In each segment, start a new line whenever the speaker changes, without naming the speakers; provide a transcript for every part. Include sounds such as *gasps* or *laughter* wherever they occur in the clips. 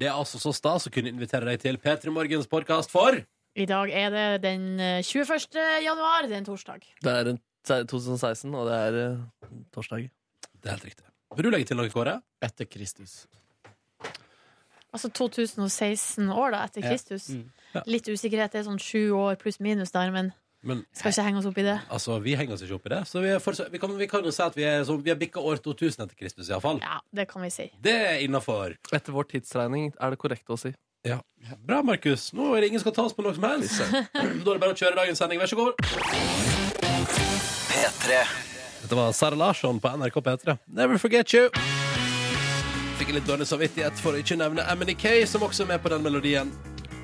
Det er altså så stas å kunne invitere deg til P3 Morgens podkast for
I dag er det den eh, 21. januar, det er en torsdag.
Det er en- det er 2016, og det er eh, torsdag.
Det er helt riktig. Vil du legge til noe, Kåre?
Etter Kristus.
Altså 2016 år, da, etter
Ja.
Kristus.
Mm.
Ja.
Litt usikkerhet, det er sånn sju år pluss minus der, men
Men
skal ikke henge oss opp i det.
altså, vi henger oss ikke opp i det. Så vi, er fortsatt, vi, kan, vi kan jo si at vi, er, sånn- vi har bikka år 2000 etter Kristus, iallfall.
Ja, det kan vi si.
Det er innafor.
Etter vår tidsregning er det korrekt å si.
Bra, Markus. Nå er det ingen som skal ta oss på noe som
*laughs*
helst. da er det bare å kjøre dagens sending. Vær så god. Dette var Sara Larsson på NRK P3. Never forget you. Fikk litt dårlig samvittighet for å ikke nevne MNK, som også er med på den melodien.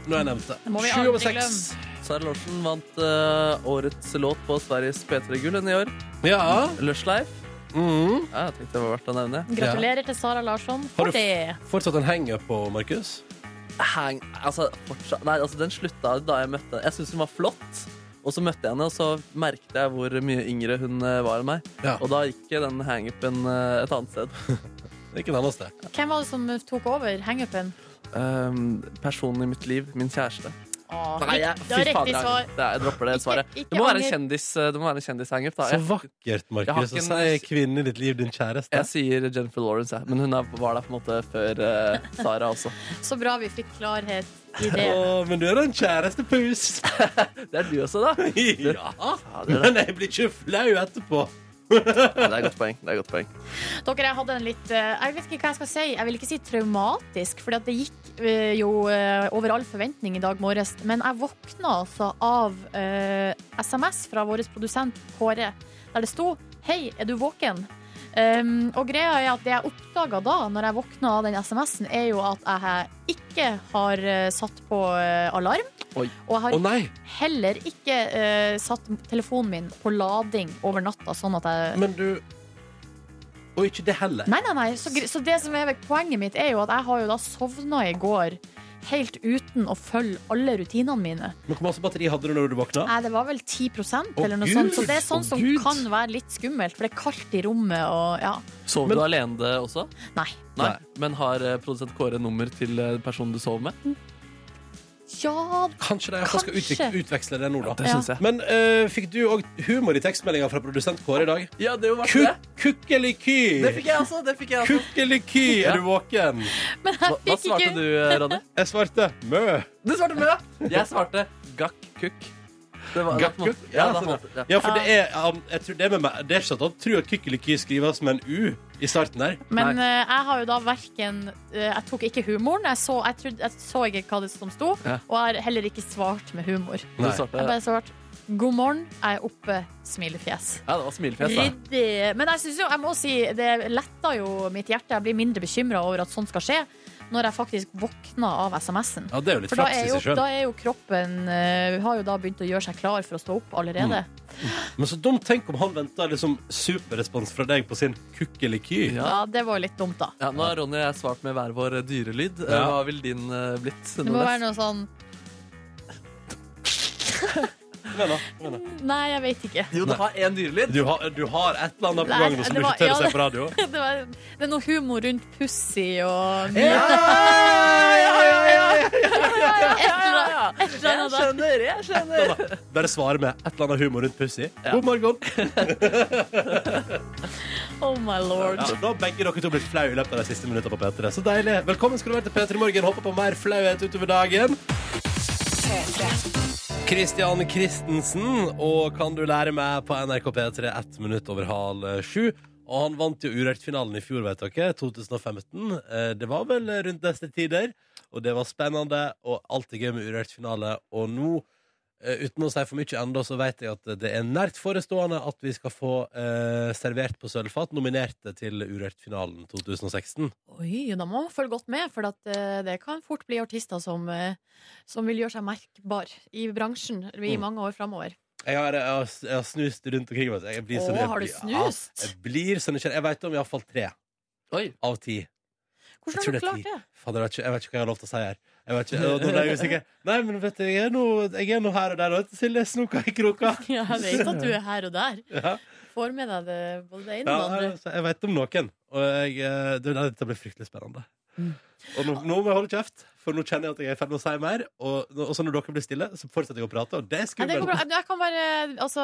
Nå har jeg nevnt det.
Det må vi
Sju over
aldri
seks.
Sara Larsen vant eh, årets låt på Sveriges P3-gull denne i år.
Ja.
Lushlife.
Mhm.
Ja, jeg tenkte det var verdt å nevne.
Gratulerer til Sara Larsson
Har du
for
f-
det.
Fortsatt en hang-up på Markus.
Hang, altså, fortsatt, nei, altså, den slutta da jeg møtte henne. Jeg syntes hun var flott. Og så møtte jeg henne, og så merket jeg hvor mye yngre hun eh, var enn meg.
Ja.
Og da gikk den hangupen eh, et annet sted.
Ikke en annen sted.
Hvem var det som eh, tok over hangupen?
Um, personen i mitt liv, min kjæreste.
Åh,
Nei, jeg,
det var riktig
jeg-
svar.
Nei, jeg dropper det
Ikke-
svaret.
ikke
Det må være en
anger.
kjendis eh, Det må være en kjendishangup. da.
Så
Jeg,
vakkert,
Jeg har
Markus, å
ikke
si
en-
'kvinne i ditt liv, din kjæreste'.
jeg sier Jennifer Lawrence, jeg. men hun er, var der på en måte før eh, Sara også.
Så bra vi fikk klarhet i det.
Å, men du er en kjærestepus!
Det er du også, *laughs* da.
ja.
Ja, det, er, det.
*laughs* Men jeg blir ikke flau etterpå.
Ja, det er et godt poeng. Det er et godt poeng.
Dere, jeg hadde en litt eh, Jeg vet ikke hva jeg skal si. Jeg vil ikke si traumatisk, for det gikk eh, jo eh, over all forventning i dag morges. Men jeg våkna altså av eh, SMS fra vår produsent Kåre, der det sto 'Hei, er du våken?' Um, og greia er at det jeg oppdaga da, når jeg våkna av den SMS-en, er jo at jeg ikke har eh, satt på eh, alarm.
Oi.
Og jeg har
Å nei!
heller ikke eh, satt telefonen min på lading over natta, sånn at jeg
Men du Og ikke det heller.
Nei, nei, nei. Så, gr- så det som er poenget mitt, er jo at jeg har jo da sovna i går helt uten å følge alle rutinene mine.
Men Hvor masse altså batteri hadde du når du våkna?
Nei, det var vel 10 eller noe
Gud!
sånt. Så det er sånn
Å,
som
Gud!
kan være litt skummelt, for det er kaldt i rommet og ja.
Sover du alene det også?
Nei.
Nei.
Nei.
Men har eh, produsent Kåre nummer til eh, personen du sover med?
Ja,
Kanskje de skal
Kanskje.
utveksle, utveksle det nå, da.
Det
Ja.
syns jeg.
Men eh, fikk du òg humor i tekstmeldinga fra produsent Kåre i dag?
Ja, det er jo verdt
Ku-
det. Det
Kukkeliky!
fikk jeg også. det fikk jeg også.
Kukkeliky,
Ja.
er du våken?
men
Hva,
jeg
hva
fikk
svarte
ikke
du, eh, Ronny?
Jeg svarte mø.
*laughs* Du svarte mø! Jeg svarte gakk kukk. Det var-
Gakk
det var-
kukk?
Ja,
Ja,
det
sånn,
var- ja.
Ja, for det er han- jeg tror det, er med meg, det er ikke sånn at han tror at Kykkeliky skrives med en U i starten der.
Men eh, jeg har jo da verken eh, Jeg tok ikke humoren. Jeg så, jeg trodde, jeg så ikke hva det som sto,
Ja.
og jeg har heller ikke svart med humor. Jeg
Du
Nei.
svarte
har bare svart 'God morgen, jeg er oppe', smilefjes.
Ja, det var smilefjes, da.
Ryddig. Men jeg synes jo, jeg må si, det letter jo mitt hjerte. Jeg blir mindre bekymra over at sånt skal skje, når jeg faktisk våkner av SMS-en.
Ja, det er jo litt
For da
flaks i
er,
seg
jo,
sjøl.
da er jo kroppen eh, Har jo da begynt å gjøre seg klar for å stå opp allerede.
Mm, Men så dumt. Tenk om han venta liksom superrespons fra deg på sin Kykkeliky.
Ja.
Ja, Det var jo litt dumt, da.
Ja, nå har Ronny og jeg svart med hver vår dyrelyd.
Ja.
Hva ville din eh, blitt?
Det må
Nordnes?
være noe sånn
Kom igjen da, kom igjen da.
*laughs* Nei, jeg vet ikke. *laughs*
Jo, du har én dyrelyd.
Du har, du har et eller annet på
Nei,
gang nå som du
det var-
ikke tør
ja,
å se
det-
på radio?
Det, var, det er noe humor rundt pussy og
Ja, ja, ja, ja, ja.
et eller annet. Et eller
Jeg
annet da.
skjønner, jeg skjønner.
Bare svare med et eller annet humor rundt pussy.
Ja.
God morgen.
Oh my lord.
Ja, da har begge dere to blitt flau i løpet av de siste minuttene på P3. Så deilig. Velkommen skal du være til P3 Morgen. Håper på mer flauhet utover dagen. Kristian Christensen og Kan du lære meg på NRK P3 ett minutt over halv sju. Og han vant jo Urørt-finalen i fjor, vet dere. 2015. Eh, Det var vel rundt disse tider. Og det var spennende, og alt er gøy med Urørt-finale. Og nå, eh, uten å si for mye ennå, så vet jeg at det er nært forestående at vi skal få eh, servert på sølvfat nominerte til Urørt-finalen 2016.
Oi, da må man følge godt med, for at, eh, det kan fort bli artister som, eh, som vil gjøre seg merkbar i bransjen i
Mm.
mange år framover.
Jeg har, jeg har, jeg har snust rundt omkring. vet du. Jeg blir
Å,
så- jeg
har du
blir- Ja,
snust?
jeg blir så nysgjerrig. Jeg vet om iallfall tre
Oi.
av ti.
Hvordan
tror
har du
det er
klart det?
Faen, jeg, vet ikke, jeg vet ikke hva jeg har lov til å si her. Jeg vet ikke, og da ble jeg usikker. Nei, men vet du,
*laughs*
jeg er nå, jeg er nå her og der, og Silje snoka i kroka.
Ja, jeg vet at du er her og der.
Ja.
Få får med deg det, både det ene
Ja,
og det andre.
altså, jeg vet om noen, og jeg, eh, det, dette blir fryktelig spennende.
Mm.
Og nå, nå må jeg holde kjeft, for nå kjenner jeg at jeg er i ferd med å si mer. Og, nå- og så når dere blir stille, så fortsetter jeg å prate, og det er
Nei, det går
skummelt.
bra. Jeg kan bare altså,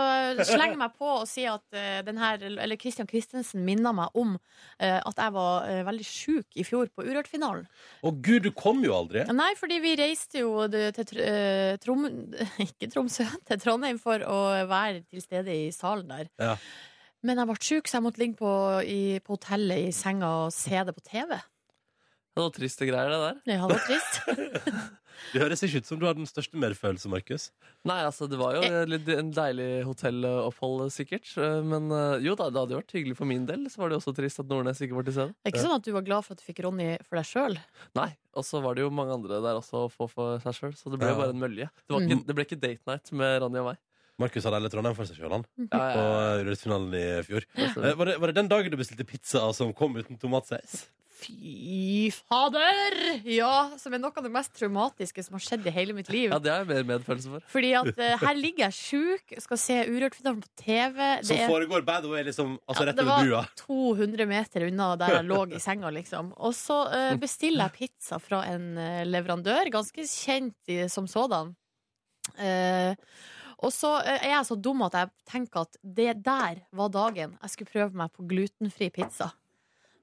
slenge meg på og si at eh, den her, eller Christian Christensen minner meg om eh, at jeg var eh, veldig sjuk i fjor på Urørt-finalen.
Å gud, du kom jo aldri.
Nei, fordi vi reiste jo det til Tr- eh, Trom... *laughs* Ikke Tromsø, til Trondheim for å være til stede i salen der.
Ja.
Men jeg ble sjuk, så jeg måtte ligge på, i, på hotellet i senga og se det på TV.
Det var triste greier, det der.
Ja, det var trist.
Det høres ikke ut som du har den største medfølelse, Markus.
Nei, altså, det var jo
Eh.
litt en deilig hotellopphold, eh, sikkert. Men eh, jo da, det hadde jo vært hyggelig for min del. Så var det jo også trist at Nordnes ikke var til stede.
Det er ikke sånn at du var glad for at du fikk Ronny for deg sjøl.
Nei, og så var det jo mange andre der også å få for seg sjøl, så det ble
Ja.
jo bare en mølje. Det, var
Mhm.
ikke, det ble ikke date night med Ronny og meg.
Markus hadde hele Trondheim for seg sjøl, han.
Mhm.
Ja,
På
ja, ja.
Urørt-finalen i fjor.
Det stemmer.
Eh, Var det, var det den dagen du bestilte pizza altså, som kom uten tomatsaus?
Fy fader! Ja, som er noe av det mest traumatiske som har skjedd i hele mitt liv.
Ja, det har jeg mer medfølelse for.
Fordi at eh, her ligger jeg sjuk, skal se Urørt-finalen på TV.
Som
er-
foregår by the way, liksom, altså
Ja,
rett
det
over
var
brua.
200 meter unna der jeg lå i senga, liksom. Og så
Mm.
eh, bestiller jeg pizza fra en eh, leverandør, ganske kjent i, som sådan. Eh, og så eh, er jeg så dum at jeg tenker at det der var dagen jeg skulle prøve meg på glutenfri pizza.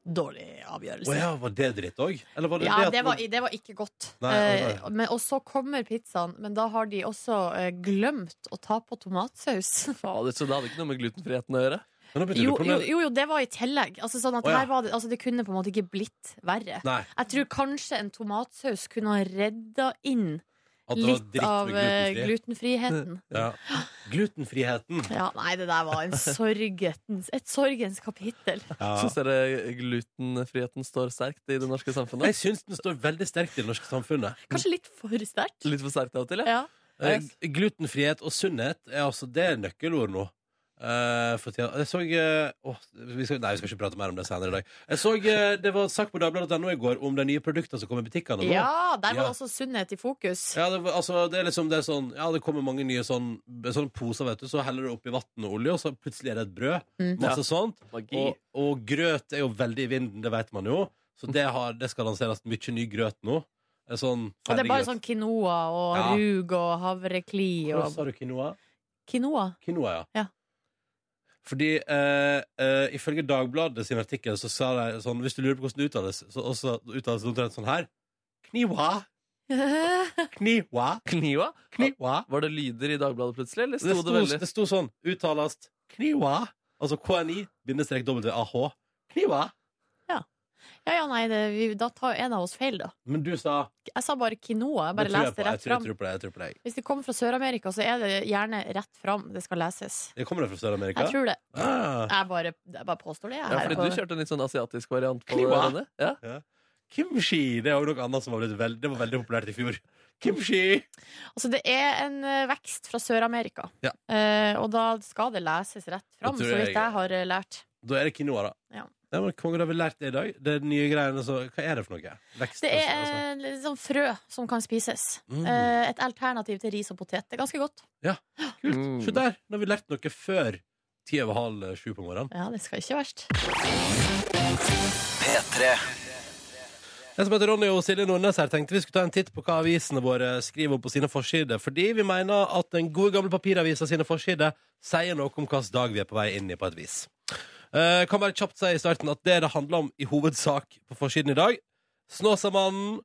Dårlig
Å
avgjørelse.
ja, var det dritt òg? Eller var det
Ja,
det
det
at
var, det var ikke godt.
Nei, nei,
Eh, men, og så kommer pizzaen, men da har de også eh, glemt å ta på tomatsaus.
Fader, så det hadde ikke noe med glutenfriheten å gjøre.
Men da begynte du
Jo,
på
jo,
med-
jo, jo, det var i tillegg. Altså, sånn at
Å, ja.
her var det, altså, det kunne på en måte ikke blitt verre.
Nei,
Jeg tror kanskje en tomatsaus kunne ha redda inn
at det var
litt
dritt
av
med
eh,
glutenfri.
glutenfriheten.
Ja. Glutenfriheten.
Ja, nei, det der var en sorgetens, et sorgens kapittel.
Ja.
Syns dere glutenfriheten står sterkt i det norske samfunnet?
Jeg syns den står veldig sterkt i det norske samfunnet.
Kanskje litt for sterkt.
Litt for sterkt av og til, ja.
Ja.
Eh, Glutenfrihet og sunnhet er altså det er nøkkelord nå. Eh, for tida. Jeg så eh, åh, vi skal, Nei, vi skal ikke prate mer om det senere i dag. Jeg så, eh, Det var sagt på dagbladet.no i går om de nye produktene som kom i butikkene nå.
ja, der var
Ja.
det også sunnhet i fokus.
Ja, det, var- altså, det er liksom det er sånn Ja, det kommer mange nye sånn, sånn poser, vet du. Så heller du oppi vann og olje, og så plutselig er det et brød.
Mm.
Masse
Ja.
sånt.
Magi.
Og, og grøt er jo veldig i vinden, det vet man jo. Så det, har, det skal lanseres mye ny grøt nå. En Sånn
Og det er bare
ferdiggrøt.
sånn quinoa og
Ja. sånn?
rug og havrekli
Hvordan
og
sa du quinoa?
Quinoa? *laughs*
Quinoa, ja.
Ja.
Fordi eh, eh, ifølge Dagbladet sin artikkel så sa de sånn Hvis du lurer på hvordan det uttales, så også uttales det omtrent sånn her. Kniwa, kniwa,
Kniva?
kniwa.
Var det lyder i Dagbladet plutselig, eller
Det
sto
sto,
det veldig
det sto sånn. Uttales kniwa. Altså KNI bindestrek WAH. Kniwa.
Ja, ja, nei, det, vi, da tar en av oss feil, da.
Men du sa
Jeg sa bare quinoa. Jeg
det
bare
tror jeg
leste
på, jeg
rett
tror-
fram.
jeg tror på det. Jeg tror på deg.
Hvis det kommer fra Sør-Amerika, så er det gjerne rett fram det skal leses.
Det kommer fra Sør-Amerika?
Jeg tror det.
Ah.
Jeg bare, jeg bare påstår det. Jeg,
Ja,
her
fordi
på-
du kjørte en litt sånn asiatisk variant på det,
Kniva.
Ronny. Ja.
Kimchi. Det er jo noe annet som var, blitt veld... det var veldig populært i fjor. Kimchi!
altså, det er en eh, vekst fra Sør-Amerika,
Ja.
Eh, og da skal det leses rett fram,
Det
så
tror jeg-
vidt jeg har eh, lært.
Da er det quinoa, da.
Ja.
Det var konge, da har vi lært det i dag. Det er nye greiene, så hva er det for noe? Vekst,
Det er
altså.
eh, litt sånn frø som kan spises.
Mm.
Eh, et alternativ til ris og potet. Det er ganske godt.
Altså, Kult.
Mm.
Se der, nå har vi lært noe før ti over halv eh, sju på morgenen.
Ja, det skal ikke verst.
Jeg som heter Ronny og Silje Nordnes her, tenkte vi skulle ta en titt på hva avisene våre skriver om på sine forsider. Fordi vi mener at den gode gamle papiravisa sine forsider sier noe om hvilken dag vi er på vei inn i på et vis. Eh, kan bare kjapt si i starten at det det handler om i hovedsak på forsiden i dag, Snåsamannen,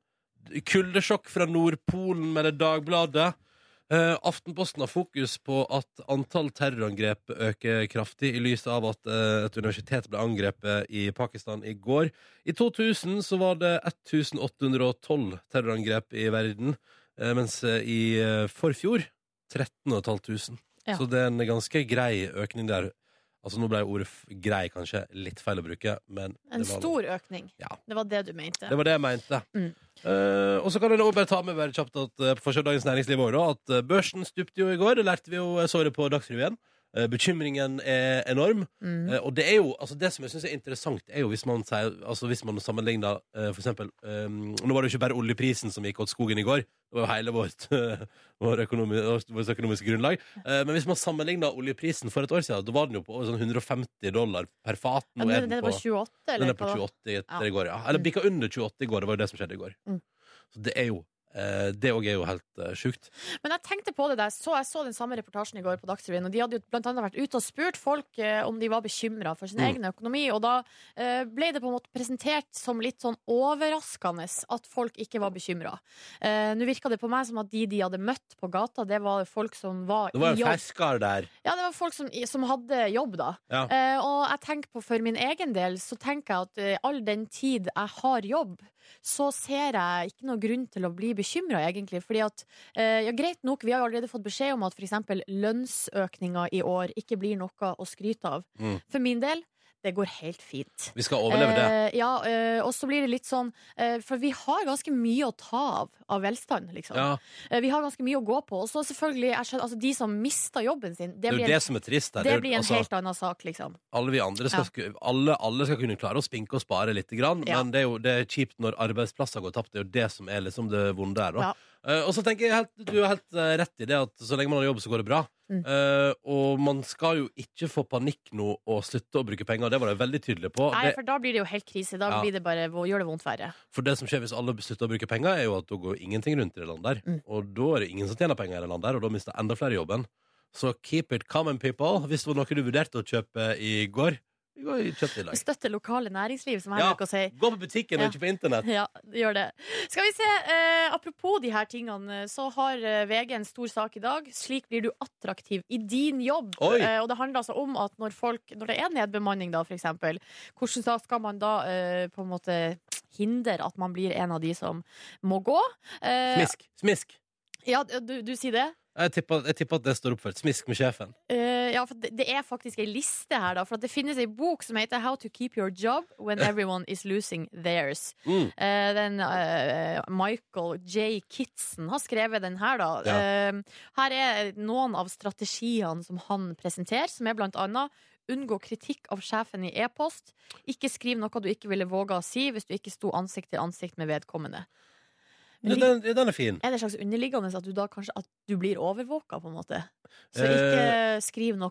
kuldesjokk fra Nordpolen med det Dagbladet. Eh, Aftenposten har fokus på at antall terrorangrep øker kraftig i lys av at eh, et universitet ble angrepet i Pakistan i går. I 2000 så var det 1812 terrorangrep i verden, eh, mens eh, i eh, forfjor 13500.
Ja.
Så det er en ganske grei økning der. Altså Nå ble ordet f- 'grei' kanskje litt feil å bruke, men
En
det var-
stor økning.
Ja.
Det var det du mente.
det var det jeg mente.
Mm.
Eh, og så kan jeg også bare ta med bare kjapt at eh, på forsiden av Dagens Næringsliv også, da, at eh, børsen stupte jo i går. Det lærte vi jo, jeg så det på Dagsrevyen. Eh, Bekymringen er enorm.
Mm.
Eh, Og det er jo, altså det som jeg synes er interessant, er jo hvis man, sier, altså hvis man sammenligner eh, for eksempel ehm, Nå var det jo ikke bare oljeprisen som gikk åt skogen i går. Det var jo hele vårt, *laughs* vår økonomi, vårt økonomiske grunnlag. Eh, men hvis man sammenligner oljeprisen for et år siden, da var den jo på over sånn 150 dollar per fat.
Ja,
Nå
den,
er den,
den er på
på,
28, eller?
den er på
hva da?
28 etter
Ja.
i går, ja. Eller bikka under 28 i går. Det var jo det som skjedde i går.
Mm.
Så det er jo eh, Det òg er jo helt eh, sjukt.
Men jeg tenkte på det der, så jeg så den samme reportasjen i går på Dagsrevyen, og de hadde jo blant annet vært ute og spurt folk eh, om de var bekymra for sin
Mm.
egen økonomi, og da eh, ble det på en måte presentert som litt sånn overraskende at folk ikke var bekymra. Eh, Nå virka det på meg som at de de hadde møtt på gata, det var folk som var,
Det var
i
jo en
jobb.
ferskar der.
Ja, det var folk som, som hadde jobb, da.
Ja.
Eh, og jeg tenker på for min egen del, så tenker jeg at eh, all den tid jeg har jobb, så ser jeg ikke noe grunn til å bli bekymra, egentlig. Fordi at, eh, ja, greit nok, vi har jo allerede fått beskjed om at f.eks. lønnsøkninga i år ikke blir noe å skryte av.
Mm.
For min del, det går helt fint.
Vi skal overleve det.
Eh, ja, eh, og så blir det litt sånn eh, For vi har ganske mye å ta av av velstand, liksom.
Ja.
Eh, vi har ganske mye å gå på. Og så selvfølgelig, jeg skjønner, altså, de som mister jobben sin,
Det
det
er jo
blir,
det som er trist. her.
det
er jo-
blir en
altså-
helt annen sak, liksom.
alle vi andre skal,
Ja.
sku- alle, alle skal kunne klare å spinke og spare litt, grann,
Ja.
men det er jo det er kjipt når arbeidsplasser går tapt. Det er jo det som er liksom det vonde her. Da.
Ja.
Eh, og så tenker jeg helt, Du har helt eh, rett i det at så lenge man har jobb, så går det bra.
Mm.
Eh, og man skal jo ikke få panikk nå og slutte å bruke penger. Det var jeg veldig tydelig på.
Nei,
Det,
for da blir det jo helt krise. Da
Ja.
blir det bare, hvor- gjør det vondt verre.
for det som skjer hvis alle slutter å bruke penger, er jo at da går ingenting rundt i det landet der.
Mm.
Og da er det ingen som tjener penger i det landet der, og da mister enda flere jobben. Så keep it common, people. Hvis det var noe du vurderte å kjøpe i går, i går kjøpte i dag.
Støtte lokale næringsliv, som jeg
Ja.
bruker å si. *laughs*
Gå på butikken
Ja.
og ikke på internett.
Ja, gjør det. Skal vi se, eh, apropos de her tingene, så har eh, VG en stor sak i dag. Slik blir du attraktiv i din jobb.
Oi.
Eh, og det handler altså om at når, folk, når det er nedbemanning, da, for eksempel, hvordan da skal man da eh, på en måte hindre at man blir en av de som må gå? Eh,
Smisk. Smisk.
ja, du, du sier det?
Jeg tipper, jeg tipper at det står oppført. Smisk med sjefen.
Eh, ja, for det, det er faktisk ei liste her, da. For at det finnes ei bok som heter How to keep your job when everyone is losing theirs.
Mm.
Eh, den eh, Michael J. Kitson har skrevet den her, da.
Ja.
Eh, her er noen av strategiene som han presenterer, som er blant annet Unngå kritikk av sjefen i e-post. Ikke skriv noe du ikke ville våga å si hvis du ikke sto ansikt til ansikt med vedkommende.
Ja,
Lik-
Den, ja, den er fin.
er det en slags underliggende at du da kanskje at du blir overvåka, på en måte? Så
Eh.
ikke skriv noe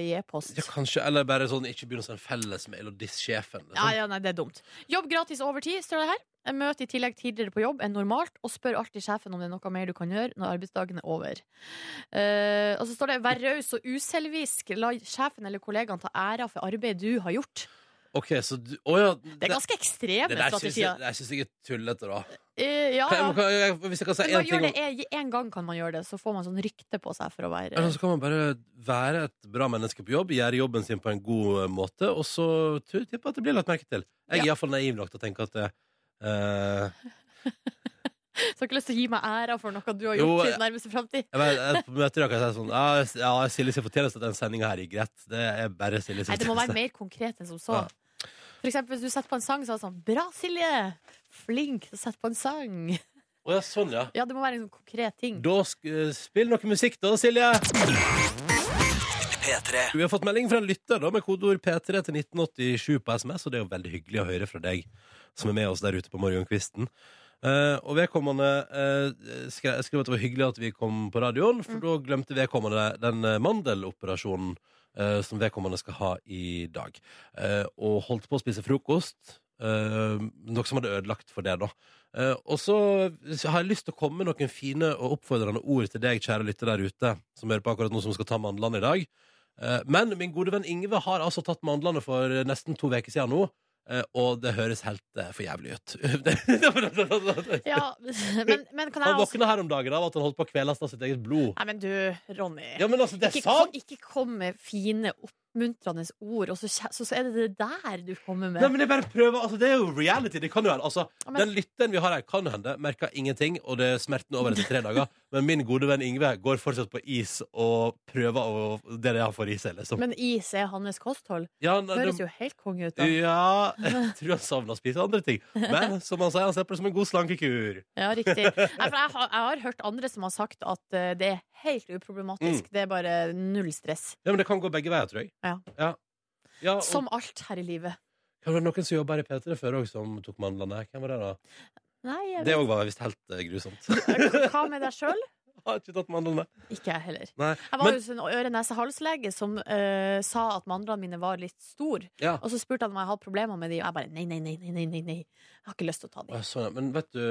i e-post.
Ja, kanskje, Eller bare sånn ikke begynn å sende fellesmail og diss sjefen.
Ja,
Liksom.
ja, nei, det er dumt. Jobb gratis overtid, står det her. Møt i tillegg tidligere på jobb enn normalt, og spør alltid sjefen om det er noe mer du kan gjøre når arbeidsdagen er over. Eh, og så står det 'vær raus og uselvisk', la sjefen eller kollegaen ta æra for arbeid du har gjort.
Ok, så du, å ja,
Det er ganske
det,
ekstreme
det der syns jeg,
strategier.
det der synes jeg er tullete, da.
Eh, ja,
Kan
ja.
jeg, kan jeg, hvis jeg kan si
Men man
én
gjør
ting
det
om
en- en gang kan man gjøre det, så får man sånn rykte på seg for å være
eller så kan man bare være et bra menneske på jobb, gjøre jobben sin på en god eh, måte, og så tror- tipper jeg at det blir lagt merke til. Jeg er iallfall naiv nok til å tenke at det, eh,
Så har ikke lyst til å gi meg æra for noe du har
Jo, eh,
gjort i
jeg-
nærmeste framtid.
jeg, vet- jeg, På møter i dag kan jeg si sånn Ja, ja, Silje sin fortjeneste at den sendinga her gikk greit. Det er bare Silje sin
Nei, det må være mer konkret enn som så.
Ja.
For eksempel hvis du setter på en sang, så er det sånn Bra, Silje! Flink til å sette på en sang.
Å ja, sånn, ja.
Ja, det må være en sånn konkret ting.
Da sk eh, spill noe musikk da, Silje. Vi har fått melding fra en lytter da, med kodeord P3 til 1987 på SMS, og det er jo veldig hyggelig å høre fra deg som er med oss der ute på morgenkvisten. Eh, og vedkommende eh, skre- skrev at det var hyggelig at vi kom på radioen, for da glemte vedkommende den eh, mandeloperasjonen eh, som vedkommende skal ha i dag. Eh, og holdt på å spise frokost, eh, noe som hadde ødelagt for det, da. Eh, og så har jeg lyst til å komme med noen fine og oppfordrende ord til deg, kjære lytter der ute, som hører på akkurat nå, som skal ta mandlene i dag. Eh, men min gode venn Ingve har altså tatt mandlene for nesten to uker siden nå. eh, og det høres helt eh, for jævlig ut. *laughs*
Ja, men, men kan
han
jeg også
våkna her om dagen av at han holdt på å kveles av sitt eget blod.
Nei, men du, Ronny.
Ja, men altså, det er
ikke, kom,
sant!
ikke kom med fine, oppmuntrende ord, og så, kje- så, så er det det der du kommer med.
Nei, men jeg bare prøver, altså Det er jo reality. Det kan jo hende. altså
Ja, men-
Den lytteren vi har her, kan hende merker ingenting, og det er smerten over etter tre
*laughs*
dager. Men min gode venn Yngve går fortsatt på is og prøver å det er det han får i seg. liksom
Men is er hans kosthold.
ja, nei,
Høres
det-
jo helt konge ut, da. *laughs*
ja, jeg tror han savner å spise andre ting. Men som han sier, han ser på det som en god slankekur.
Ja, riktig. Nei, for jeg, har, jeg har hørt andre som har sagt at eh, det er helt uproblematisk.
Mm.
Det er bare null stress.
Ja, men Det kan gå begge veier, tror jeg.
Ja.
ja. Ja, og,
Som alt her i livet.
Kan det være noen som jobba i P3 før òg, som tok mandlene? Hvem var det, da?
Nei, jeg
Det
vet
òg var visst helt eh, grusomt. *laughs*
ikke. Hva med deg sjøl?
har ikke tatt mandlene.
Ikke jeg heller.
Nei.
Jeg var
Men,
hos en øre-nese-hals-lege som eh, sa at mandlene mine var litt store.
ja.
Og så spurte han om jeg hadde problemer med de, og jeg bare nei, nei, nei, nei, nei, nei, nei. Jeg har ikke lyst til å ta de.
Å, Sånn, ja. Men vet du,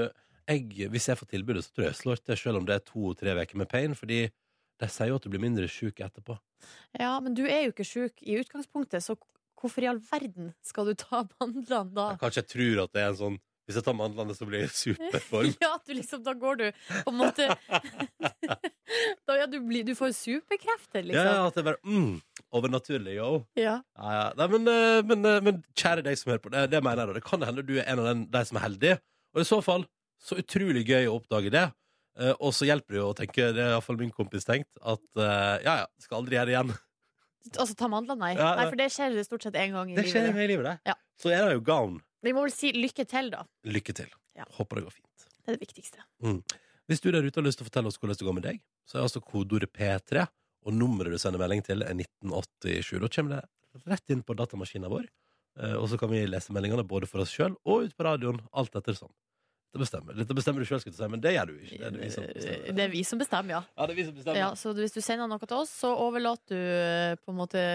jeg, hvis jeg får tilbudet, så tror jeg jeg slår til, selv om det er to-tre uker med pain. Fordi de sier jo at du blir mindre sjuk etterpå.
Ja, men du er jo ikke sjuk i utgangspunktet, så hvorfor i all verden skal du ta mandlene da?
Jeg kanskje jeg tror at det er en sånn Hvis jeg tar mandlene, så blir jeg i
*laughs*
superform.
Ja, at du liksom, da går du på en måte *laughs* da, ja, du, blir, du får superkrefter,
Ja, ja,
liksom.
at det er bare mm, overnaturlig, yo.
Ja.
Ja, ja. Nei, men, eh, men, eh, men kjære deg som hører på, det, det mener jeg da. Det kan hende du er en av den, de som er heldige. Og i så fall, så utrolig gøy å oppdage det. Eh, og så hjelper det jo å tenke, det har iallfall min kompis tenkt, at eh, ja ja, skal aldri gjøre det igjen.
Altså ta mandlene, nei.
Ja, ja.
nei. For det skjer stort sett én gang i
Det skjer i
livet. det.
hele livet, det.
Ja.
Så er det jo gone.
Vi må vel si lykke til, da.
Lykke til.
Ja.
Håper det går fint.
Det er det viktigste.
Hvis du der ute har lyst til å fortelle oss hvordan det går med deg, så er altså kodeordet P3, og nummeret du sender melding til, er 1987. Da kommer det rett inn på datamaskinen vår, eh, og så kan vi lese meldingene både for oss sjøl og ut på radioen, alt etter sånn. Det bestemmer, Dette bestemmer du sjøl, skal du si, men det gjør du ikke. Det er det vi som bestemmer.
Eh, Det er vi som bestemmer, ja.
Ja, det er vi som bestemmer.
ja. Så hvis du sender noe til oss, så overlater du eh, på en måte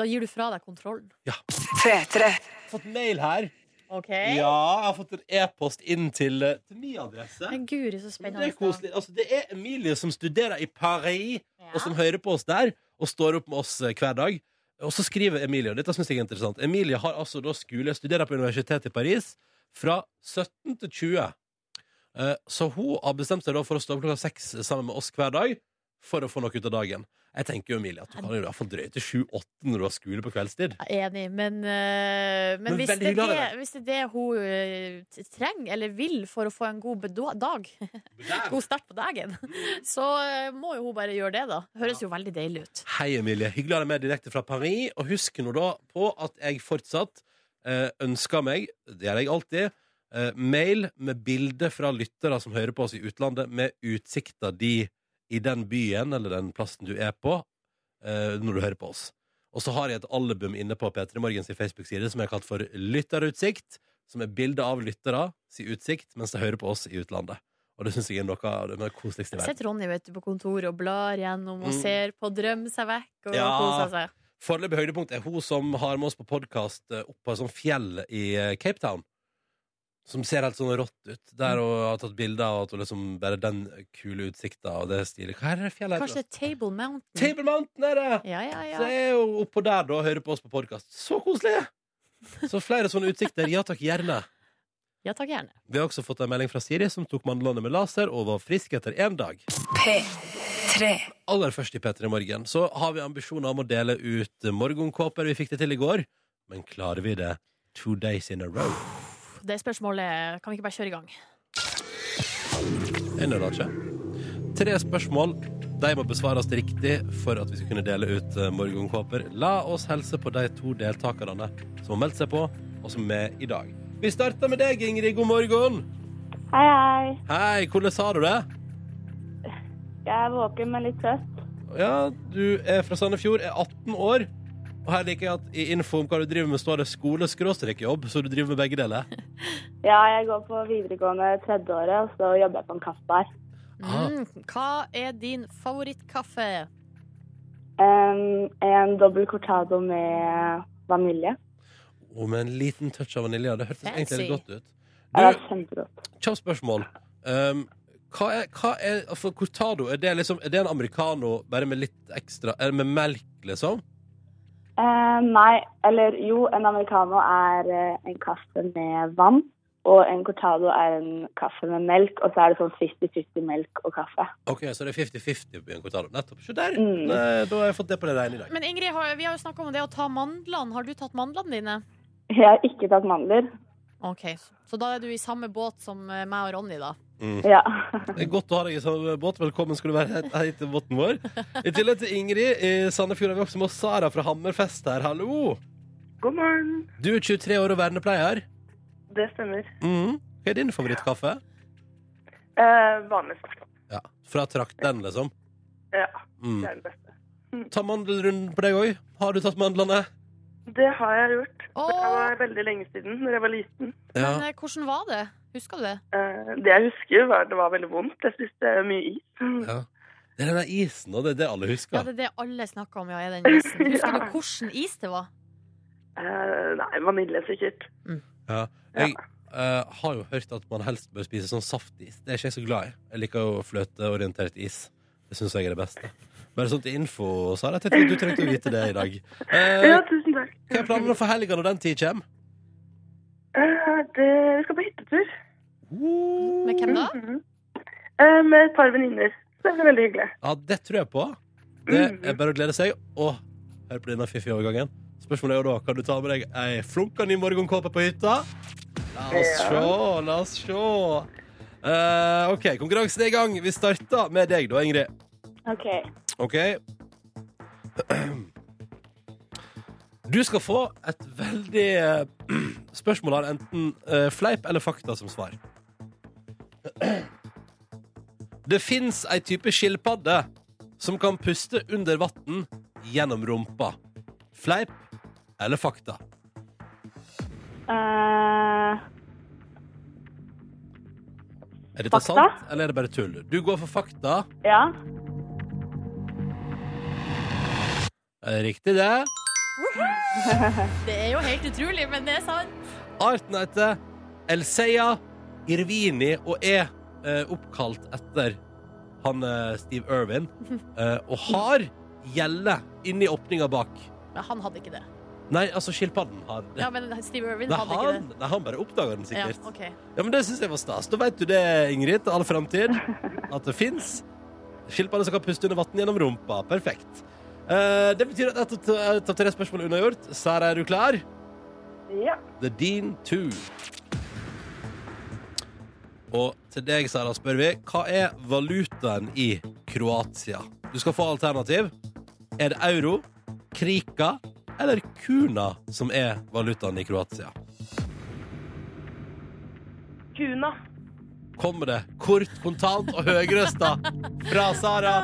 Da gir du fra deg kontrollen.
Jeg har fått mail her.
OK?
Ja, jeg har fått en e-post inn til, eh, til ny adresse.
Men guri, så
Men
spennende.
Det er koselig. Altså, det er Emilie som studerer i Paris.
Ja.
og som hører på oss der, og står opp med oss eh, hver dag. Og så skriver Emilie, og dette synes jeg er interessant Emilie har altså da skole, studerer på universitetet i Paris fra 17 til 20. Eh, Så hun har bestemt seg da for å stå opp klokka seks sammen med oss hver dag for å få noe ut av dagen. Jeg tenker jo, Emilie, at du kan jo i hvert fall drøye til 7-8 når du har skole på kveldstid.
Jeg er Enig, men, eh, men,
Men
hvis,
veldig
det er
hyggelig av
det,
deg.
hvis det er det hun eh, t- trenger eller vil for å få en god bedo- dag, god start på dagen, *laughs* så eh, må jo hun bare gjøre det, da. Høres jo veldig deilig ut.
Hei, Emilie. Hyggelig å ha deg med direkte fra Paris. Og husk nå da på at jeg fortsatt eh, ønsker meg, det gjør jeg alltid, eh, mail med bilde fra lyttere som hører på oss i utlandet, med utsikta di i den byen eller den plassen du er på eh, når du hører på oss. Og så har jeg et album inne på P3 Morgens Facebook-side som jeg har kalt for Lytterutsikt, som er bilde av lyttere si utsikt mens de hører på oss i utlandet. Og det syns jeg er noe av det mer koseligste i
Jeg
verden.
sitter Ronny vet du, på kontoret og blar gjennom og
Mm.
ser på Drøm seg vekk og
Ja.
koser seg.
Foreløpig høydepunkt er hun som har med oss på podkast opp på et sånt fjell i eh, Cape Town. Som ser helt sånn rått ut.
Mm.
Der hun har tatt bilder og at hun liksom bare den kule utsikta og det stilet. Hva er det fjellet heter?
Kanskje Table Mountain.
Table Mountain er det!
Ja,
Så
ja, ja.
er hun oppå der da og hører på oss på podkast. Så koselig!
*laughs*
Så flere sånne utsikter. Ja takk, gjerne.
Ja takk, gjerne.
Vi har også fått en melding fra Siri, som tok mandlene med laser og var frisk etter én dag. Aller først i P3 Morgen så har vi ambisjoner om å dele ut morgenkåper. Vi fikk det til i går, men klarer vi det two days in a row?
Det spørsmålet kan vi ikke bare kjøre i gang.
Jeg nøler ikke. Tre spørsmål. De må besvares riktig for at vi skal kunne dele ut eh, morgenkåper. La oss helse på de to deltakerne som har meldt seg på, og som er med i dag. Vi starter med deg, Ingrid. God morgen.
Hei, hei.
Hei, hvordan har du det?
Jeg er våken, men litt trøtt.
Ja, du er fra Sandefjord, er 18 år. Og her liker jeg at i info om hva du driver med, står det skole-jobb, så du driver med begge deler.
Ja, jeg går på videregående tredje året, og så jobber jeg på en kaffebar.
Ah.
Mm. Hva er din favorittkaffe?
Em, en dobbel cortado med vanilje.
Og med en liten touch av vanilje. Det hørtes egentlig litt godt
Fancy.
ut.
Ja, Det
Du,
er kjempegodt.
kjapt spørsmål. Um, hva er, hva er For cortado, er det liksom Er det en americano bare med litt ekstra Er det med melk, liksom?
Eh, nei, eller jo, en americano er eh, en kaffe med vann. Og en cortado er en kaffe med melk, og så er det sånn 50-50 melk og kaffe.
Ok, så det er 50-50 på en Cortado. Nettopp. Se der!
Mm.
Nei, Da har jeg fått det på det rene i dag.
Men Ingrid, har, vi har jo snakka om det å ta mandlene. Har du tatt mandlene dine?
Jeg har ikke tatt mandler.
Ok, Så da er du i samme båt som eh, meg og Ronny, da.
Mm.
Ja.
Det er godt å ha deg i samme båt. Velkommen skal du være her- her til båten vår. I tillegg til Ingrid i Sandefjord har vi også med oss Sara fra Hammerfest her. Hallo!
God morgen.
Du er 23 år og vernepleier.
Det stemmer.
Mm. Hva er din favorittkaffe?
Eh, vanlig svart.
Ja. Fra trakten, liksom?
Ja, det
Mm.
er det beste.
Ta mandelrunden på deg òg. Har du tatt mandlene?
Det har jeg gjort. Det
Åh,
var veldig lenge siden, når jeg var liten.
men eh, hvordan var det? Husker du det?
Eh, det jeg husker, var at det var veldig vondt. Jeg spiste mye is.
ja. Det er den der isen, og det er det alle
Ja,
husker.
det er det alle snakker om, ja, er den isen. Husker du
Ja.
hvordan is det var?
Eh, nei, vanilje sikkert.
Ja. Jeg eh, har jo hørt at man helst bør spise sånn saftis. Det er ikke jeg så glad i. Jeg liker jo fløteorientert is. Det syns jeg er det beste. Bare sånn til info, Sara. Jeg tenkte du trengte å vite det i dag. Eh,
Ja, tusen takk.
hva er planene for helga når den tid kommer?
Eh, det, vi skal på hyttetur.
Med hvem da?
Mhm. Eh, med et par venninner. Så det blir veldig hyggelig.
Ja, det tror jeg på. Det
Mm.
er bare å glede seg. Og hør på denne fiffige overgangen. Spørsmålet er jo da, kan du ta med deg ei flunka ny morgenkåpe på hytta? La oss
Ja.
sjå, la oss sjå. Eh, OK, konkurransen er i gang. Vi starter med deg da, Ingrid.
OK.
OK. Du skal få et veldig eh, *clears throat* Spørsmålet har enten eh, fleip eller fakta som svar. *clears throat* Det fins ei type skilpadde som kan puste under vann gjennom rumpa. Fleip eller fakta?
Eh,
Er dette
Fakta.
sant, eller er det bare tull? Du går for fakta.
ja.
Eh, Riktig, det.
Det er jo helt utrolig, men det er sant.
Arten heter Elseia Irvini og er eh, oppkalt etter han eh, Steve
*laughs*
Irwin. Eh, og har gjelle inni åpninga bak.
Men han hadde ikke det.
Nei, altså skilpadden har det.
Ja, men Steve Irwin
Nei,
hadde ikke
han,
det.
nei, han bare oppdaga den
Ja,
sikkert. Ja,
ok.
men Det syns jeg var stas. Da veit du det, Ingrid, til all framtid. At det fins skilpadder som kan puste under vann gjennom rumpa. Perfekt. Eh, det betyr at ett av- ett av tre spørsmål er unnagjort. Sara, er du klar?
Ja.
The Dean 2. Og til deg, Sara, spør vi hva er valutaen i Kroatia? Du skal få alternativ. Er det euro, krika eller kuna som er valutaen i Kroatia?
Kuna.
Kommer det kort, kontant og høyrøsta fra Sara?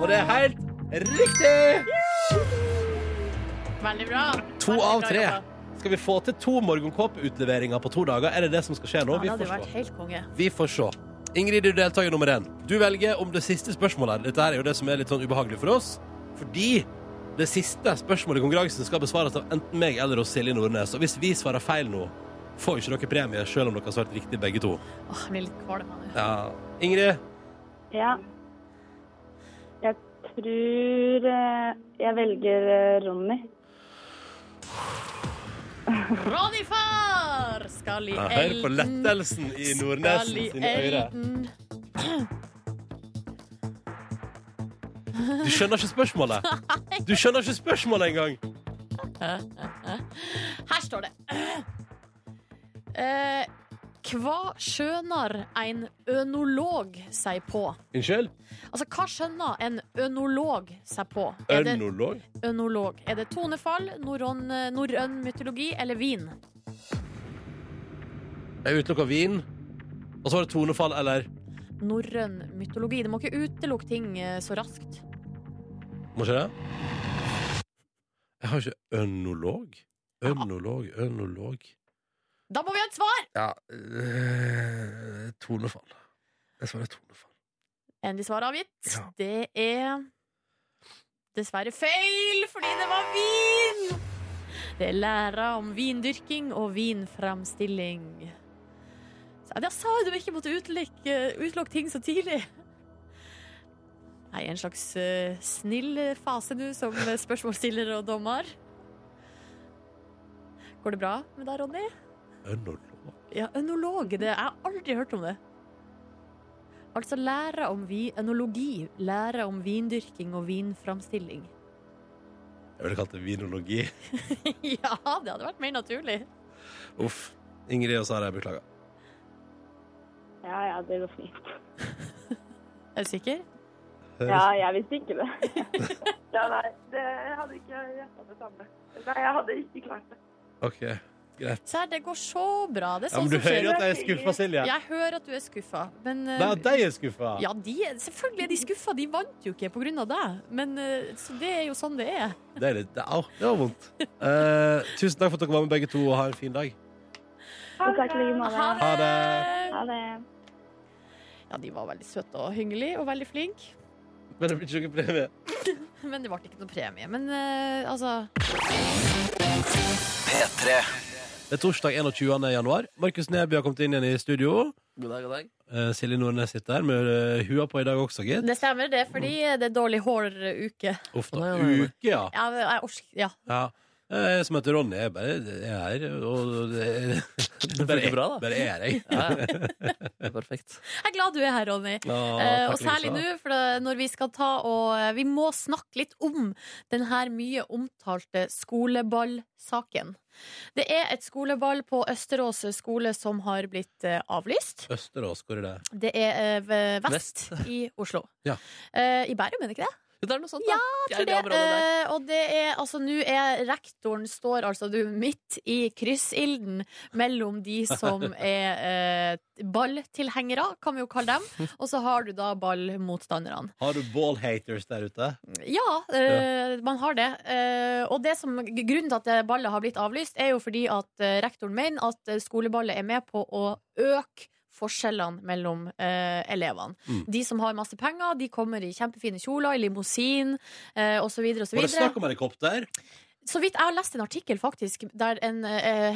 Og det er helt riktig!
Veldig bra.
To
Veldig
av
bra
tre.
jobba.
Skal vi få til to morgenkåpeutleveringer på to dager? Er det det som skal skje nå?
Han
Vi
hadde
får
jo
se.
vært helt konge.
Vi får se. Ingrid du er deltaker nummer én. Du velger om det siste spørsmålet. her. Dette her er jo det som er litt sånn ubehagelig for oss. Fordi det siste spørsmålet i konkurransen skal besvares av enten meg eller oss Silje Nordnes. Og hvis vi svarer feil nå, får ikke dere premie, selv om dere har svart riktig begge to.
Åh, jeg blir litt kvalm av det.
Ja. Ingrid,
Ja. Jeg tror eh, jeg velger eh, Ronny.
Ronny far skal i
ja,
elden.
hør på lettelsen i Nordnes
Skal i
sine øyne.
elden.
Du skjønner ikke spørsmålet. Du skjønner ikke spørsmålet engang.
Her står det. Eh, hva skjønner en ønolog seg på?
Unnskyld?
Altså, hva skjønner en ønolog seg på? Er det
Ørnolog?
ønolog? Er det tonefall, norrøn eh, norrøn mytologi eller vin?
Jeg utelukker vin. Og så var det tonefall, eller?
Norrøn mytologi. Det må ikke utelukke ting eh, så raskt.
Må ikke det? Jeg har ikke ønolog. Ønolog, ønolog
Da må vi ha et svar!
Ja øh, Tonefall. Jeg svarer tonefall.
Endelig svar avgitt.
Ja.
Det er dessverre feil, fordi det var vin! Det er læra om vindyrking og vinframstilling. Så jeg sa jo du ikke måtte utelukke utelukke ting så tidlig. Nei, en slags eh, snill fase nå som spørsmålsstiller og dommer. Går det bra med deg, Ronny?
Ønolog.
Ja, Ønolog. Det, jeg har aldri hørt om det. Altså lære om vi, ønologi. Lære om vindyrking og vinframstilling. *laughs*
Jeg ville kalt det vinologi.
ja, det hadde vært mer naturlig.
Uff. Ingrid og Sara, jeg beklager.
Ja, ja, det går fint.
Er du sikker?
Ja, jeg visste ikke det.
*laughs* Ja, nei, det jeg hadde ikke gjetta det samme. Nei, jeg hadde ikke klart det.
OK. Greit.
Serr, det går så bra. Det er
Ja,
sånn
men du
som skjer.
hører jo at jeg er skuffa, Silje.
Jeg hører at du er skuffa, men eh,
Nei, at de er skuffa.
ja, de, er- selvfølgelig er de skuffa. De vant jo ikke på grunn av deg. Men eh, så det er jo sånn det er.
Det er litt det- Au, det var *laughs* vondt. Eh, tusen takk for at dere var med, begge to, og ha en fin dag.
Og takk i like måte.
Ha
Ha det.
Ja, de var veldig søte og hyggelige og veldig flinke.
Men det blir ikke noen premie.
Men det ble ikke noe premie. Men eh, altså
Det er torsdag 21. januar. Markus Neby har kommet inn igjen i studio.
God dag, god dag.
Eh, Silje Nordnes sitter her med eh, hua på i dag også, gitt.
Det stemmer, det, fordi det er dårlig håruke.
Uff
Å,
da.
nei, nei, nei.
Uke, ja.
Ja, jeg orsker Ja.
ja. Eh, Jeg som heter Ronny, jeg bare jeg er her. Og det
Det funker bra, da.
Bare er jeg.
*laughs*
*laughs*
Ja, ja. Det er perfekt.
Jeg er glad du er her, Ronny.
Ja,
Eh, og
takk, Lisa.
særlig nå, for det- når vi skal ta og eh, Vi må snakke litt om den her mye omtalte skoleballsaken. Det er et skoleball på Østerås skole som har blitt eh, avlyst.
Østerås, hvor er det?
Det er eh, ved vest, i Oslo.
Ja.
Eh, I Bærum, er det ikke det?
Jo, det er noe sånt, da. Ja,
tror
det
det.
området der.
Eh, og det er altså Nå er rektoren står altså du midt i kryssilden mellom de som er eh, balltilhengere, kan vi jo kalle dem, og så har du da ballmotstanderne.
Har du ballhaters der ute?
Ja, eh, man har det. Eh, og det som, grunnen til at det ballet har blitt avlyst, er jo fordi at eh, rektoren mener at eh, skoleballet er med på å øke forskjellene mellom eh, elevene.
Mm.
De som har masse penger, de kommer i kjempefine kjoler, i limousin eh, osv.
Var det
osv.
snakk om helikopter?
Så vidt jeg har lest en artikkel faktisk der en eh,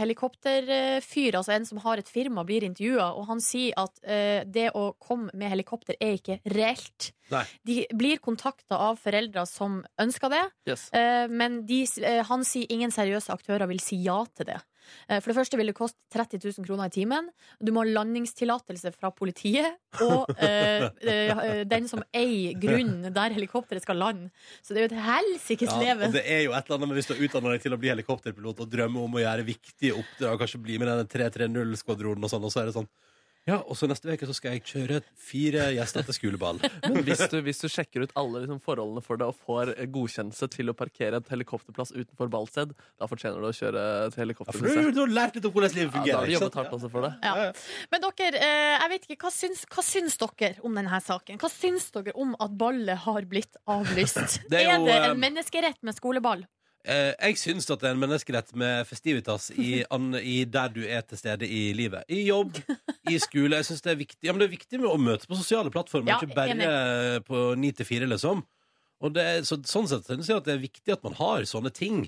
helikopterfyr, altså en som har et firma, blir intervjua, og han sier at eh, det å komme med helikopter er ikke reelt.
Nei.
De blir kontakta av foreldre som ønsker det,
Yes.
eh, men de, eh, han sier ingen seriøse aktører vil si ja til det. Eh, For det første vil det koste 30 000 kroner i timen. Du må ha landingstillatelse fra politiet og eh, eh, den som eier grunnen der helikopteret skal lande. Så det er jo et helsikes
Ja,
leven.
og det er jo et eller annet med hvis du har utdannet deg til å bli helikopterpilot og drømmer om å gjøre viktige oppdrag, kanskje bli med den 330-skvadronen og sånn, og så er det sånn Ja, og så neste uke så skal jeg kjøre fire gjester til
*laughs*
skoleball.
Men hvis du, hvis du sjekker ut alle liksom, forholdene for det og får eh, godkjennelse til å parkere et helikopterplass utenfor ballsted, da fortjener du å kjøre til
Ja, for du,
helikopterplasset.
du har lært litt om hvordan livet
Ja, da
fungerer.
har du
ikke sånn, sant?
jobbet hardt også for det.
Ja. Men dere, eh, jeg vet ikke, hva syns, hva syns dere om denne saken? Hva syns dere om at ballet har blitt avlyst?
*laughs* Det er
er,
jo,
det
eh,
en menneskerett med skoleball?
Eh, jeg syns at det er en menneskerett med festivitas i, an, i der du er til stede i livet. I jobb, i skole. Jeg synes det er viktig ja, men det er viktig med å møtes på sosiale plattformer,
Ja,
ikke bare på ni til fire, liksom. Og det er, så, sånn sett synes jeg at det er viktig at man har sånne ting.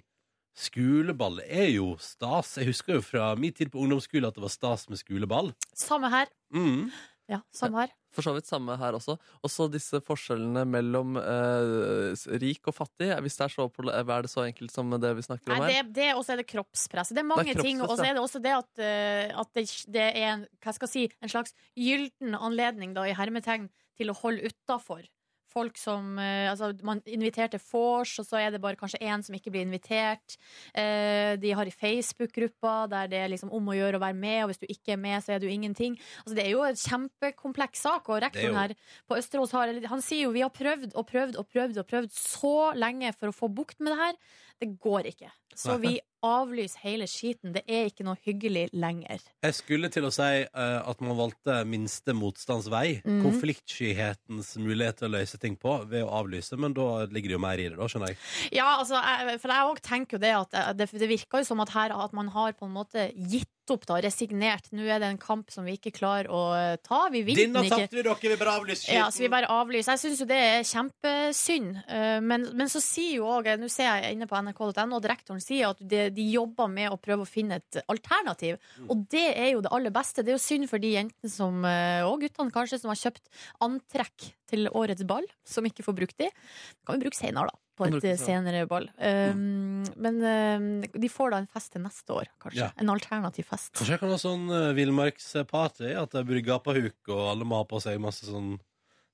Skoleball er jo stas. Jeg husker jo fra min tid på ungdomsskole at det var stas med skoleball.
Samme her.
Mm.
Ja, samme her.
For så vidt samme her også. Også disse forskjellene mellom eh, s- rik og fattig. Hvis det er så, pol- eh, hva er det så enkelt som det vi snakker
Nei,
om
det,
her?
det, og så er det kroppspress. Det er mange
Det er
ting. Og så
kroppspress,
er det også det at, eh, at det, det er en, hva skal jeg si, en slags gylden anledning, da, i hermetegn, til å holde utafor. Folk som eh, Altså, man inviterte vors, og så er det bare kanskje én som ikke blir invitert. Eh, de har i Facebook-gruppa der det er liksom om å gjøre å være med, og hvis du ikke er med, så er du ingenting. Altså, det er jo en kjempekompleks sak, og
Det er jo-
rektoren her på Østerås har Han sier jo vi har prøvd og prøvd og prøvd og prøvd så lenge for å få bukt med det her. Det går ikke. Så vi avlyser hele skiten. Det er ikke noe hyggelig lenger.
Jeg skulle til å si eh, at man valgte minste motstands vei.
Mhm.
Konfliktskyhetens mulighet til å løse ting på ved å avlyse, men da ligger det jo mer i det, da, skjønner jeg.
Ja, altså, jeg, for jeg òg tenker jo det at eh, det, det virker jo som at her at man har på en måte gitt opp, da. Resignert. Nå er det en kamp som vi ikke klarer å eh, ta. Vi vil
Denne
den ikke.
tapte vi dere, vi bare avlyser skiten!
Ja, så vi bare avlyser. Jeg syns jo det er kjempesynd. Eh, Men, men så sier jo òg, nå ser jeg inne på nrk.no, at rektoren sier at de, de jobber med å prøve å finne et alternativ. Og det er jo det aller beste. Det er jo synd for de jentene som, eh, og guttene kanskje, som har kjøpt antrekk til årets ball, som ikke får brukt de. Det kan vi bruke senere, da. på
Han
et
brukte
eh,
seg.
senere ball. Um, men eh, de får da en fest til neste år, kanskje.
Ja.
En alternativ fest.
Kanskje jeg kan ha sånn eh, villmarksparty, at jeg bruker gapahuk, og alle må ha på seg masse sånn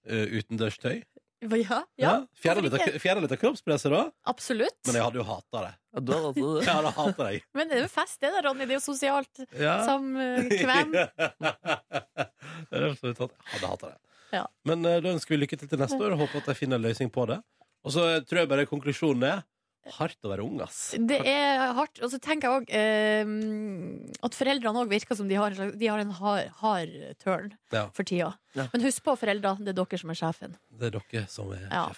eh, utendørstøy.
Hva- Ja, ja,
Fjerne
hvorfor
litt, av-
ikke?
fjerne litt av kroppspresset, da.
absolutt.
Men jeg hadde jo hata det.
Ja, du hadde altså
Jeg
det.
hadde hatet deg.
Men det er jo fest, det da, Ronny. Det er jo sosialt.
Ja.
*laughs* Samme
*laughs*
kvem.
det er absolutt sant. Jeg hadde hatet det.
Ja.
Men eh, da ønsker vi lykke til til neste år. Håper at jeg finner en løsning på det. Og så eh, tror jeg bare konklusjonen er hardt å være ung, ass.
Det er hardt. Og så tenker jeg òg eh, at foreldrene òg virker som de har, en slags- de har en hard, hard turn
Ja.
for tida.
Ja.
Men husk på, foreldre, det er dere som er sjefen.
Det er dere som er
Ja.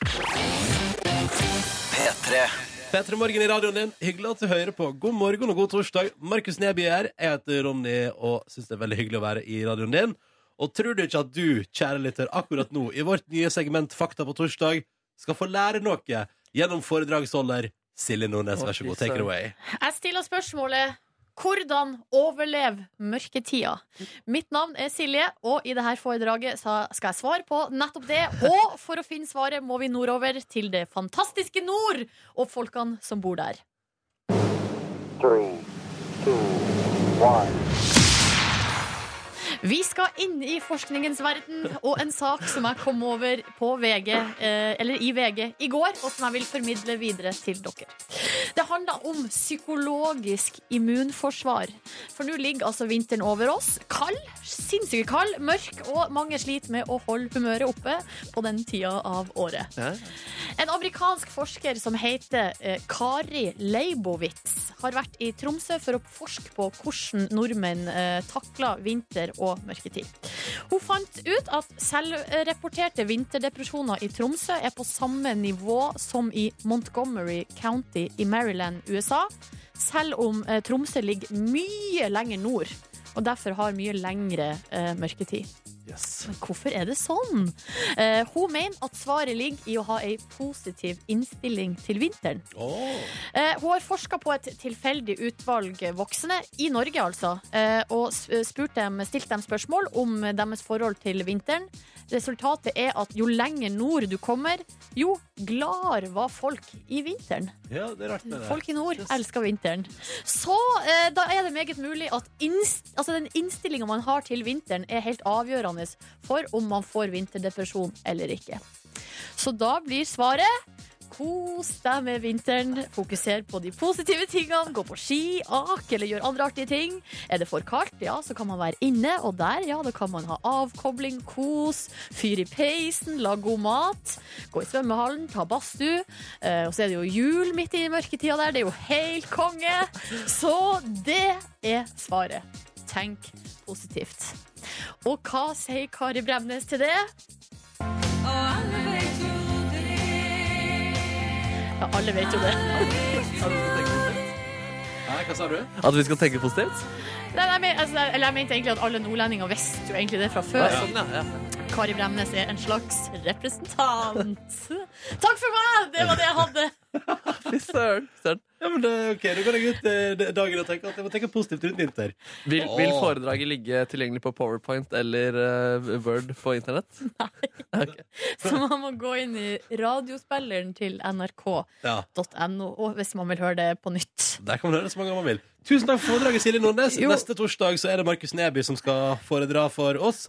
P3 Morgen i radioen din. Hyggelig at du hører på. God morgen og god torsdag. Markus Neby er her. Jeg heter Ronny og syns det er veldig hyggelig å være i radioen din. Og tror du ikke at du, kjære lytter, akkurat nå, i vårt nye segment Fakta på torsdag, skal få lære noe gjennom foredragsholder Silje Nordnes, vær så god. Take it away.
Jeg stiller spørsmålet hvordan overleve mørketida? Mitt navn er Silje, og i dette foredraget sa- skal jeg svare på nettopp det. Og for å finne svaret må vi nordover til det fantastiske nord og folkene som bor der.
three, two, one.
Vi skal inn i forskningens verden og en sak som jeg kom over på VG, eh, eller i VG i går, og som jeg vil formidle videre til dere. Det handler om psykologisk immunforsvar. For nå ligger altså vinteren over oss. Kald, sinnssykt kald, mørk, og mange sliter med å holde humøret oppe på den tida av året.
Ja.
En amerikansk forsker som heter eh, Kari Leibowitz, har vært i Tromsø for å forske på hvordan nordmenn eh, takler vinter og mørketid. Hun fant ut at selvrapporterte vinterdepresjoner i Tromsø er på samme nivå som i Montgomery County i Maryland, USA, selv om eh, Tromsø ligger mye lenger nord. Og derfor har mye lengre eh, mørketid. Men hvorfor er det sånn? Eh, hun mener at svaret ligger i å ha ei positiv innstilling til vinteren.
Oh.
Eh, hun har forska på et tilfeldig utvalg voksne, i Norge altså, eh, og s- spurt dem, stilt dem spørsmål om deres forhold til vinteren. Resultatet er at jo lenger nord du kommer, jo gladere var folk i vinteren.
Ja, det er rart med det.
Folk i nord elsker vinteren. Så eh, da er det meget mulig at innst altså, den innstillinga man har til vinteren, er helt avgjørende for om man får vinterdepresjon eller ikke. Så da blir svaret Kos deg med vinteren, fokuser på de positive tingene, gå på ski, ak eller gjør andre artige ting. Er det for kaldt, ja, så kan man være inne, og der, ja, da kan man ha avkobling, kos, fyr i peisen, lag god mat, gå i svømmehallen, ta badstue. Eh, Og så er det jo jul midt i mørketida der. Det er jo helt konge. Så det er svaret. Tenk positivt. Og hva sier Kari Bremnes til det? Ja, alle vet jo det.
Nei, hva sa du?
At vi skal tenke positivt?
Nei, nei, men, altså, eller jeg mente egentlig at alle nordlendinger visste jo egentlig det fra
Ja,
før.
sånn, ja, ja.
Kari Bremnes er en slags representant. Takk for meg! Det var det jeg hadde.
Fy søren. søren.
Ja, men det, ok, Nå går jeg ut eh, det- dagen og tenker at jeg må tenke positivt rundt vinter.
Vil, vil
Åh.
foredraget ligge tilgjengelig på Powerpoint eller eh, Word på
*laughs*
internett?
Så man må gå inn i radiospilleren til nrk.no
Ja,
og hvis man vil høre det på nytt.
Der kan man høre det så mange ganger man vil. Tusen takk for foredraget, Silje Nordnes.
Jo.
Neste torsdag så er det Markus Neby som skal foredra for oss.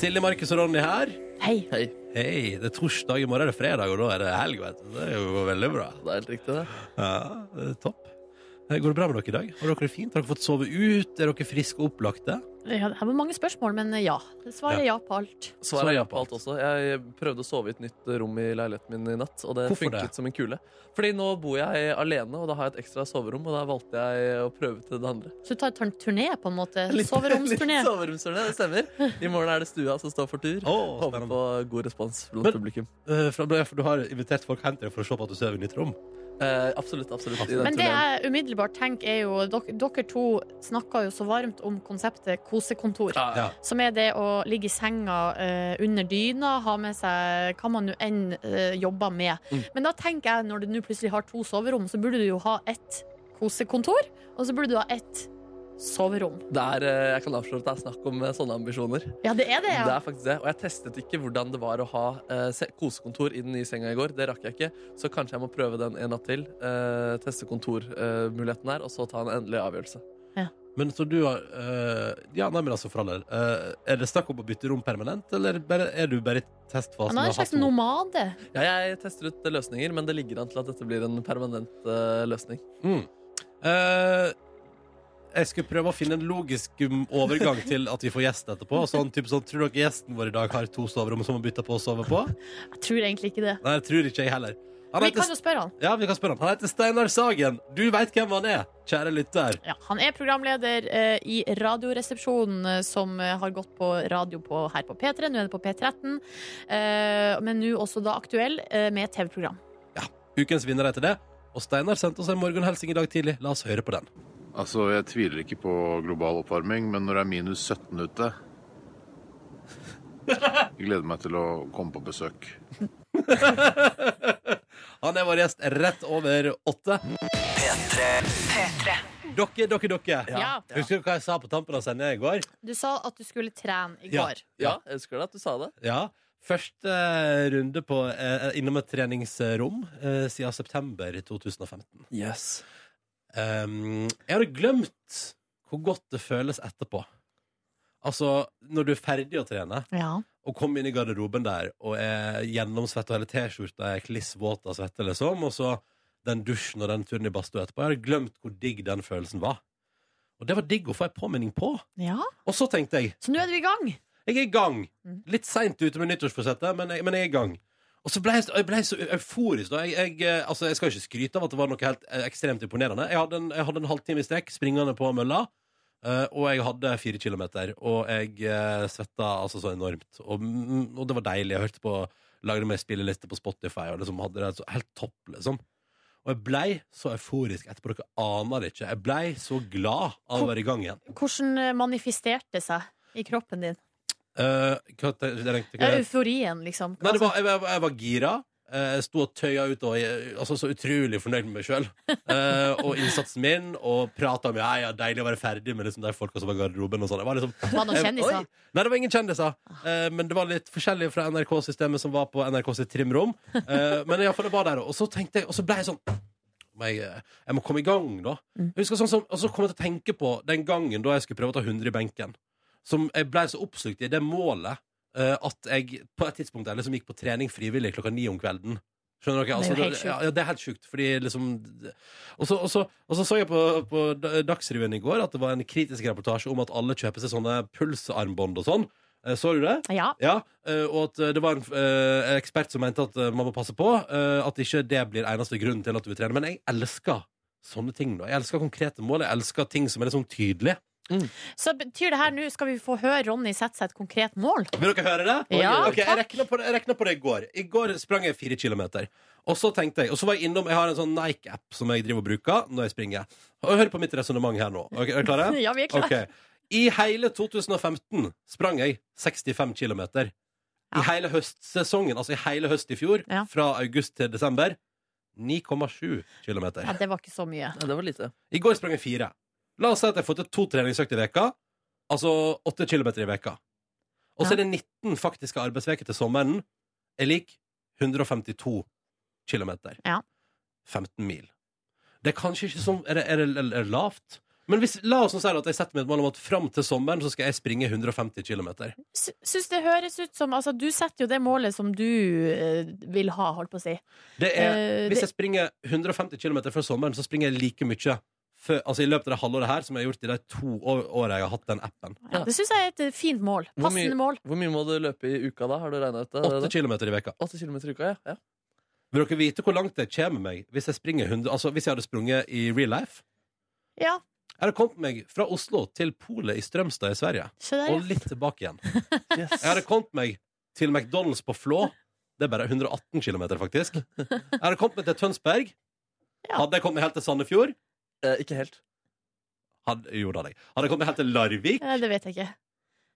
Silje, Markus og Ronny her.
Hei.
Hei.
Hei, det er torsdag, i morgen er det fredag, og da er det helg, vet du. Det er jo veldig bra.
Det er helt riktig, det.
Ja, det er topp. Eh, Går det bra med dere i dag? Har dere det fint? Har dere fått sove ut? Er dere friske og opplagte?
Ja, det her var mange spørsmål, men eh, ja. Svaret er ja på alt.
Svaret er ja på alt også. Jeg prøvde å sove i et nytt rom i leiligheten min i natt, og det
Hvorfor
funket
det?
som en kule. Fordi nå bor jeg alene, og da har jeg et ekstra soverom, og da valgte jeg å prøve til det andre.
Så du tar en turné, på en måte?
Litt- sånn
Soveromsturné?
litt Soveromsturné, det stemmer. I morgen er det stua som står for tur.
Å,
Håper
spennende.
på god respons
Men-
blant publikum.
Eh, for da- for Du har invitert folk hjem til deg for å se på at du sover i nytt rom?
Eh, absolutt, absolutt. I den
Men det
turneen.
jeg umiddelbart tenker, er jo Dere, dere to snakka jo så varmt om konseptet kosekontor.
Ja,
Ja.
Som er det å ligge i senga eh, under dyna, ha med seg hva man nå enn eh, jobber med.
Mm.
Men da tenker jeg, når du nå plutselig har to soverom, så burde du jo ha ett kosekontor, og så burde du ha ett soverom.
Det er, eh, jeg kan avsløre at det er snakk om eh, sånne ambisjoner.
Ja, det er det,
Det
ja.
er faktisk det. Og jeg testet ikke hvordan det var å ha eh, se- kosekontor i den nye senga i går. Det rakk jeg ikke, så kanskje jeg må prøve den en natt til. eh, teste kontormuligheten eh, her, og så ta en endelig avgjørelse.
Men så du har eh, Ja, nei, men altså, for all del. eh, er det snakk om å bytte rom permanent, eller bare, er du bare i testfasen? og
Han er en
har
slags
hatt noe?
nomade.
Ja, jeg tester ut løsninger, men det ligger an til at dette blir en permanent eh, løsning.
Mm. Eh, jeg skulle prøve å finne en logisk um, overgang
*laughs*
til at vi får gjest etterpå. Sånn, typ, sånn, tror dere gjesten vår i dag har to soverom som han bytter på å sove på?
Jeg tror egentlig ikke det.
Nei, det tror ikke jeg heller. Han
Vi
heter,
kan jo spørre han.
ja, vi kan spørre ham. Han heter Steinar Sagen. Du veit hvem han er, kjære lytter.
Ja, han er programleder eh, i Radioresepsjonen, eh, som eh, har gått på radio på, her på P3. Nå er det på P13, eh, men nå også da aktuell eh, med et TV-program.
Ukens vinner heter det. Og Steinar sendte oss en morgenhelsing i dag tidlig. La oss høre på den.
Altså, jeg tviler ikke på global oppvarming, men når det er minus 17 ute Jeg gleder meg til å komme på besøk.
Han er vår gjest rett over åtte. Dere, dere, dere.
Ja. Ja.
Husker du hva jeg sa på tampen av sendinga i går?
Du sa at du skulle trene i
Ja.
går.
Ja, jeg husker det at du sa det.
Ja. Første runde på, eh, innom et treningsrom eh, siden september 2015.
Yes.
Um, jeg hadde glemt hvor godt det føles etterpå. Altså, når du er ferdig å trene
Ja.
og kommer inn i garderoben der og er gjennomsvett og hele T-skjorta er klissvåt av svette, liksom, og så den dusjen og den turen i badstua etterpå. Jeg hadde glemt hvor digg den følelsen var. Og det var digg å få en påminning på.
ja.
Og så tenkte jeg
Så nå er du i gang.
jeg er i gang.
Mm.
Litt seint ute med nyttårsforsettet, men, jeg- men jeg er i gang. Og så ble jeg, så- jeg ble så euforisk. da. Jeg, jeg, eh, altså, jeg skal ikke skryte av at det var noe helt eh, ekstremt imponerende. Jeg hadde en, jeg hadde en halvtime i strekk springende på mølla, eh, og jeg hadde fire kilometer. Og jeg eh, svetta altså så enormt. Og, mm, og det var deilig. Jeg hørte på lagde meg spilleliste på Spotify, og liksom hadde det så helt topp, liksom. Og jeg blei så euforisk etterpå. Dere aner det ikke. Jeg blei så glad av å være i gang igjen.
Hvordan eh, manifesterte det seg i kroppen din?
Eh, hva, tenkte- tenkte-
Ja, euforien, liksom.
Nei, det var, jeg, jeg, jeg var gira. Eh, Jeg sto og tøya ut og jeg, altså, så utrolig fornøyd med meg
*laughs*
sjøl. og innsatsen min, og prata om ja, ja, deilig å være ferdig med liksom, de folka som var i garderoben. Og sånn. det var liksom,
Var det noen
Oi.
kjendiser?
Nei, det var ingen kjendiser. Eh, men det var litt forskjellig fra NRK-systemet som var på NRK sitt trimrom. Eh, men iallfall det var der. Og så tenkte jeg, og så ble jeg sånn må jeg, eh, jeg må komme i gang, da.
Mm.
Jeg husker sånn som, Og så kom jeg til å tenke på den gangen da jeg skulle prøve å ta 100 i benken. Som jeg ble så oppslukt i det målet eh, at jeg på et tidspunkt der liksom gikk på trening frivillig klokka ni om kvelden. Skjønner dere?
Det er
Altså,
jo helt
det, ja, ja, det er helt sjukt. Fordi liksom Og så, og så, og så, så jeg på, på D- Dagsrevyen i går at det var en kritisk reportasje om at alle kjøper seg sånne pulsarmbånd og sånn. Eh, Så du det?
Ja.
Ja, eh, og at eh, det var en eh, ekspert som mente at eh, man må passe på eh, at ikke det blir eneste grunnen til at du vil trene. Men jeg elsker sånne ting. nå. Jeg elsker konkrete mål. Jeg elsker ting som er litt sånn tydelige.
Så betyr det her nå skal vi få høre Ronny sette seg et konkret mål?
Vil dere høre det?
Ja,
Ok, jeg
takk.
rekna på, det- jeg rekna på det i går. I går sprang jeg fire kilometer. Og så tenkte jeg, og så var jeg innom, jeg har en sånn Nike-app som jeg driver og bruker når jeg springer. Og Hør på mitt resonnement her nå. Ok, er dere klare?
Ja, vi er klare.
Ok. I hele 2015 sprang jeg 65 km. I
Ja.
hele høstsesongen, altså i hele høst i fjor,
Ja.
fra august til desember, 9,7 km.
Ja, det var ikke så mye.
Ja, det var lite.
I går sprang jeg fire. La oss si at jeg har fått til to treningsøkter i veka, altså 8 km i veka. Og så
Ja.
er det 19 faktiske arbeidsveker til sommeren, er lik 152 km.
Ja.
15 mil. Det er kanskje ikke sånn Er det, er det, er det lavt? Men hvis, la oss nå si at jeg setter meg et mål om at fram til sommeren så skal jeg springe 150 km.
Sy- Syns det høres ut som Altså, du setter jo det målet som du eh, vil ha, holdt på å si.
Det er,
Eh,
hvis
det,
jeg springer 150 km før sommeren, så springer jeg like mye før, altså i løpet av det halvåret her som jeg har gjort i de to år- åra jeg har hatt den appen.
ja, det syns jeg er et eh, fint mål.
Hvor mye-
Passende mål.
Hvor mye må du løpe i uka, da? Har du regna ut det?
8 km i veka.
8 km i uka, ja. ja.
Vil dere vite hvor langt det kommer meg hvis jeg, springer 100, altså hvis jeg hadde sprunget i real life?
Ja,
Jeg hadde kommet meg fra Oslo til polet i Strømstad i Sverige,
se der,
og
ja.
litt tilbake igjen.
Yes.
Jeg hadde kommet meg til McDonald's på Flå. Det er bare 118 km, faktisk. Jeg hadde kommet meg til Tønsberg.
Ja.
Hadde jeg kommet meg helt til Sandefjord?
Eh, ikke helt.
Hadde, jo, det hadde jeg. Hadde jeg kommet meg helt til Larvik?
Eh, Det vet jeg ikke.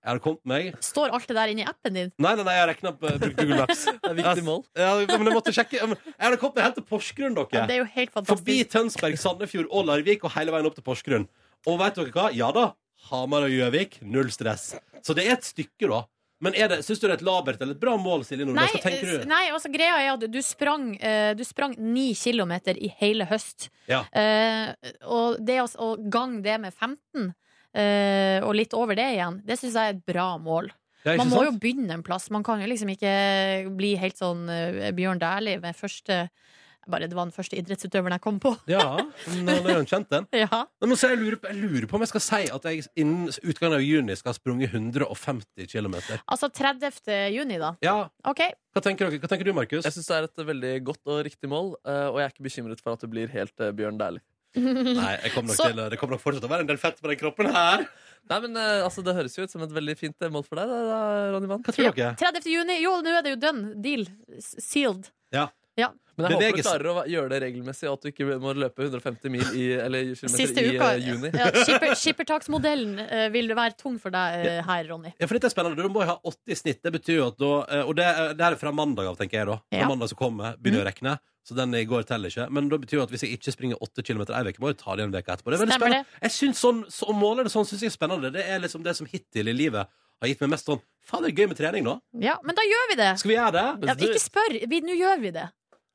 Jeg hadde kommet meg
Står alt det der inni appen din?
Nei, nei, nei, jeg regna på brukte Google Maps.
Det er viktig mål.
Ja, men jeg måtte sjekke. Jeg hadde kommet meg helt til Porsgrunn, dere.
Ja, det er jo helt
Forbi
fantastisk.
Tønsberg, Sandefjord og Larvik og hele veien opp til Porsgrunn. Og vet dere hva? Ja da, Hamar og Gjøvik, null stress. Så det er et stykke, da. Men er det, syns du det er et labert eller et bra mål, Silje
Nei,
Nordnes? Hva tenker
s-
du?
nei altså, greia er at du sprang, eh, du sprang ni kilometer i hele høst.
Ja.
Eh, og det å, å gange det med 15, eh, og litt over det igjen, det syns jeg er et bra mål.
Ja, ikke
Man må
sant?
jo begynne en plass. Man kan jo liksom ikke bli helt sånn eh, Bjørn Dæhlie med første bare Det var den første idrettsutøveren jeg kom på. *laughs*
Ja, nå er jo kjent den.
Ja.
Men nå ser jeg, lurer på, jeg lurer på om jeg skal si at jeg innen utgangen av juni skal ha sprunget 150 km.
Altså 30. juni, da.
Ja,
OK.
hva tenker, dere? Hva tenker du, Markus?
Jeg syns det er et veldig godt og riktig mål, eh, og jeg er ikke bekymret for at det blir helt eh, Bjørn Dæhlie.
Nei, jeg kommer nok
Så-
til, å- Det kommer nok fortsatt til å være en del fett på den kroppen her.
Nei, men eh, altså, Det høres jo ut som et veldig fint eh, mål for deg, da, da, Ronny Vann.
Hva tror dere?
30. juni. Jo, nå er det jo done. Deal. S- Sealed.
Men jeg håper
Beveges-
du klarer å gjøre det regelmessig, og at du ikke må løpe 150 mil i, eller kilometer
Siste
i
uka.
eh, juni.
Ja, skipper- Skippertaksmodellen eh, vil være tung for deg eh, her, Ronny.
Ja, for dette er spennende. Da må jeg ha 80 i snitt. Det betyr jo at da eh, Og det, er- det er fra mandag av, tenker jeg, da. Fra
Ja. Mm.
mandag som kommer, begynner å regne. Så den i går teller ikke. Men da betyr jo at hvis jeg ikke springer 8 km ei uke, må jeg ta det en uke etterpå. Det er veldig
Stemmer
spennende. Jeg synes sånn, så, Å måle det sånn syns jeg er spennende. Det er liksom det som hittil i livet har gitt meg mest sånn Faen, det er gøy med trening, da.
Ja, men da gjør vi det!
Skal vi gjøre det?
Ja, ikke spør. Vi- Nå gjør vi det.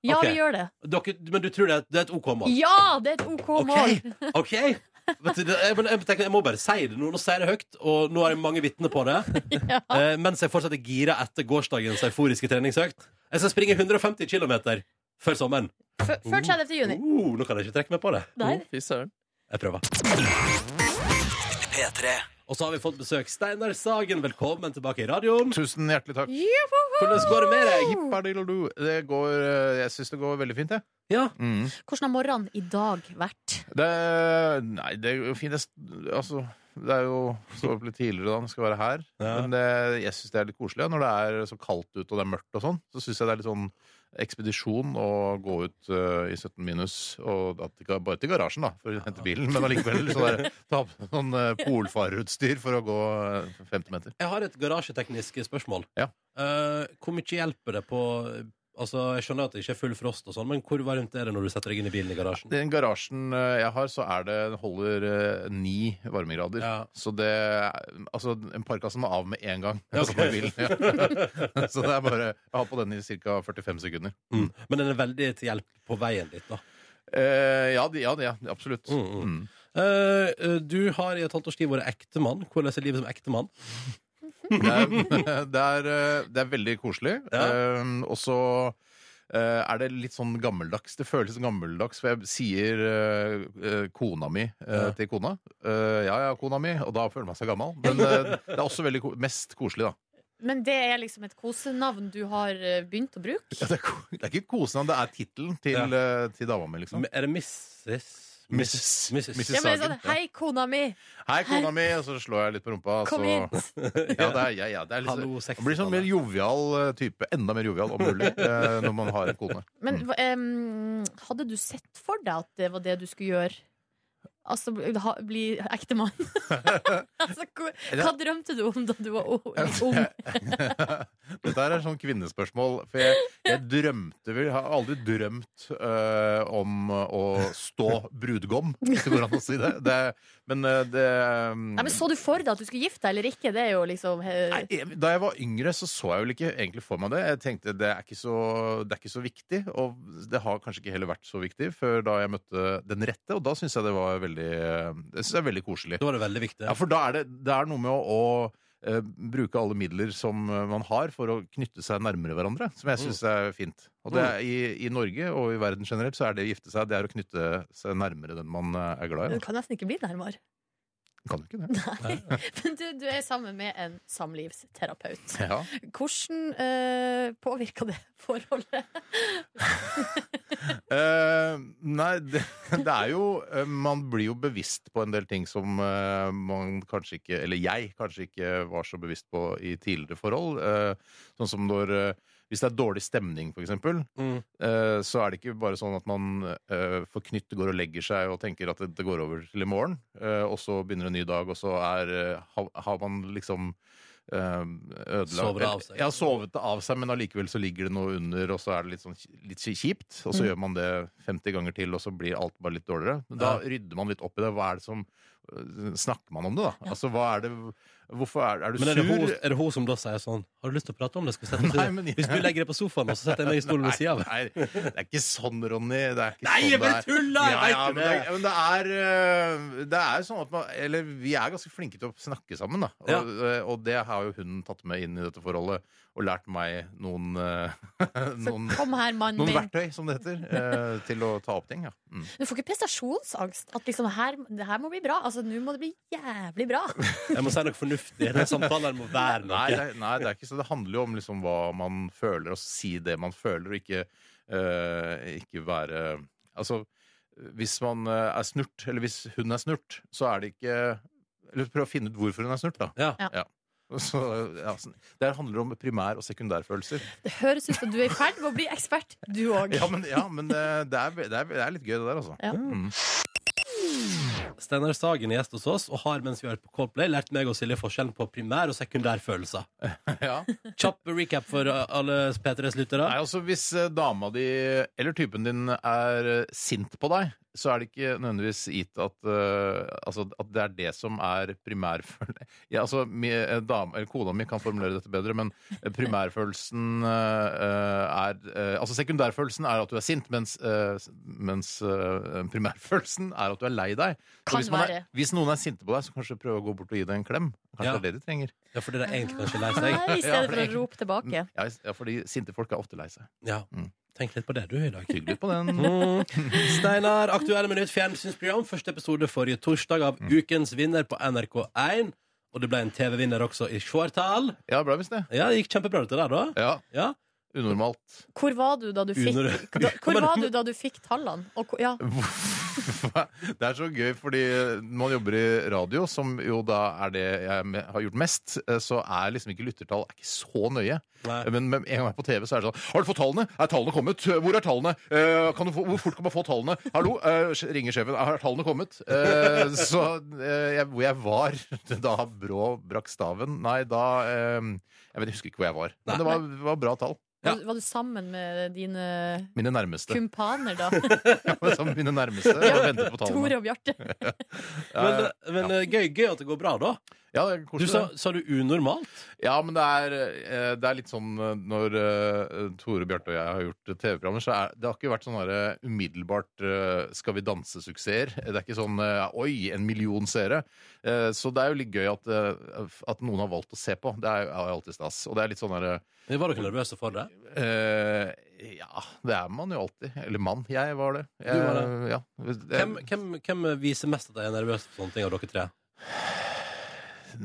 Ja,
Ok.
vi gjør det.
Dere, men du tror det er, det er et OK mål?
Ja, det er et OK mål.
OK! ok. Vet du, det- jeg, men jeg, tenker, jeg må bare si det nå. Nå sier jeg det høyt, og nå har jeg mange vitner på det.
Ja.
Eh, mens jeg fortsatt er gira etter gårsdagens euforiske treningsøkt. Jeg skal springe 150 km før sommeren.
Før før 30. juni.
Uh, nå kan jeg ikke trekke meg på det.
Der.
Oh, Fy søren.
Jeg prøver. Og så har vi fått besøk. Steinar Sagen, velkommen tilbake i radioen.
Tusen hjertelig takk.
Hvordan går det med deg?
Jippadildo. Det går, eh, jeg syns det går veldig fint, jeg.
Ja.
Mm.
Hvordan har morgenen i dag vært?
Det, nei, det er jo fint. Jeg, s- altså, det er jo stå opp litt tidligere da, når jeg skal være her.
Ja.
Men det, jeg syns det er litt koselig. ja. Når det er så kaldt ute og det er mørkt og sånn, så syns jeg det er litt sånn ekspedisjon å gå ut eh, i 17 minus. Og at, ikke- bare til garasjen, da, for å hente bilen. Men allikevel så der, ta på sånn eh, polfarerutstyr for å gå eh, 50 meter.
Jeg har et garasjeteknisk spørsmål.
Ja.
Eh, hvor mye hjelper det på Altså, Jeg skjønner at det ikke er full frost, og sånn, men hvor varmt er det når du setter deg inn i bilen i garasjen?
Den garasjen eh, jeg har, så er det, den holder eh, ni varmegrader.
Ja.
Så det Altså, en parkasse må av med en gang.
Ja, ok.
Så må bilen- ja. *laughs* så det er bare Jeg har på den i ca. 45 sekunder.
Mm. Men den er veldig til hjelp på veien dit, da.
Eh, ja, det- ja, det- ja, absolutt.
Mm,
Mm.
Eh, eh, du har i et halvt års tid vært ektemann. Hvordan er livet som ektemann?
Det, er, *laughs* det, er, eh, det er veldig koselig.
Ja.
Eh, og så eh, er det litt sånn gammeldags. Det føles gammeldags, for jeg sier eh, eh, kona mi eh,
Ja.
til kona. Eh, ja, ja, kona mi. Og da føler man seg gammel. Men eh, det er også veldig ko mest koselig, da.
Men det er liksom et kosenavn du har eh, begynt å bruke?
Ja, det, er, ko- det er ikke kosenavn, det er tittelen til, eh, til dama mi, liksom.
Er det Mrs.
Mrs.
Mrs.
Ja,
Mrs.
men det er sånn,
Sagen, ja.
Hei, kona mi!
Hei, kona mi! Og så slår jeg litt på rumpa.
Kom
så...
hit!
Ja, det er, ja, ja, det er litt,
Hallo,
man blir sånn mer jovial eh, type. Enda mer jovial, om mulig, eh, når man har en kone.
Men hva, em, hadde du sett for deg at det var det du skulle gjøre? Altså bli- ha, bli
*laughs*
ektemann? altså, hvor- hva drømte du om da du var o-
*laughs*
ung?
Dette her er sånn kvinnespørsmål. For jeg, jeg drømte vel Jeg har aldri drømt eh, om å stå brudgom, hvis det går an å si det. det men eh, det
Nei, men Så du for deg at du skulle gifte deg eller ikke? Det er jo liksom eh,
Nei, jeg- da jeg var yngre, så så jeg vel ikke egentlig for meg det. Jeg tenkte det er ikke så, det er ikke så viktig, og det har kanskje ikke heller vært så viktig før da jeg møtte den rette, og da syns jeg det var veldig, øh, det synes jeg er veldig koselig.
Da var det veldig viktig.
Ja, for da er det, det er noe med å, å eh, bruke alle midler som eh, man har for å knytte seg nærmere hverandre, som jeg syns er fint. Og det er, i, I Norge og i verden generelt så er det å gifte seg, det er å knytte seg nærmere den man eh, er glad i.
Du
da.
kan nesten ikke bli
*laughs*
nærmere.
Kan jo ikke
*laughs*
det.
Men du, du er sammen med en samlivsterapeut.
Ja.
Hvordan uh, påvirka det forholdet?
Eh, nei, *laughs* det, det er jo eh, Man blir jo bevisst på en del ting som eh, man kanskje ikke Eller jeg kanskje ikke var så bevisst på i tidligere forhold. Eh, sånn som når eh, Hvis det er dårlig stemning, for eksempel,
Mm.
eh, så er det ikke bare sånn at man eh, forknytt går og legger seg og tenker at det, det går over til i morgen, eh, og så begynner en ny dag, og så er, eh, har, har man liksom eh, ødelagt
Sover det av seg.
Ja, sovet det av seg, men allikevel så ligger det noe under, og så er det litt, sånn, ki- litt ki- kjipt.
Mm.
Og så gjør man det 50 ganger til, og så blir alt bare litt dårligere. Men da rydder man litt opp i det. Hva er det som eh, Snakker man om det, da? Altså, hva er det Hvorfor er, er du
Men er det, hun,
sur?
er det hun som da sier sånn Har du lyst til å prate om det? Skal vi sette oss
Nei,
ned?
men jeg-
Hvis du legger deg på sofaen, og så setter jeg meg i stolen ved sida av.
Nei, nei, det er ikke sånn, Ronny. Det er ikke
Nei,
sånn
jeg bare
det er.
tuller!
Ja,
Jeg
ja,
vet
men,
jo
det,
det.
ja, men det er eh, Det er sånn at man Eller vi er ganske flinke til å snakke sammen, da. Og,
Ja.
eh, og det har jo hun tatt med inn i dette forholdet, og lært meg noen eh, *laughs* Noen,
Kom her, mannen
noen
min.
verktøy, som det heter, eh, til å ta opp ting. Ja. Mm.
Du får ikke prestasjonsangst. At liksom, her, det her må bli bra. Altså, nå må det bli jævlig bra.
Jeg må si noe fornuftig. Den samtalen må være noe.
Nei, det, er- nei, det er ikke så. Det handler jo om liksom hva man føler, og si det man føler, og ikke, eh, ikke være Altså, hvis man eh, er snurt, eller hvis hun er snurt, så er det ikke Eller prøv å finne ut hvorfor hun er snurt, da.
Ja.
Ja.
Så, ja, sånn. det her handler om primær- og sekundærfølelser.
Det høres ut som du er i ferd med å bli ekspert, du òg.
Ja, men, ja, men eh, det, er, det, er, det er litt gøy, det der, altså.
Ja.
Mm.
Steinar Sagen er gjest hos oss og har mens vi har hørt på Coldplay lært meg og Silje forskjellen på primær- og sekundærfølelser.
Ja.
Kjapp recap for uh, alle P3s lyttere.
Nei, altså Hvis eh, dama di eller typen din er eh, sint på deg, så er det ikke nødvendigvis gitt at, eh, altså, at det er det som er primærfølelsen ja, altså, mi- eh, dam- eller Kona mi kan formulere dette bedre, men eh, primærfølelsen eh, er eh, Altså sekundærfølelsen er at du er sint, mens, eh, s- mens eh, primærfølelsen er at du er lei deg. Så
Kan
hvis, man
være.
er, hvis noen er sinte på deg, så kanskje prøve å gå bort og gi deg en klem. Kanskje
Ja.
det er det de trenger.
Ja, fordi de er egentlig kanskje lei seg.
Nei, I
Ja, Mm.
stedet
for
for å
det-
rope tilbake.
Ja, ja, fordi sinte folk er ofte lei seg.
Ja.
Mm.
Tenk litt på det du i
*laughs*
dag.
Tygg litt på den.
*laughs* Mm. Steinar, Aktuelle minutt, fjernsynsprogram. Første episode forrige torsdag av
Mm.
Ukens vinner på NRK1. Og det ble en TV-vinner også i Schwartal.
Ja, det ble visst det.
Ja, det gikk kjempebra dette der, da.
Ja,
Ja.
unormalt.
Hvor var du da du fikk,
Under-
da,
*laughs*
hvor var du da du fikk tallene? Og, hvor- ja.
Det er så gøy, fordi når man jobber i radio, som jo da er det jeg me- har gjort mest, eh, så er liksom ikke lyttertall er ikke så nøye.
Nei.
Men med en gang jeg er på TV, så er det sånn Har du fått tallene? Er tallene kommet? Hvor er tallene? Eh, Kan du få, hvor fort kan man få tallene? Hallo? Eh, Ringer sjefen. Har tallene kommet? Eh, Så eh, jeg, hvor jeg var *laughs* da Brå brakk staven Nei, da eh, Jeg vet, jeg husker ikke hvor jeg var. Men det var, var bra tall.
Ja.
Var, du- var du sammen med dine
Mine nærmeste. *laughs*
kumpaner da?
Sammen med mine nærmeste. Og ventet på tallene.
Tore og Bjarte?
Ja, ja,
Men,
ja.
men eh, gøy, gøy at det går bra, da.
Ja, det er
Du
koselig.
sa, sa du unormalt?
Ja, men det er, eh, det er litt sånn eh, når eh, Tore, Bjarte og jeg har gjort eh, TV-programmer, så er, det har ikke vært sånn der, eh, umiddelbart eh, 'Skal vi danse'-suksesser. Det er ikke sånn eh, 'oi, en million seere'. Eh, Så det er jo litt gøy at, eh, at noen har valgt å se på. Det er jo er jo alltid stas. Og det er litt sånn derre
Vi var dere nervøse for det?
Ja, det er man jo alltid. Eller mann. Jeg var det. Jeg,
var
Ja.
Hvem, hvem, hvem viser mest at de er nervøse for sånne ting av dere tre?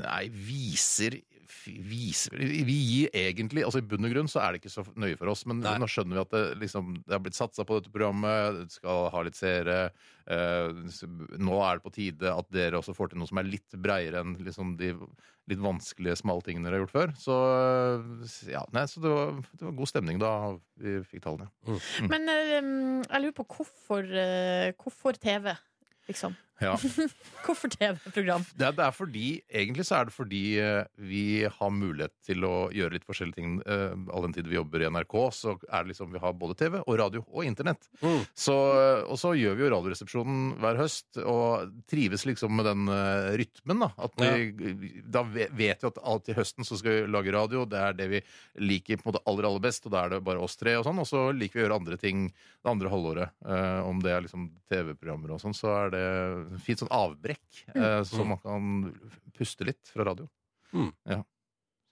Nei, viser Viser Vi gir egentlig Altså i bunn og grunn så er det ikke så nøye for oss, men
Nei.
nå skjønner vi at det, liksom, det har blitt satsa på dette programmet, det skal ha litt seere. eh, s- nå er det på tide at dere også får til noe som er litt breiere enn liksom de litt vanskelige, smale tingene dere har gjort før. Så, eh, ja, nei, så det, var, det var god stemning da vi fikk tallene.
Men eh, mm, jeg lurer på hvorfor, eh, hvorfor TV, liksom?
Ja.
Hvorfor TV-program?
Det er, det er fordi, Egentlig så er det fordi eh, vi har mulighet til å gjøre litt forskjellige ting. eh, All den tid vi jobber i NRK, så er det liksom vi har både TV og radio og internett.
Mm.
Så, eh, og så gjør vi jo Radioresepsjonen hver høst, og trives liksom med den eh, rytmen. Da at vi, da ve- vet vi at alt i høsten så skal vi lage radio, det er det vi liker på en måte aller aller best, og da er det bare oss tre, og sånn, og så liker vi å gjøre andre ting det andre halvåret. Eh, om det er liksom TV-programmer og sånn, så er det fint sånn avbrekk,
Mm.
eh, så man kan puste litt fra radio.
Mm.
Ja.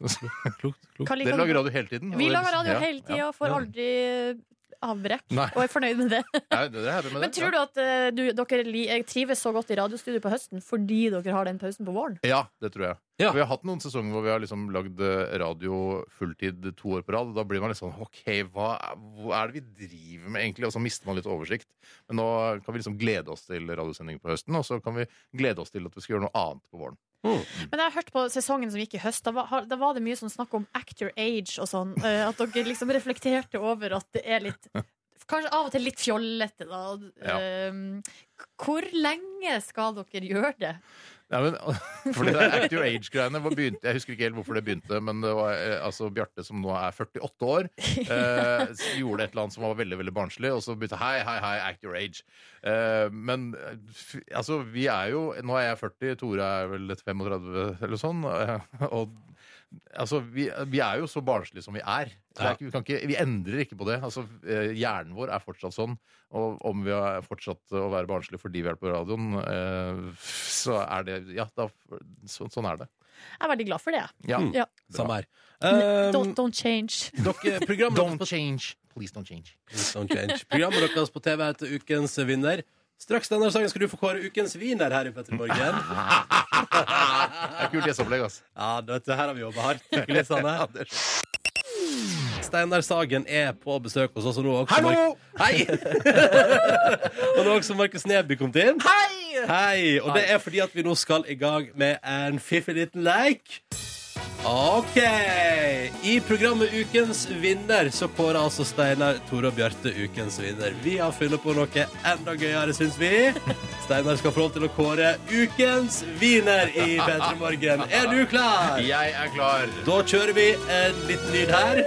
Klokt, klokt.
Hva liker
Dere
du-
lager radio hele tiden?
Vi
og-
lager radio
ja,
hele tida
Ja.
og får aldri eh, avbrekk.
Nei.
Og er fornøyd med det.
Nei, dere er happy med det.
Men tror du at eh, du, dere li- eh, trives så godt i radiostudio på høsten fordi dere har den pausen på våren?
Ja, det tror jeg.
Ja.
Vi har hatt noen sesonger hvor vi har liksom lagd eh, radio fulltid to år på rad. og Da blir man litt sånn OK, hva, hva er det vi driver med egentlig? Og så mister man litt oversikt. Men nå kan vi liksom glede oss til radiosending på høsten, og så kan vi glede oss til at vi skal gjøre noe annet på våren.
Men jeg har hørt på sesongen som gikk i høst, da var, har- da var det mye sånn snakk om act your age og sånn. eh, At dere liksom reflekterte over at det er litt Kanskje av og til litt fjollete, da.
Ja.
eh, Hvor lenge skal dere gjøre det?
Ja, men, *laughs* fordi det Act Your Age-greiene hvor begynte- Jeg husker ikke helt hvorfor det begynte, men det var eh, altså Bjarte, som nå er 48 år, eh, gjorde et eller annet som var veldig veldig barnslig, og så begynte Hei, hei, hei, Act Your Age. Eh, men eh, f- altså, vi er jo Nå er jeg 40, Tore er vel et 35 eller sånn, eh, og Altså, vi, vi er jo så barnslige som vi er. Så det er ikke, vi, kan ikke, vi endrer ikke på det. Altså, eh, hjernen vår er fortsatt sånn. Og om vi har fortsatt å være barnslige fordi vi er på radioen, eh, så er det Ja, da, så, sånn er det.
Jeg er veldig glad for det. jeg.
Ja.
Mm. Samme her.
Don't,
Um,
don't change.
dere, programmet,
Don't change. Please don't change.
Please don't change. Programmet deres på TV heter Ukens vinner. Straks denne sangen skal du få kåre ukens viner her i Petter Morgen.
Det er kult gjesteopplegg, ass.
Ja, du vet, her har vi jobba hardt. Hyggelig, Sanne. eh? Steinar Sagen er på besøk hos oss, og nå har også
Hallo!
Mark- Hei! og nå har også Markus Neby kommet inn. Hei! Og det er fordi at vi nå skal i gang med en fiffig liten leik. OK. I programmet Ukens vinner så kårer altså Steinar, Tore og Bjarte ukens vinner. Vi har funnet på noe enda gøyere, syns vi. Steinar skal få lov til å kåre ukens vinner i P3 Morgen. Er du klar?
*laughs* Jeg er klar.
Da kjører vi en liten lyd her.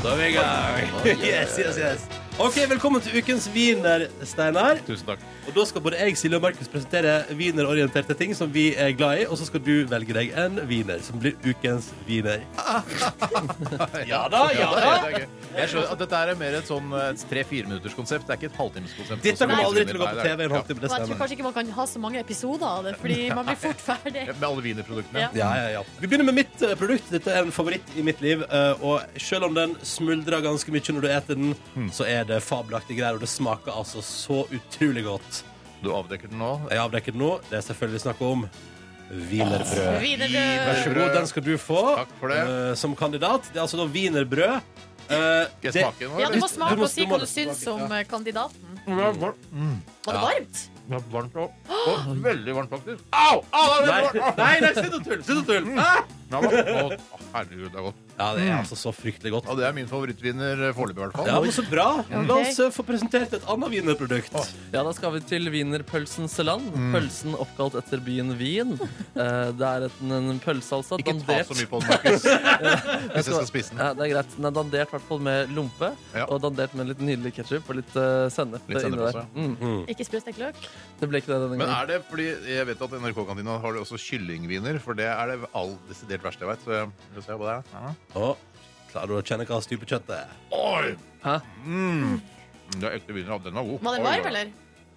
Da er vi i gang. *laughs* Yes, yes, yes. Ok, Velkommen til ukens wiener, Steinar.
Tusen takk.
Og Da skal både jeg, Silje og Markus presentere wienerorienterte ting som vi er glad i. Og så skal du velge deg en wiener som blir ukens wiener. Ja da,
*laughs*
ja da.
det er gøy. Jeg skjønner at dette er mer et sånn tre-fire minutters konsept. Det er ikke et halvtimeskonsept.
Dette kommer aldri til å gå på TV i en
Nei, det er-
halvtime. Det
Og jeg tror
stemmer.
kanskje ikke man kan ha så mange episoder av det, fordi man blir fort ferdig.
Ja, Med alle wienerproduktene.
Ja.
Ja, ja, ja. Vi begynner med mitt eh, produkt. Dette er en favoritt i mitt liv. eh, Og selv om den smuldrer ganske mye når du eter den, så er det fabelaktige greier, og det smaker altså så utrolig godt.
Du avdekker den nå.
Jeg avdekker det nå. Det er selvfølgelig snakk om wienerbrød.
Wienerbrød.
Vær så god, den skal du få
Ah. Takk for det.
eh, som kandidat. Det er altså da wienerbrød. Eh,
Skal
det-
jeg smake nå,
Ja, du
eller?
må smake
Du må-
og si
du må-
hva du syns om eh, kandidaten. Var det
Ja.
varmt?
Mm, Det er varmt òg.
*gasps*
veldig varmt, faktisk. Au! Au, Mm. det
Nei,
er veldig varmt!
nei, nei, slutt å tulle! Slutt å tulle! Ah!
Ja, men- å, å, herregud, det er godt.
Ja, det er altså så fryktelig godt.
Ja, det er min favorittviner foreløpig, i hvert fall.
Ja, men Så bra. La oss eh, få presentert et annet wienerprodukt.
Ah.
Ja, Da skal vi til wienerpølsens land.
Mm.
Pølsen oppkalt etter byen Wien. Eh, Det er et- en pølse, altså.
Ikke ta
dandert-
så mye på den,
*laughs*
Markus. Hvis jeg skal spise den.
Ja, det er greit. Den er dandert i hvert fall med lompe,
Ja.
og dandert med litt nydelig ketsjup og litt eh, sennep.
Litt sennep
inni der.
også,
Mm.
Ikke sprøstekt løk?
Det ble ikke det denne
Men
gangen.
er det fordi jeg vet at i NRK-kantina har de også kyllingviner? For det er det all desidert verste jeg veit. Så jeg vil se på det. her. Ja.
Å, Klarer du å kjenne hva styr på kjøttet er?
Oi!
Hæ?
Mm. Det er ekte viner. ja, Den var god.
Var den
Oi,
varm,
oi.
eller?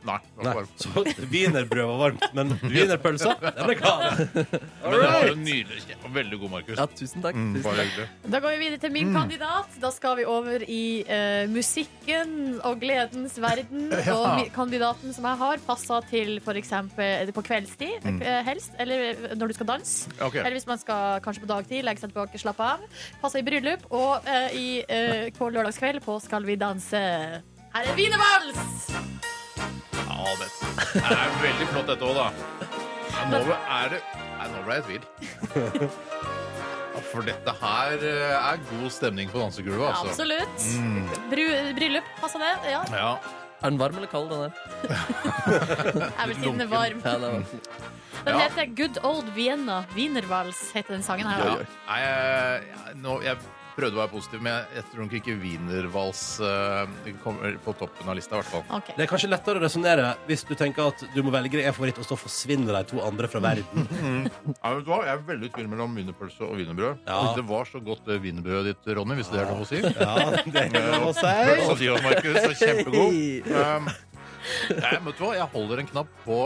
Nei. Den
Nei,
var varm.
så Wienerbrød var varmt, men
*laughs*
wienerpølsa, den er kald.
Men den var jo nydelig. Ja, Veldig god, Markus.
Ja, tusen takk.
Mm,
tusen
bare
takk.
hyggelig.
Da går vi videre til
Mm.
min kandidat. Da skal vi over i eh, musikken og gledens
*laughs*
verden. Og mi- kandidaten som jeg har, passer til f.eks. på kveldstid, eh, helst. Eller når du skal danse.
Mm. Ok.
Eller hvis man skal kanskje på dagtid, legge seg tilbake, slappe av. Passer i bryllup. Og eh, i, eh, på lørdagskveld på Skal vi danse. Her er wienervals!
Ja, det det er veldig flott, dette òg, da. Ja, Nå ble- er det Nei, nå ble jeg i tvil. Ja, For dette her eh, er god stemning på dansegulvet, altså.
Absolutt. Bru, bryllup, passer det? Ja.
Ja.
Er den varm eller kald, den der?
Jeg vil si den er varm.
Ja, det var
Den
Ja.
heter Good Old Vienna. Wienervals heter den sangen her.
Ja. Nei, jeg, jeg- nå, jeg prøvde å være positiv, men jeg, jeg tror nok ikke wienervals eh, kommer på toppen av lista, i hvert fall.
Ok.
Det er kanskje lettere å resonnere hvis du tenker at du må velge deg en favoritt, og så forsvinner de to andre fra verden.
Ja, vet du hva? Jeg er veldig i tvil mellom wienerpølse og wienerbrød.
Ja.
Det var så godt det wienerbrødet ditt, Ronny, hvis det er *laughs* lov å si.
*laughs* Ja, det er lov å
Pølse
si.
og dion, Markus. Det er Kjempegod. Um, nei, men vet du hva? Jeg holder en knapp på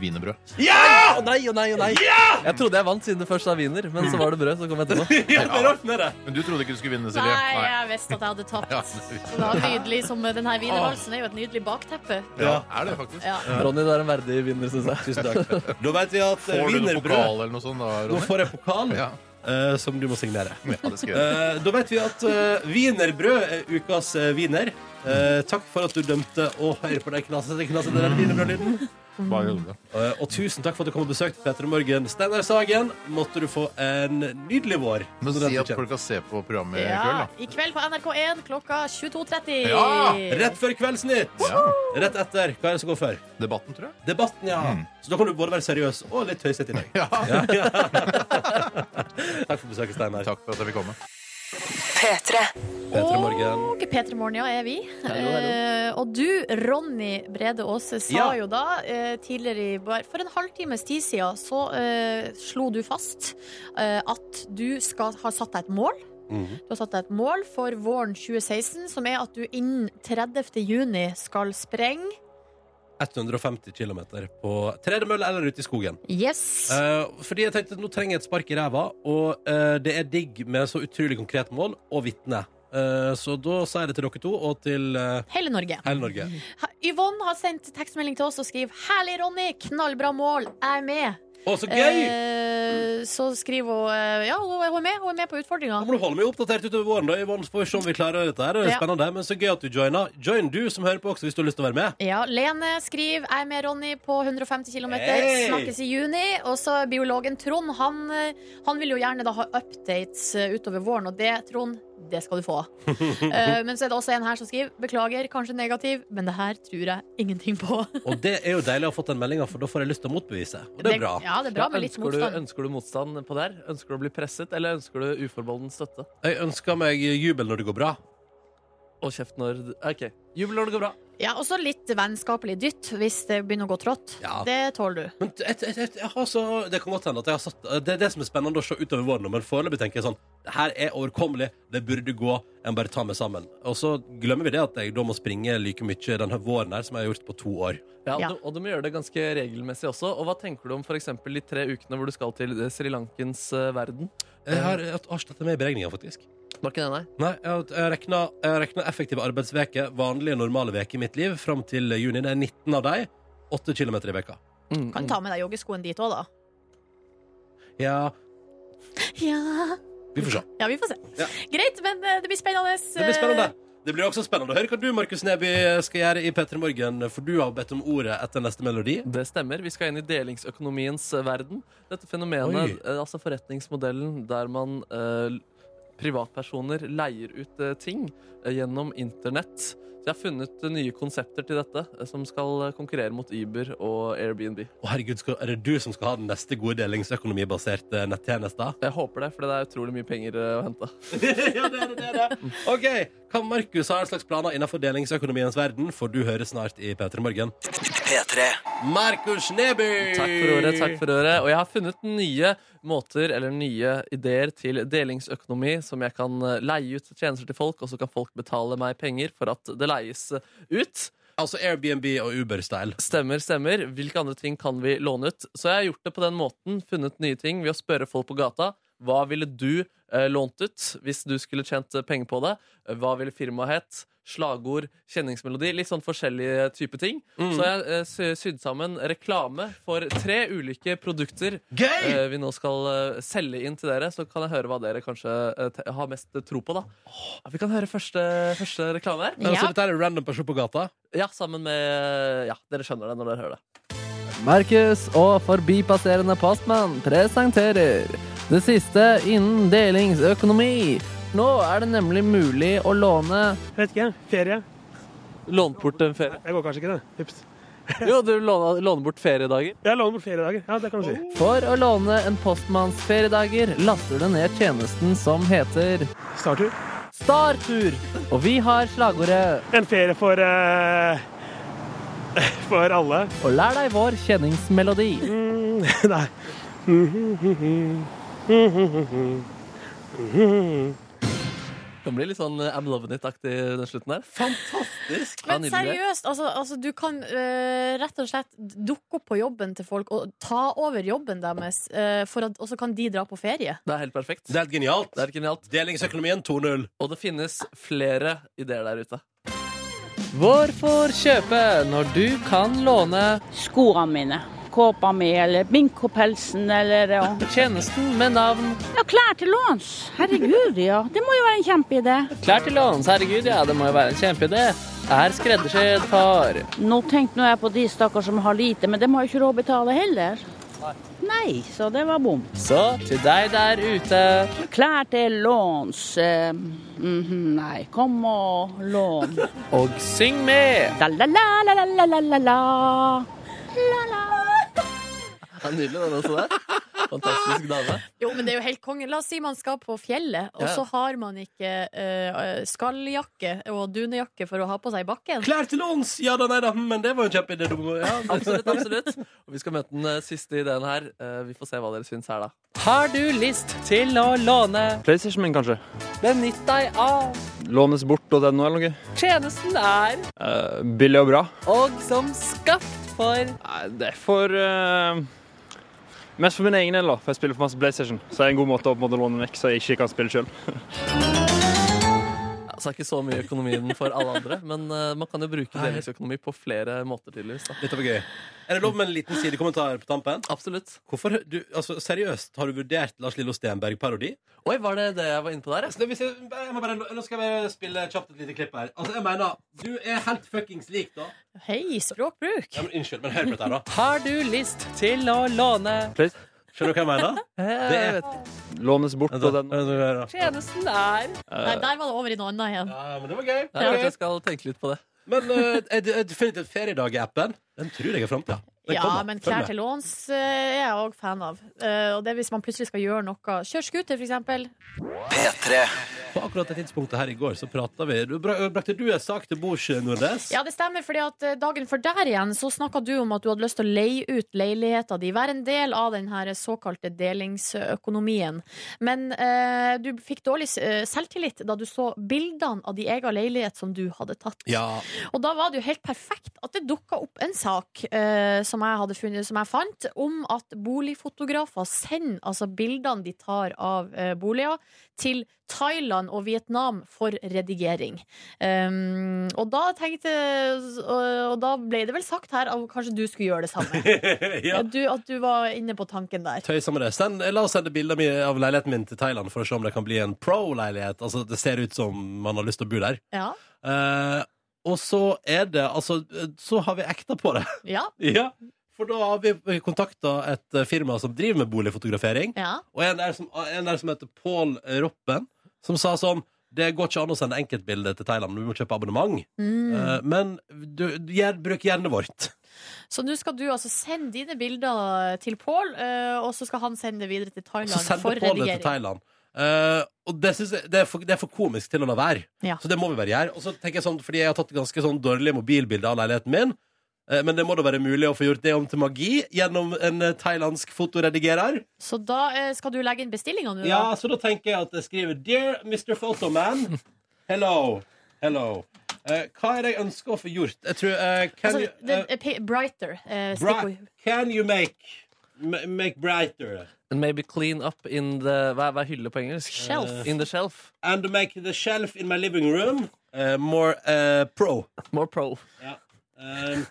wienerbrød.
Å nei, å nei, å nei! Jeg trodde jeg vant siden det først var wiener, men så var det brød, så kom jeg
*laughs*
etterpå.
Ja, det er rart med det.
Men du trodde ikke du skulle vinne, Silje.
Nei, jeg visste at jeg hadde tapt.
Ja,
Det var nydelig som Denne wienervalsen er jo et nydelig bakteppe.
ja, er det faktisk?
Ja.
Ronny, det er en verdig wiener, syns jeg.
Tusen
*laughs*
takk. Da vet vi at eh,
Får du noen
wienerbrød
pokal eller noe sånt da,
Nå
Ronny?
får jeg pokal,
Ja,
eh, som du må signere.
ja det skal jeg gjøre.
Eh, Da vet vi at eh, wienerbrød er ukas eh, wiener. Eh, Takk for at du dømte å høre på den knasete, knasete wienerbrødlyden.
Bare hyggelig.
Eh, Og tusen takk for at du kom og besøkte Petter og Morgen. Steinar Sagen, måtte du få en nydelig vår.
Men
Når den
si
tid
at folk kan se på programmet i
Ja,
kveld,
I kveld på NRK1 klokka 22.30.
Ja,
kommer. Rett før Kveldsnytt!
da. Ja.
Rett etter. Hva er det som går før?
Debatten, tror jeg.
Debatten, ja.
Mm.
Så da kan du både være seriøs og litt tøysete i dag.
Ja.
Ja. Takk for besøket, Steinar.
Takk for at jeg fikk komme.
Petra Morgen.
Og P3 Morgen, ja, er vi.
Hallo, hallo.
Eh, og du, Ronny Brede Aase, sa
Ja.
jo da eh, tidligere i bar For en halvtimes tid siden så eh, slo du fast eh, at du skal ha satt deg et mål.
Mhm.
Du har satt deg et mål for våren 2016, som er at du innen 30. juni skal sprenge.
150 km på tredemølle eller ute i skogen.
Yes!
Eh, fordi jeg tenkte at nå trenger jeg et spark i ræva, og eh, det er digg med så utrolig konkret mål og vitne. Eh, så da sier jeg det til dere to og til eh,
Hele Norge.
hele Norge.
Ha- Yvonne har sendt tekstmelding til oss og skriver 'Herlig, Ronny! Knallbra mål! Jeg er med!'
Å, så gøy!
Eh, så skriver hun eh, Ja, hun hun er med, hun er med på utfordringa.
Da må du holde meg oppdatert utover våren, da, Yvonne, så får vi se om vi klarer dette. her. Det er
Ja.
spennende, men så gøy at du joina. Join du som hører på også, hvis du har lyst til å være med.
Ja, Lene skriver Jeg er med Ronny på 150 km
Hey!
Snakkes i juni Og så biologen Trond han, eh, han vil jo gjerne da ha updates eh, utover våren Og det, Trond, det skal du
*laughs*
få Eh, Men så er det også en her som skriver Beklager, kanskje negativ Men det her tror jeg ingenting på
Og det er jo deilig å ha fått den meldinga, for da får jeg lyst til å motbevise. Og det er bra.
Ja, det er bra med litt
ønsker, du,
motstand
ønsker du motstand på det her? Ønsker du å bli presset, eller ønsker du uforbeholden støtte?
Jeg ønsker meg jubel når det går bra.
Og kjeft når OK. Jubel når det går bra.
Ja, og så litt vennskapelig dytt Hvis det begynner å gå trått
Ja.
Det tåler du
Men t- et, et, et, jeg har så, det kan godt hende at jeg har satt eh, Det er det som er spennende å se utover våren, men foreløpig tenker jeg sånn Det her er overkommelig, det burde gå, jeg må bare ta meg sammen. Og så glemmer vi det at jeg da må springe like mye denne våren her som jeg har gjort på to år.
Ja, og
Ja.
Du, og du må gjøre det ganske regelmessig også. Og hva tenker du om f.eks. de tre ukene hvor du skal til eh, Sri Lankens eh, verden?
Jeg har, jeg har ikke dette med i beregninga, faktisk.
Var ikke det, nei?
Nei, jeg har- jeg har rekna- jeg har rekna effektive arbeidsveker, vanlige, normale veker i mitt liv, fram til juni. Det er 19 av de. 8 km i veka.
Mm,
Kan
mm.
ta med deg joggeskoen dit også da
Ja,
Ja,
vi får se.
ja vi får se
Ja.
Greit, men eh, det blir spennende
Det blir spennende. Det blir også spennende å høre hva du, Markus Neby, skal gjøre i P3 Morgen, for du har bedt om ordet etter neste melodi.
Det stemmer. Vi skal inn i delingsøkonomiens eh, verden. Dette fenomenet, eh, altså forretningsmodellen der man eh, privatpersoner leier ut eh, ting eh, gjennom internett. Så jeg har funnet eh, nye konsepter til dette, eh, som skal eh, konkurrere mot Uber og Airbnb.
Å, herregud, skal, er det du som skal ha den neste gode delingsøkonomibaserte eh, nettjenesta?
Jeg håper det, for det er utrolig mye penger eh, å hente.
*laughs* ja, det er det, det er det. OK. Kan Markus ha en slags planer innenfor delingsøkonomiens verden? Får du høre snart i P3 Morgen. Markus Neby!
Takk for året, takk for året. Og jeg har funnet nye måter eller nye ideer til delingsøkonomi som jeg kan eh, leie ut tjenester til folk, og så kan folk betale meg penger for at det leies eh, ut.
Altså Airbnb og Uber-style.
Stemmer, stemmer. Hvilke andre ting kan vi låne ut? Så jeg har gjort det på den måten, funnet nye ting ved å spørre folk på gata. Hva ville du eh, lånt ut hvis du skulle tjent eh, penger på det? Hva ville firmaet hett? Slagord, kjenningsmelodi, litt sånn forskjellige typer ting. Så jeg eh, sy- sydd sammen reklame for tre ulike produkter eh, vi nå skal eh, selge inn til dere. Så kan jeg høre hva dere kanskje eh, te- har mest tro på, da. Vi kan høre første, første reklame her.
Men
Ja.
så altså, dette er en random person på gata.
Ja, sammen med eh, Ja, dere skjønner det når dere hører det.
Markus og forbipasserende postmann presenterer det siste innen delingsøkonomi. Nå er det nemlig mulig å låne
Vet ikke. Ferie.
Lånt bort en ferie.
Jeg går kanskje ikke, det. Ups.
Jo, du låner, låner bort feriedager.
Jeg låner bort feriedager. Ja, det kan du si.
For å låne en postmanns feriedager laster du ned tjenesten som heter
Starter.
Startur. Og vi har slagordet
En ferie for eh, *laughs* For alle. *laughs*
Og lær deg vår kjenningsmelodi.
Mm, nei.
Det kan bli litt sånn eh, I'm loving it-aktig den slutten der. Fantastisk!
Men seriøst, altså, altså du kan eh, rett og slett dukke opp på jobben til folk og ta over jobben deres, eh, for at, og så kan de dra på ferie.
Det er helt perfekt.
Det er helt genialt.
Det er genialt.
Delingsøkonomien 2.0.
Og det finnes flere ideer der ute.
Hvorfor kjøpe når du kan låne
skoene mine. Kåpa mi, eller minkopelsen, eller ja.
tjenesten med navn
ja, klær til låns. Herregud, ja. Det må jo være en kjempeidé.
Klær til låns? Herregud, ja, det må jo være en kjempeidé. er skreddersydd for.
Nå tenkte nå jeg på de stakkar som har lite, men dem har jo ikke råd å betale heller. Nei, så det var bom.
Så til deg der ute
Klær til låns. eh, mhm, nei, kom og lån.
Og syng med!
Da, la, la, la, la, la, la, la.
Ja, nydelig den også der. Fantastisk dame.
Jo, men det er jo helt konge. La oss si man skal på fjellet, og
Ja.
så har man ikke eh, skalljakke og dunejakke for å ha på seg i bakken.
Klær til låns! Ja da, nei da, hm, men det var jo kjempeidé. du må- Ja.
*laughs* Absolutt, absolutt. Og vi skal møte den eh, siste ideen her. Eh, Vi får se hva dere syns her, da.
Har du lyst til å låne?
PlayStation min, kanskje.
Benytt deg av
Lånes bort og den nå, eller noe.
tjenesten er
Eh, billig og bra.
og som skapt for
Nei, det er for eh, Mest for min egen del, da. For jeg spiller for masse PlayStation. Så det er en god måte å på en måte låne den vekk, så jeg ikke kan spille sjøl.
Ja, Så er ikke så mye økonomien for alle andre, men eh, man kan jo bruke delingsøkonomi på flere måter, tydeligvis. da.
Dette var gøy. Er det lov med en liten sidekommentar på tampen?
Absolutt.
Hvorfor, du, altså, seriøst, har du vurdert Lars Lillo Stenberg-parodi?
Oi, var det det jeg var inne på der? ja?
Altså, det vil si- jeg må bare, nå skal jeg bare spille kjapt et lite klipp her. Altså, jeg mener, du er helt fuckings lik, da.
Hei, språkbruk!
Ja, men, unnskyld, men hør på dette, her, da.
Har du lyst til å låne? Eh.
Skjønner du hva jeg mener?
Jeg
Det er-
vet ikke.
Lånes bort og den
Tjenesten er
Eh.
Nei, der var det over i noe annet igjen.
Ja, men det var gøy.
Nei, Jeg skal tenke litt på det.
Men eh, jeg- jeg definitivt feriedag-appen. Den tror jeg er framtida.
Ja, men klær til låns eh, er jeg òg fan av. Eh, og det er hvis man plutselig skal gjøre noe. Kjør scooter, for eksempel.
På akkurat det tidspunktet her i går så prata vi du, bra- Brakte du en sak til bords, eh, Nordnes?
Ja, det stemmer, fordi at eh, dagen før der igjen så snakka du om at du hadde lyst til å leie ut leiligheta di. Være en del av den her såkalte delingsøkonomien. Men eh, du fikk dårlig eh, selvtillit da du så bildene av din egen leilighet som du hadde tatt.
Ja. *laughs*
Og da var det jo helt perfekt at det dukka opp en sak eh, som, jeg hadde funnet, som jeg fant, om at boligfotografer sender altså bildene de tar av eh, boliger, til Thailand og Vietnam for redigering. Um, og da tenkte og, og da ble det vel sagt her at kanskje du skulle gjøre det samme.
*laughs* ja.
du, at du var inne på tanken der.
Tøysa med det. Send, la oss sende bilder mi- av leiligheten min til Thailand for å se om det kan bli en pro-leilighet. Altså, det ser ut som man har lyst til å bo der.
Ja.
Eh, og så er det Altså, eh, så har vi ekta på det. *laughs*
Ja.
ja. For da har vi kontakta et eh, firma som driver med boligfotografering.
ja.
Og en der som, en der som heter Pål Roppen, som sa sånn det går ikke an å sende enkeltbilder til Thailand. Du må kjøpe abonnement.
Mm.
Eh, men du, du, gjør- bruk hjernen vårt.
Så nå skal du altså sende dine bilder til Pål, eh, og så skal han sende det videre til
Så
Thailand
send
for
Pål det til
redigering.
Thailand. Eh, og det, synes jeg, det, er for, det er for komisk til å la være.
Ja.
Så det må vi bare gjøre. Og så tenker jeg sånn, fordi jeg har tatt ganske sånn dårlige mobilbilder av leiligheten min. eh, Men det må da være mulig å få gjort det om til magi gjennom en eh, thailandsk fotoredigerer.
Så da eh, skal du legge inn bestillinga nå,
Ja,
da?
så da tenker jeg at jeg skriver Dear Mr.
*laughs*
Photoman Hello, hello Eh, Hva er det jeg ønsker å få gjort? Jeg tror eh, Can,
Altså,
you,
det, eh, pi- brighter. eh,
eh, bri-
stikkord.
can you make ma- Make brighter
And maybe clean up in the Hva er- hva er hylle på engelsk? Eh,
Shelf.
In the shelf.
And make the shelf in my living room eh, More eh, pro
More pro.
um,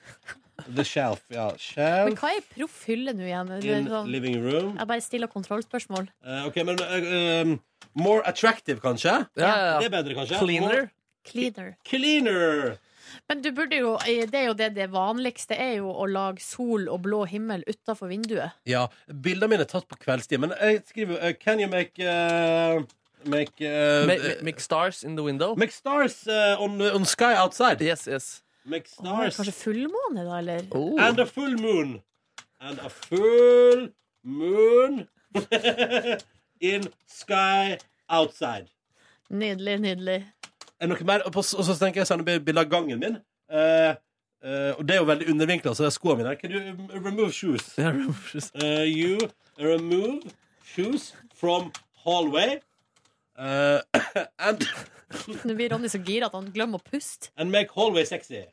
The shelf, ja
Men
Shelf
hva er proff hylle nå igjen? Det er
in
sånn-
living room
Jeg bare stiller kontrollspørsmål.
Eh, Ok, men eh, um, More attractive, kanskje?
Ja, ja,
Det
ja.
er bedre, kanskje?
Cleaner.
More
Cleaner.
cleaner
Men du burde jo, det er jo det, det vanligste er jo å lage sol og blå himmel utafor vinduet.
Ja, bildene mine er tatt på kveldstid, men jeg skriver eh, Can you make eh, Make, eh,
Ma- ma- Make stars in the window.
make stars eh, on, on sky outside.
Yes, yes.
Make
Åh,
stars
kanskje fullmåne, da, eller?
Oh.
and a full moon. And a full moon *laughs* in sky outside.
Nydelig, nydelig.
Er det noe mer? Og på- og så tenker jeg sånn, å sende bilder av gangen min. Eh, eh, og det er jo veldig undervinkla, så det er skoene mine. Can you um, remove shoes?
Ja, remove-
Uh, you remove shoes from hallway uh, *coughs* and,
Nå blir Ronny så gira at han glemmer å puste.
and make hallway sexy.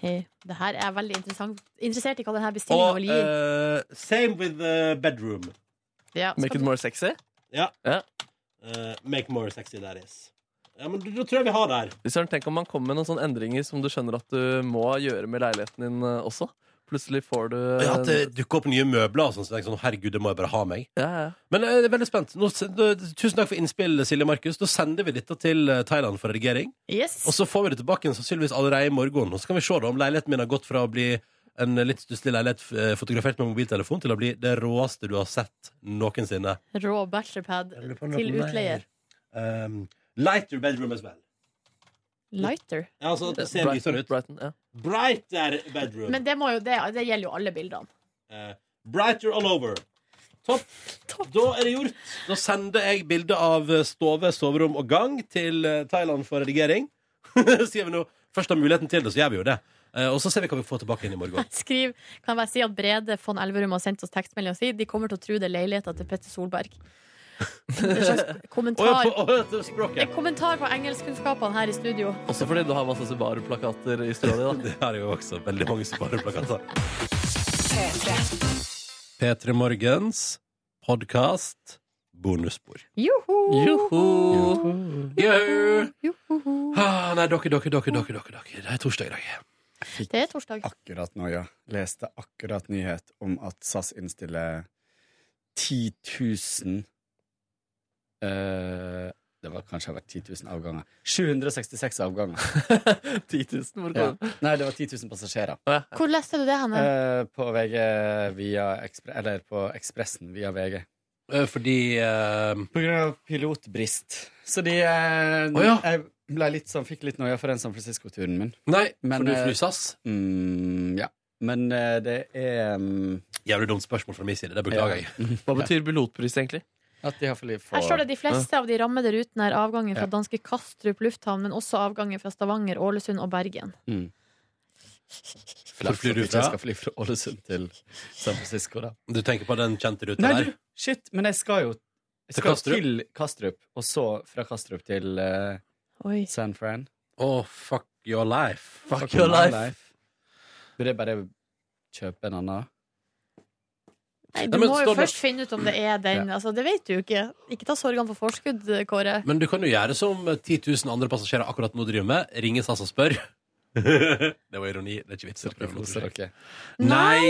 Hey, Det her er veldig interessant. Interessert i hva denne bestillinga
Og
vil gi.
uh, same with the bedroom.
Ja,
Make it
skal du,
more sexy.
Uh, make more sexy, that is. Ja, men Da tror jeg vi har der.
Hvis Søren, tenk om man kommer med noen sånne endringer som du skjønner at du må gjøre med leiligheten din eh, også. plutselig får du
Ja, at
Eh,
det dukker opp nye møbler og sånn. Så tenker jeg sånn, herregud, det må jeg bare ha meg.
Ja, ja.
Men eh, jeg er veldig spent. Nå, sen- da- tusen takk for innspill, Silje Markus. Da sender vi dette til eh, Thailand for redigering.
Yes.
Og så får vi det tilbake igjen sannsynligvis allerede i morgen. Og så kan vi se da om leiligheten min har gått fra å bli en litt stusslig leilighet eh, fotografert med mobiltelefon til å bli det råeste du har sett noensinne.
Rå bachelorpad
om
til
det er
utleier.
Um, lighter bedroom as well.
Lighter.
Ja, altså, det ser lysere ut.
Brighton, ja.
Brighter bedroom.
Men det, må jo, det, det gjelder jo alle bildene.
Eh, brighter all over. Topp. Da er det gjort. Da sender jeg bilde av eh, stove, soverom og gang til eh, Thailand for redigering. *laughs* Sier vi nå først har muligheten til det, så gjør vi jo det. Eh, Og så ser vi hva vi får tilbake inn i
*laughs*
morgen.
Skriv, kan jeg bare si at Brede von Elverum har sendt oss tekstmelding og sier de kommer til å tro det er leiligheta til Petter Solberg. En
*laughs*
slags
Å,
kommentar,
ja, på-
en kommentar på engelskkunnskapene her i studio.
Også fordi du har masse Subaru-plakater i stua
*laughs*
di. da.
det har jeg jo også. Veldig mange spareplakater. P3 Morgens podkast bonusspor.
Joho!
Joho!
*laughs*
Ah, nei, dere, dere, dere, dere, dere, dere. Det er torsdag i dag.
Det er torsdag.
akkurat nå, ja. Leste akkurat nyhet om at SAS innstiller 10 000 eh, Det var kanskje vært 10 000 avganger. 766 avganger. 10 000?
hvor
Ja.
kom
Nei, det var 10 000 passasjerer.
Hvor leste du det henne?
Eh, på VG via Ekspre... Eller på Ekspressen via VG.
Eh, Fordi eh,
På grunn av pilotbrist. Så de eh,
Å, ja.
Jeg ble litt sånn, fikk litt noia for den San Francisco-turen min.
Nei,
Men,
for du
eh,
flyr SAS?
Mm, ja. Men eh, det er um...
Jævlig dumt spørsmål fra min side. Det beklager jeg.
Hva betyr pilotpris,
*laughs*
egentlig?
At de har for liv
Her står det de fleste av de rammede rutene er avgangen fra
Ja.
danske Kastrup lufthavn, men også avganger fra Stavanger, Ålesund og Bergen.
Mm.
Hvor flyr du
Flaks at jeg
fra?
skal fly fra Ålesund til San Francisco, da.
Du tenker på den kjente ruta
Nei,
der?
du, shit, men jeg skal jo jeg
Til
skal
Kastrup?
til Kastrup, og så fra Kastrup til eh, San Fran.
Å, fuck your life.
Fuck,
your
my
life.
Burde jeg bare kjøpe en annen?
Nei,
Nei,
du
men
må jo
står det-
først finne ut om det er den. Altså, det vet du jo ikke. Ikke ta sorgene på forskudd, Kåre.
Men du kan jo gjøre som 10 000 andre passasjerer akkurat nå driver med. Ringe SAS og spør. det var ironi. Det er ikke vits. i å prøve å forsøke.
Nei,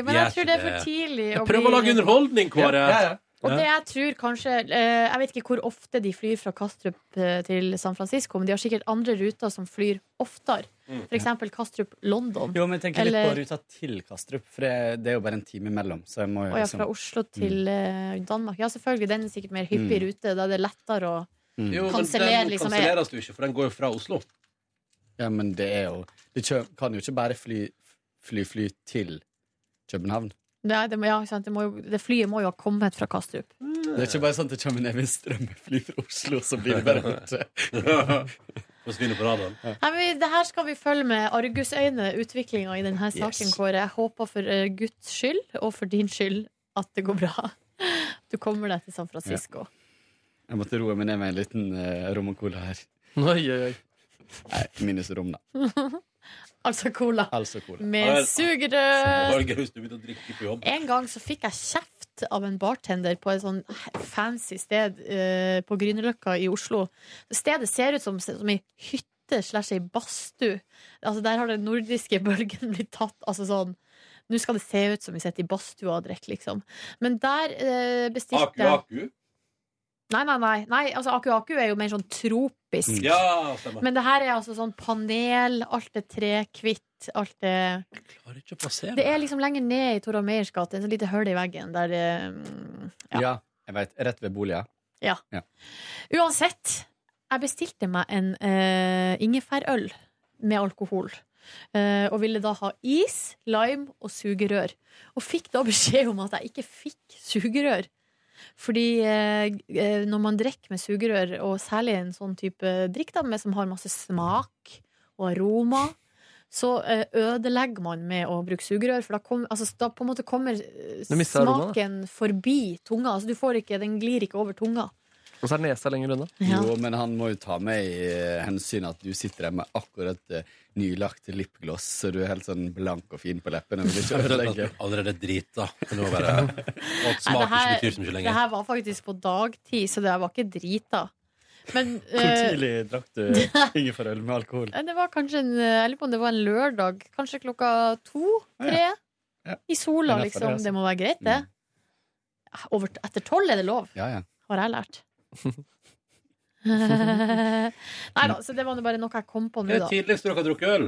gjør
men jeg tror det er
ikke
for tidlig
Jeg
å
prøver å
bli-
lage underholdning, Kåre.
Ja, ja, ja.
Og det jeg tror kanskje eh, Jeg vet ikke hvor ofte de flyr fra Kastrup eh, til San Francisco, men de har sikkert andre ruter som flyr oftere.
Mm.
For eksempel Kastrup-London.
Jo, men jeg tenker litt
Eller-
på ruta til Kastrup, for det, det er jo bare en time imellom. Så jeg må jo
Og ja,
liksom
fra Oslo
Mm.
til eh, Danmark. Ja, selvfølgelig, den er sikkert mer hyppig
Mm.
rute. Da er det lettere å
Jo, men
kansellere
den
liksom er-
kanselleres jo ikke, for den går jo fra
*laughs*
Oslo.
Ja, men det er jo Du kjø- kan jo ikke bare fly, fly, fly til København.
Nei, det, må- ja, ikke sant? Det, må jo, det flyet må jo ha kommet fra Kastrup.
Det er ikke bare sånn at det kommer ned med strømmefly fra Oslo, så blir det bare *laughs* borte.
Forsvinner på radaren.
Nei, men det her skal vi følge med argusøyne, utviklinga i denne saken,
Yes.
Kåre. Jeg håper for eh, Guds skyld, og for din skyld, at det går bra. Du kommer deg til San Francisco.
Jeg måtte roe meg ned med en liten eh, rom og cola her. Nei, minus rom, da.
altså cola.
Altså cola.
Med sugerør.
Borger, hvis du begynner å drikke på jobb.
En gang så fikk jeg kjeft av en bartender på et sånn fancy sted eh, på Grünerløkka i Oslo. Stedet ser ut som, som ei hytte slash ei badstue. Altså, der har den nordiske *laughs* bølgen blitt tatt. Altså sånn Nå skal det se ut som vi sitter i badstua og drikker, liksom. Men der eh, bestilte
Aku, aku.
Nei, nei, nei. nei altså, aku aku er jo mer sånn tropisk.
Ja, stemmer.
Men det her er altså sånn panel, alt er trekvitt, alt er
Klarer ikke å plassere
det er liksom lenger ned i Tora Meyers gate. Et sånt lite hull i veggen der eh, mm,
Ja, jeg veit. Rett ved boliga.
Ja.
Ja.
Uansett. Jeg bestilte meg en eh, ingefærøl med alkohol. eh, og ville da ha is, lime og sugerør. Og fikk da beskjed om at jeg ikke fikk sugerør. Fordi eh, g- eh, når man drikker med sugerør, og særlig en sånn type drikk da, med, som har masse smak og aroma, så eh, ødelegger man med å bruke sugerør. For da, kom, altså, da på en måte kommer eh,
Du mister aromaet.
smaken forbi tunga. Altså, du får ikke, den glir ikke over tunga.
Og så er nesa lenger unna.
Ja.
Jo, men han må jo ta med i eh, hensyn at du sitter der med akkurat eh, nylagt lipgloss, så du er helt sånn blank og fin på leppene. Vil ikke ødelegge.
Allerede drita. Det *laughs* må være Og at smak
Nei, det her-
ikke betyr så mye
Det
lenger.
her var faktisk på dagtid, så det var ikke drita. Men
Hvor
eh,
tidlig drakk du ingefærøl med alkohol?
det var kanskje en, jeg lurer på om det var en lørdag. Kanskje klokka to? Tre? I sola,
Det er derfor det,
liksom.
altså.
Det må være greit, det. Over, etter tolv er det lov,
Ja, ja.
har jeg lært. Nei da, så det var nå bare noe jeg kom på
Hva
nå,
er det
da.
tidligst dere har drukket øl?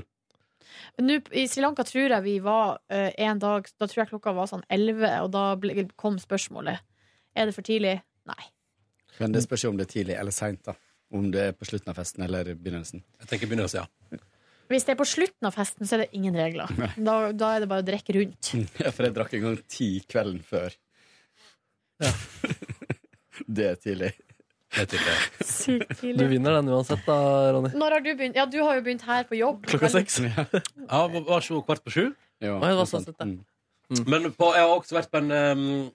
Nå, p- I Sri Lanka tror jeg vi var eh, en dag Da tror jeg klokka var sånn 11 Og da ble, kom spørsmålet Er det for tidlig? Nei
Men det spørs jo om det er tidlig eller seint, da. Om det er på slutten av festen eller i begynnelsen.
Jeg tenker begynnelsen,
ja.
Hvis det er på slutten av festen så er det ingen regler
Nei.
da, da er det bare å drekke rundt
Mm.
Ja, for jeg drakk en gang ti kvelden før. *laughs* det er tidlig.
Det er tidlig.
Sykt
Du
tidlig
vinner den uansett, da, Ronny.
Når har du begynt? Ja, du har jo begynt her på jobb
Klokka seks.
Ja, var- var ikke hun kvart på sju?
Ja,
Oi, det var sånn sett,
Mm.
ja.
Mm. Men på, jeg har også vært på en ehm, *laughs*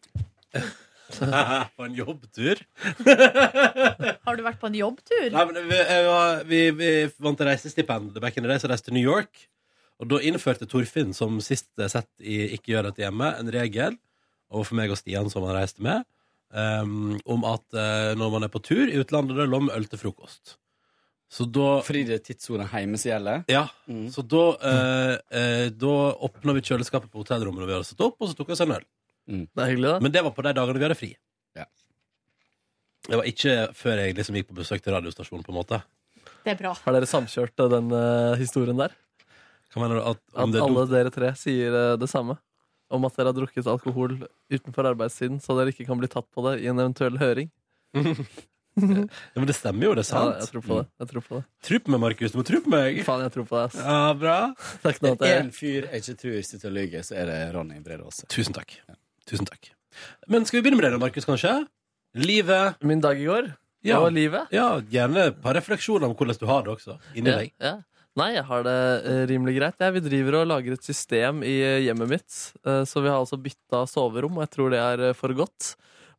På en jobbtur.
Har du vært på en jobbtur?
Nei, men vi, jeg var- vi, vi vant reisestipend back in the day, så reiste til New York. Og da innførte Torfinn, som sist sett i Ikke gjør dette hjemme, en regel overfor meg og Stian, som han reiste med, ehm, om at eh, når man er på tur i utlandet, da er det lov med øl til frokost. Så da
Fordi det er tidssona hjemme som gjelder?
Ja.
Mm.
Så da, eh, eh, da åpna vi kjøleskapet på hotellrommet når vi hadde stått opp, og så tok vi oss en øl.
Det er hyggelig, da.
Men det var på de dagene vi hadde fri.
Ja.
Det var ikke før jeg liksom gikk på besøk til radiostasjonen, på en måte.
Det er bra
Har dere samkjørt eh, den eh, historien der?
Kan man, at om
at
det er
alle
dumt-
dere tre sier eh, det samme? Om at dere har drukket alkohol utenfor arbeidstiden, så dere ikke kan bli tatt på det i en eventuell høring?
ja, men det stemmer jo, det er sant. Mm.
Ja, jeg tror på det. Jeg tror på det.
Tro på meg, Markus. Du må tro på meg.
Faen, jeg tror på deg, ass.
Ja, bra.
Takk nå
Det
at
er
jeg
en fyr jeg ikke tror sitter og lyver, så er det Ronny Brede Aase.
Tusen takk. Tusen takk. Men skal vi begynne med det, da, Markus, kanskje? Livet.
Min dag i går?
Ja.
Og livet?
Ja, gjerne et par refleksjoner om hvordan du har det også. Inni
Ja,
deg.
Ja. Nei, jeg har det eh, rimelig greit. Jeg, vi driver og lager et system i eh, hjemmet mitt. eh, Så vi har altså bytta soverom, og jeg tror det er eh, for godt.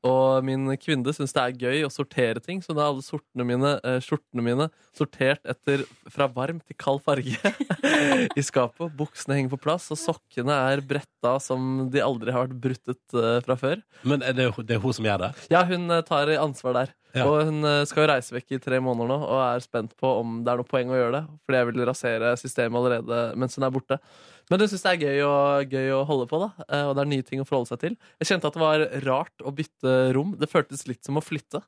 Og min kvinne syns det er gøy å sortere ting, så da er alle sortene mine, eh, skjortene mine sortert etter fra varm til kald farge *laughs* i skapet. Buksene henger på plass, og sokkene er bretta som de aldri har vært bruttet eh, fra før.
Men er det, det er hun som gjør det?
Ja, hun eh, tar ansvar der.
Ja.
Og hun eh, skal jo reise vekk i tre måneder nå og er spent på om det er noe poeng å gjøre det. Fordi jeg vil rasere systemet allerede mens hun er borte. Men hun syns det er gøy, og, gøy å holde på, da. eh, Og det er nye ting å forholde seg til. Jeg kjente at det var rart å bytte rom. Det føltes litt som å flytte.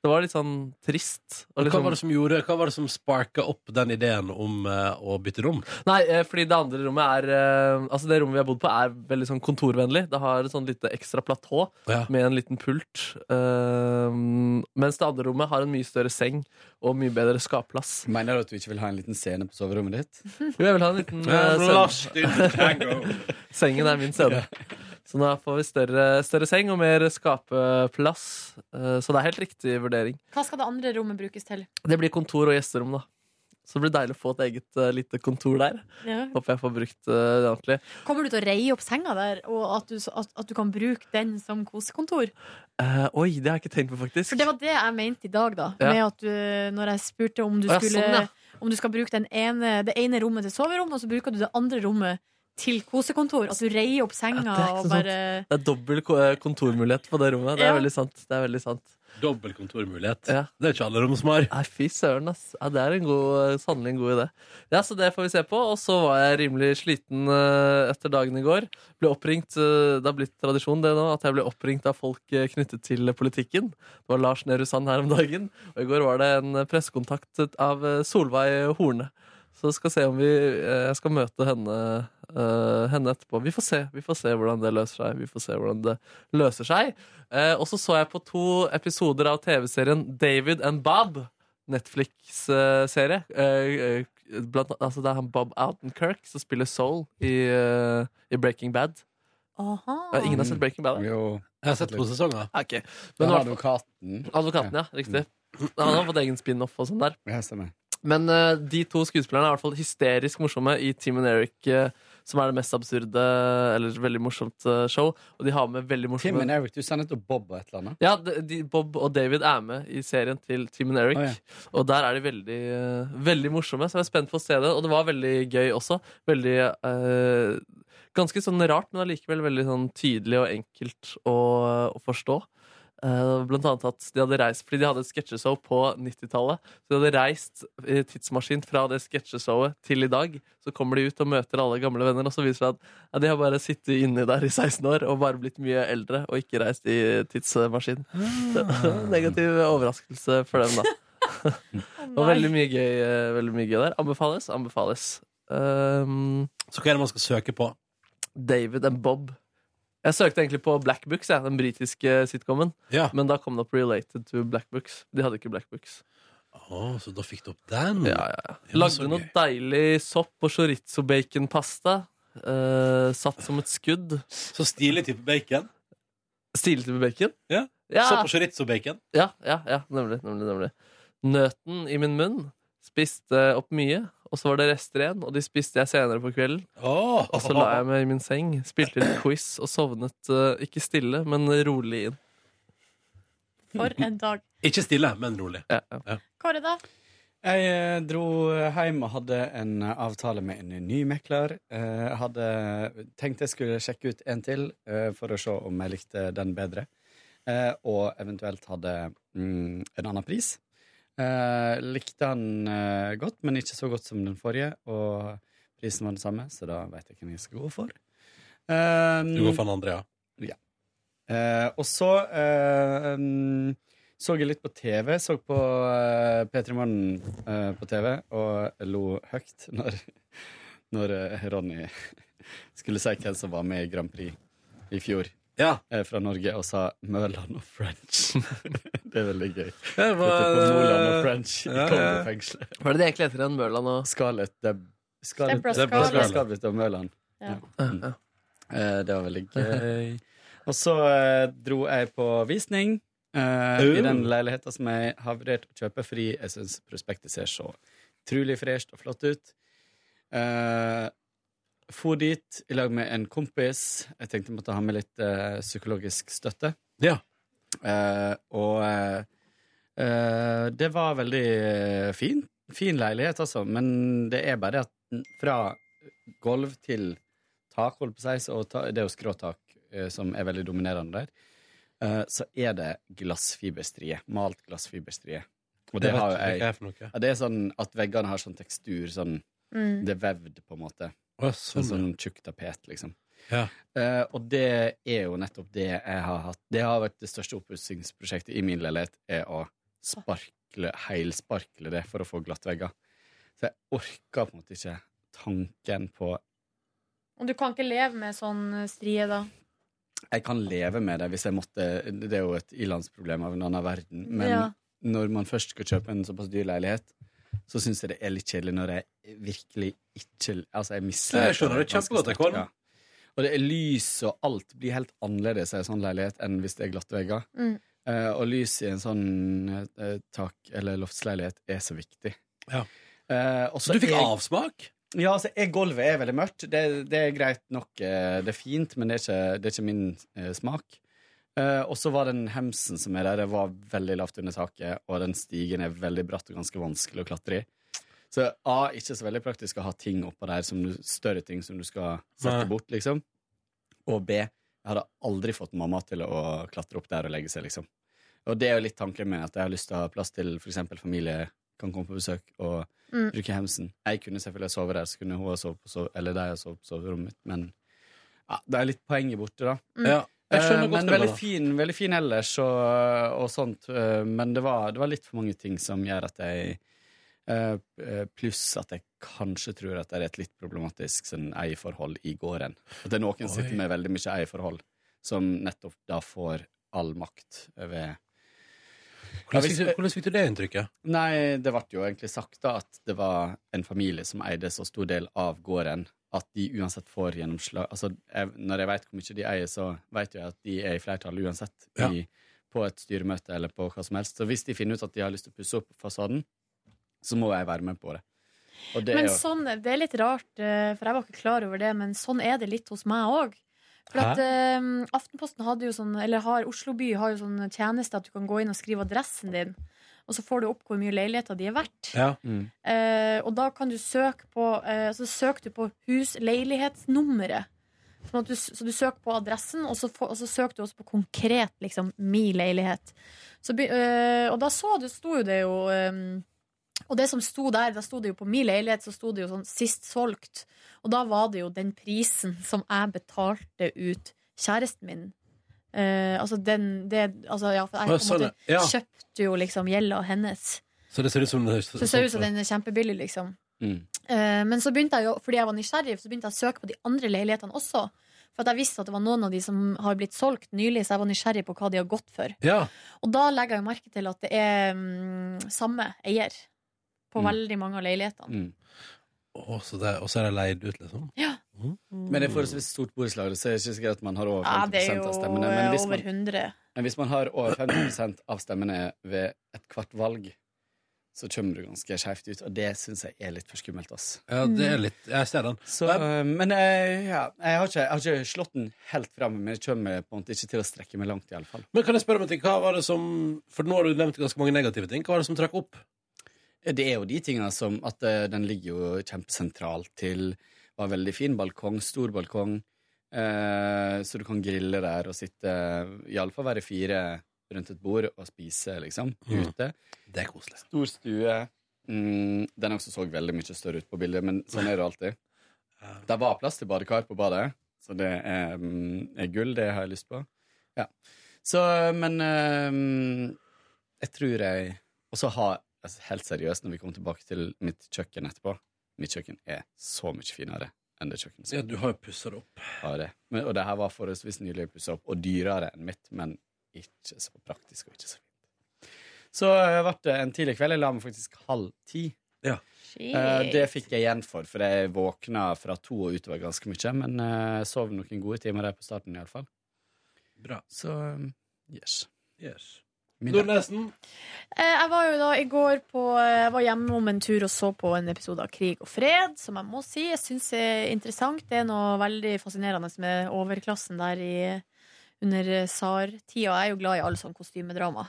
Det var litt sånn trist. og
Hva
liksom-
var det som gjorde, hva var det som sparka opp den ideen om eh, å bytte rom?
Nei, eh, fordi det andre rommet er eh, Altså det rommet vi har bodd på er veldig sånn kontorvennlig Det har et sånn lite ekstra platå
Ja.
Med en liten pult eh, Mens det andre rommet har en mye større seng Og mye bedre skapplass
Mener du at du ikke vil ha en liten scene på soverommet ditt?
Jo, jeg vil ha en liten eh,
Ja, blast in the tango.
*laughs* Sengen er min scene Så nå får vi større, større seng og mer skapeplass Eh, Så det er helt riktig vurdering
Hva skal det andre rommet brukes til?
Det blir kontor og gjesterom da Så det blir deilig å få et eget eh, lite kontor der
Ja.
Håper jeg får brukt eh, det ordentlig
Kommer du til å reie opp senga der Og at du, så- at, at du kan bruke den som kosekontor?
Eh, Oi, det har jeg ikke tenkt på faktisk
For det var det jeg mente i dag, da.
Ja.
Med at du, når jeg spurte om du,
Å, ja,
skulle,
sånn, ja.
om du skal bruke den ene, det ene rommet til soverom, og så bruker du det andre rommet til kosekontor. At du reier opp senga
Det er ikke
og
så
bare
sant. Det er dobbel ko- kontormulighet på det rommet. Det er
Ja.
veldig sant. Det er veldig sant.
Dobbel kontormulighet.
Ja.
Det er ikke alle rom som har.
Nei, fy søren, ass. Ja, det er en god, eh, sannelig en god idé. Ja, så det får vi se på. Og så var jeg rimelig sliten eh, etter dagen i går. Ble oppringt, eh, Det har blitt tradisjon det nå, at jeg ble oppringt av folk eh, knyttet til politikken. Det var Lars Nehru Sand her om dagen. Og i går var det en pressekontakt av eh, Solveig Horne. Så skal se om vi eh, Jeg skal møte henne, eh, henne etterpå. Vi får se vi får se hvordan det løser seg. Vi får se hvordan det løser seg Eh, Og så så jeg på to episoder av TV-serien David and Bob. Netflix-serie. Eh, eh, blant annet- altså det er han Bob Outenkirk som spiller Soul i, eh, i Breaking Bad.
Aha.
Ja, ingen har sett Breaking Bad? da?
Jeg har sett to sesonger.
Ja, Mm. ok.
Men
Men i hvert fall-
advokaten
Advokaten, ja. Riktig. Han har fått egen spin-off og sånn der.
Ja, stemmer.
Men eh, de to skuespillerne er i hvert fall hysterisk morsomme i Team and Eric, eh, som er det mest absurde eller veldig morsomt eh, show. Og de har med veldig morsomme
Tim and Eric, du sender til Bob og et eller annet.
ja, de, de, Bob og David er med i serien til Team and Eric.
Å, ja.
Og der er de veldig, eh, veldig morsomme, så jeg er spent på å se det. Og det var veldig gøy også. Veldig eh, Ganske sånn rart, men allikevel veldig sånn tydelig og enkelt å, å forstå. Eh, Blant annet at de hadde reist Fordi de hadde et sketsjeshow på 90-tallet Så de hadde reist i tidsmaskin fra det sketsjeshowet til i dag Så kommer de ut og møter alle gamle venner Og så viser det seg at ja, de har bare sittet inne der i 16 år Og bare blitt mye eldre Og ikke reist i tidsmaskin Ah. *laughs* Negativ overraskelse for dem *laughs* da Og veldig mye gøy, eh, veldig mye gøy der Anbefales, anbefales Ehm,
Så hva er det man skal søke på?
David and Bob jeg søkte egentlig på Black Books, jeg, den britiske sitcomen. Men da kom det opp 'Related to Black Books'. De hadde ikke Black Books.
Å, så da fikk du opp den?
Ja, ja, ja. Lagde noe deilig sopp og chorizo-bacon-pasta. eh, satt som et skudd.
Så stilig type bacon.
Stilig type bacon?
Ja.
Ja.
Sopp og chorizo-bacon.
Ja, ja, ja nemlig, nemlig, nemlig. Nøten i min munn spiste opp mye, og så var det rester igjen, og de spiste jeg senere på kvelden. Og så la jeg meg i min seng, spilte litt quiz og sovnet eh, ikke stille, men rolig inn.
For en dag.
Ikke stille, men rolig.
Ja,
Kåre, da?
Jeg eh, dro hjem og hadde en eh, avtale med en ny mekler. Eh, Jeg hadde tenkt jeg skulle sjekke ut en til eh, for å se om jeg likte den bedre. Eh, Og eventuelt hadde mm, en annen pris. Eh, Likte den eh, godt, men ikke så godt som den forrige. Og prisen var den samme, så da vet jeg hvem jeg skal gå for. Eh,
Du
Mm.
går for den andre, ja.
Ja. Eh, og så eh, mm, så jeg litt på TV. Så på eh, P3 Morgen eh, på TV og lo høyt *laughs* når, når eh, Ronny *laughs* skulle si hvem som var med i Grand Prix i fjor. Eh, fra Norge, og sa Mørland og French. *laughs* det er veldig gøy.
Det var-
Dette på Moland og French
Ja,
kom i
ja.
fengselet.
Hva er det de egentlig heter igjen? Mørland og
Scarlett Deb...
Deborah
Scarlett
Deborah Scarlett. Scarlett.
Scarlett og Mørland.
Ja.
Mm. Eh, det var veldig gøy. Og så eh, dro jeg på visning eh,
Oh.
i den leiligheta som jeg har vurdert å kjøpe, fordi jeg syns prospektet ser så utrolig fresht og flott ut. Eh, for dit i lag med en kompis. Jeg tenkte jeg måtte ha med litt eh, psykologisk støtte. Eh, og eh, eh, det var veldig eh, fin. Fin leilighet, altså. Men det er bare det at den- fra gulv til tak, holdt på å si, så- og ta, det er jo skråtak eh, som er veldig dominerende der, eh, så er det glassfiberstrie. Malt glassfiberstrie. Og det,
Det vet
har jo
jeg
jeg.
hva er for noe.
Ja, det er sånn at veggene har sånn tekstur, sånn
Mm.
Det er vevd, på en måte.
Å, sånn,
sånn, sånn tjukk tapet, liksom.
Ja.
Eh, og det er jo nettopp det jeg har hatt. Det har vært det største oppussingsprosjektet i min leilighet, er å sparkle, heilsparkle det for å få glatt vegger. Så jeg orker på en måte ikke tanken på
Og du kan ikke leve med sånn strie, da?
Jeg kan leve med det hvis jeg måtte Det er jo et ilandsproblem av en annen verden. Men
Ja.
når man først skal kjøpe en såpass dyr leilighet, så syns jeg det er litt kjedelig når jeg virkelig ikke Altså, jeg misliker
Jeg skjønner det
ganske
kjempegodt, jeg,
sterkt,
Kåren.
ja. Og det er lys og alt blir helt annerledes i en sånn leilighet enn hvis det er glatte vegger.
Mm.
Eh, og lys i en sånn eh, tak- eller loftsleilighet er så viktig. Eh, og
Så du fikk
er-
avsmak?
Ja, altså, er, gulvet er veldig mørkt. Det, det er greit nok, eh, det er fint, men det er ikke, det er ikke min eh, smak. Eh, og så var den hemsen som er der, det var veldig lavt under taket, og den stigen er veldig bratt og ganske vanskelig å klatre i. Så A, ikke så veldig praktisk å ha ting oppå der, som du, større ting som du skal sette
Nei.
bort, liksom. Og B, jeg hadde aldri fått mamma til å klatre opp der og legge seg, liksom. Og det er jo litt tanken min, at jeg har lyst til å ha plass til for eksempel familie kan komme på besøk og
Mm.
bruke hemsen. Jeg kunne selvfølgelig sove der, så kunne hun ha sovet på, sove, eller de ha sovet på soverommet mitt, men ja, det er litt poenget borte, da.
Mm. Ja, jeg skjønner
Eh,
godt
men
det, da.
veldig fin, veldig fin ellers og, og sånt, eh, men det var, det var litt for mange ting som gjør at jeg eh, eh, Pluss at jeg kanskje tror at det er et litt problematisk sånn, eierforhold i gården. At det er noen som
Oi.
sitter med veldig mye eierforhold, som nettopp da får all makt over
Hvordan fikk du- hvordan fikk du det inntrykket?
Nei, det ble jo egentlig sagt da at det var en familie som eide så stor del av gården at de uansett får gjennomslag Altså, jeg, når jeg vet hvor mye de eier, så vet jeg at de er i flertall uansett i, på et styremøte eller på hva som helst. Så hvis de finner ut at de har lyst til å pusse opp fasaden, så må jeg være med på det. Og det
men
er jo
sånn, det er litt rart, eh, for jeg var ikke klar over det, men sånn er det litt hos meg òg. For at eh, Aftenposten hadde jo sånn, eller har, Oslo by har jo sånn tjeneste at du kan gå inn og skrive adressen din, og så får du opp hvor mye leiligheter de er verdt.
Ja.
Eh, og da kan du søke på eh, Så søker du på husleilighetsnummeret. Sånn at du, så du søker på adressen, og så, få- og så søker du også på konkret liksom, min leilighet. Så, be- øh, og da så du, sto jo det jo øhm, Og det som sto der, da sto det jo på min leilighet, så sto det jo sånn sist solgt. Og da var det jo den prisen som jeg betalte ut kjæresten min. Eh, altså den det, altså, ja, for
Å,
jeg på en
sånn,
måte
ja.
kjøpte jo liksom gjelda hennes.
Så det ser ut som det
Så det ser ut som den er kjempebillig, liksom.
Mm.
Eh, men så begynte jeg jo, fordi jeg var nysgjerrig, så begynte jeg å søke på de andre leilighetene også. For at jeg visste at det var noen av de som har blitt solgt nylig, så jeg var nysgjerrig på hva de har gått for.
Ja.
Og da legger jeg jo merke til at det er mm, samme eier på
Mm.
veldig mange av leilighetene.
Mm.
Å, så det, og så er de leid ut, liksom?
Ja.
Men det er forholdsvis stort borettslag, så er det ikke sikkert at man har over
Ja,
50
det er jo eh,
av stemmene. Men hvis,
over
man,
100.
men hvis man har over 50 av stemmene ved ethvert valg, så kommer du ganske skjevt ut, og det syns jeg er litt for skummelt. Ass.
Ja, det
Mm.
er litt Jeg ser den.
Så, øh, men jeg, ja, jeg, har ikke, jeg har ikke slått den helt fram, men jeg kommer på en måte ikke til å strekke meg langt, iallfall.
Men kan jeg spørre om en ting? Hva var det som For nå har du nevnt ganske mange negative ting. Hva var det som trakk opp?
Det er jo de tingene som at eh, den ligger jo kjempesentralt til Var veldig fin balkong, stor balkong, eh, så du kan grille der og sitte Iallfall være fire rundt et bord og spise, liksom,
Mm.
ute.
Det er koselig.
Stor stue. Mm, den også så veldig mye større ut på bildet, men sånn er det *laughs* alltid. Det var plass til badekar på badet, så det er, mm, er gull, det har jeg lyst på. Ja. Så, men eh, jeg tror jeg Og så har altså, Helt seriøst, når vi kommer tilbake til mitt kjøkken etterpå Mitt kjøkken er så mye finere enn det kjøkkenet
Ja, du har jo pussa det opp.
Ja, det. Men, og det her var forholdsvis nylig pussa opp, og dyrere enn mitt, men ikke så praktisk og ikke så fint. Så eh, ble det en tidlig kveld. Jeg la meg faktisk halv ti. Eh, det fikk jeg igjen for, for jeg våkna fra to og utover ganske mye. Men eh, sov noen gode timer der på starten, iallfall.
Bra.
Så eh, yes.
Yes.
Middag.
Nordnesen?
Eh, Jeg var jo da i går på eh, Jeg var hjemme om en tur og så på en episode av Krig og fred, som jeg må si jeg syns er interessant. Det er noe veldig fascinerende med overklassen der i under SAR-tida. Jeg er jo glad i all sånn kostymedrama.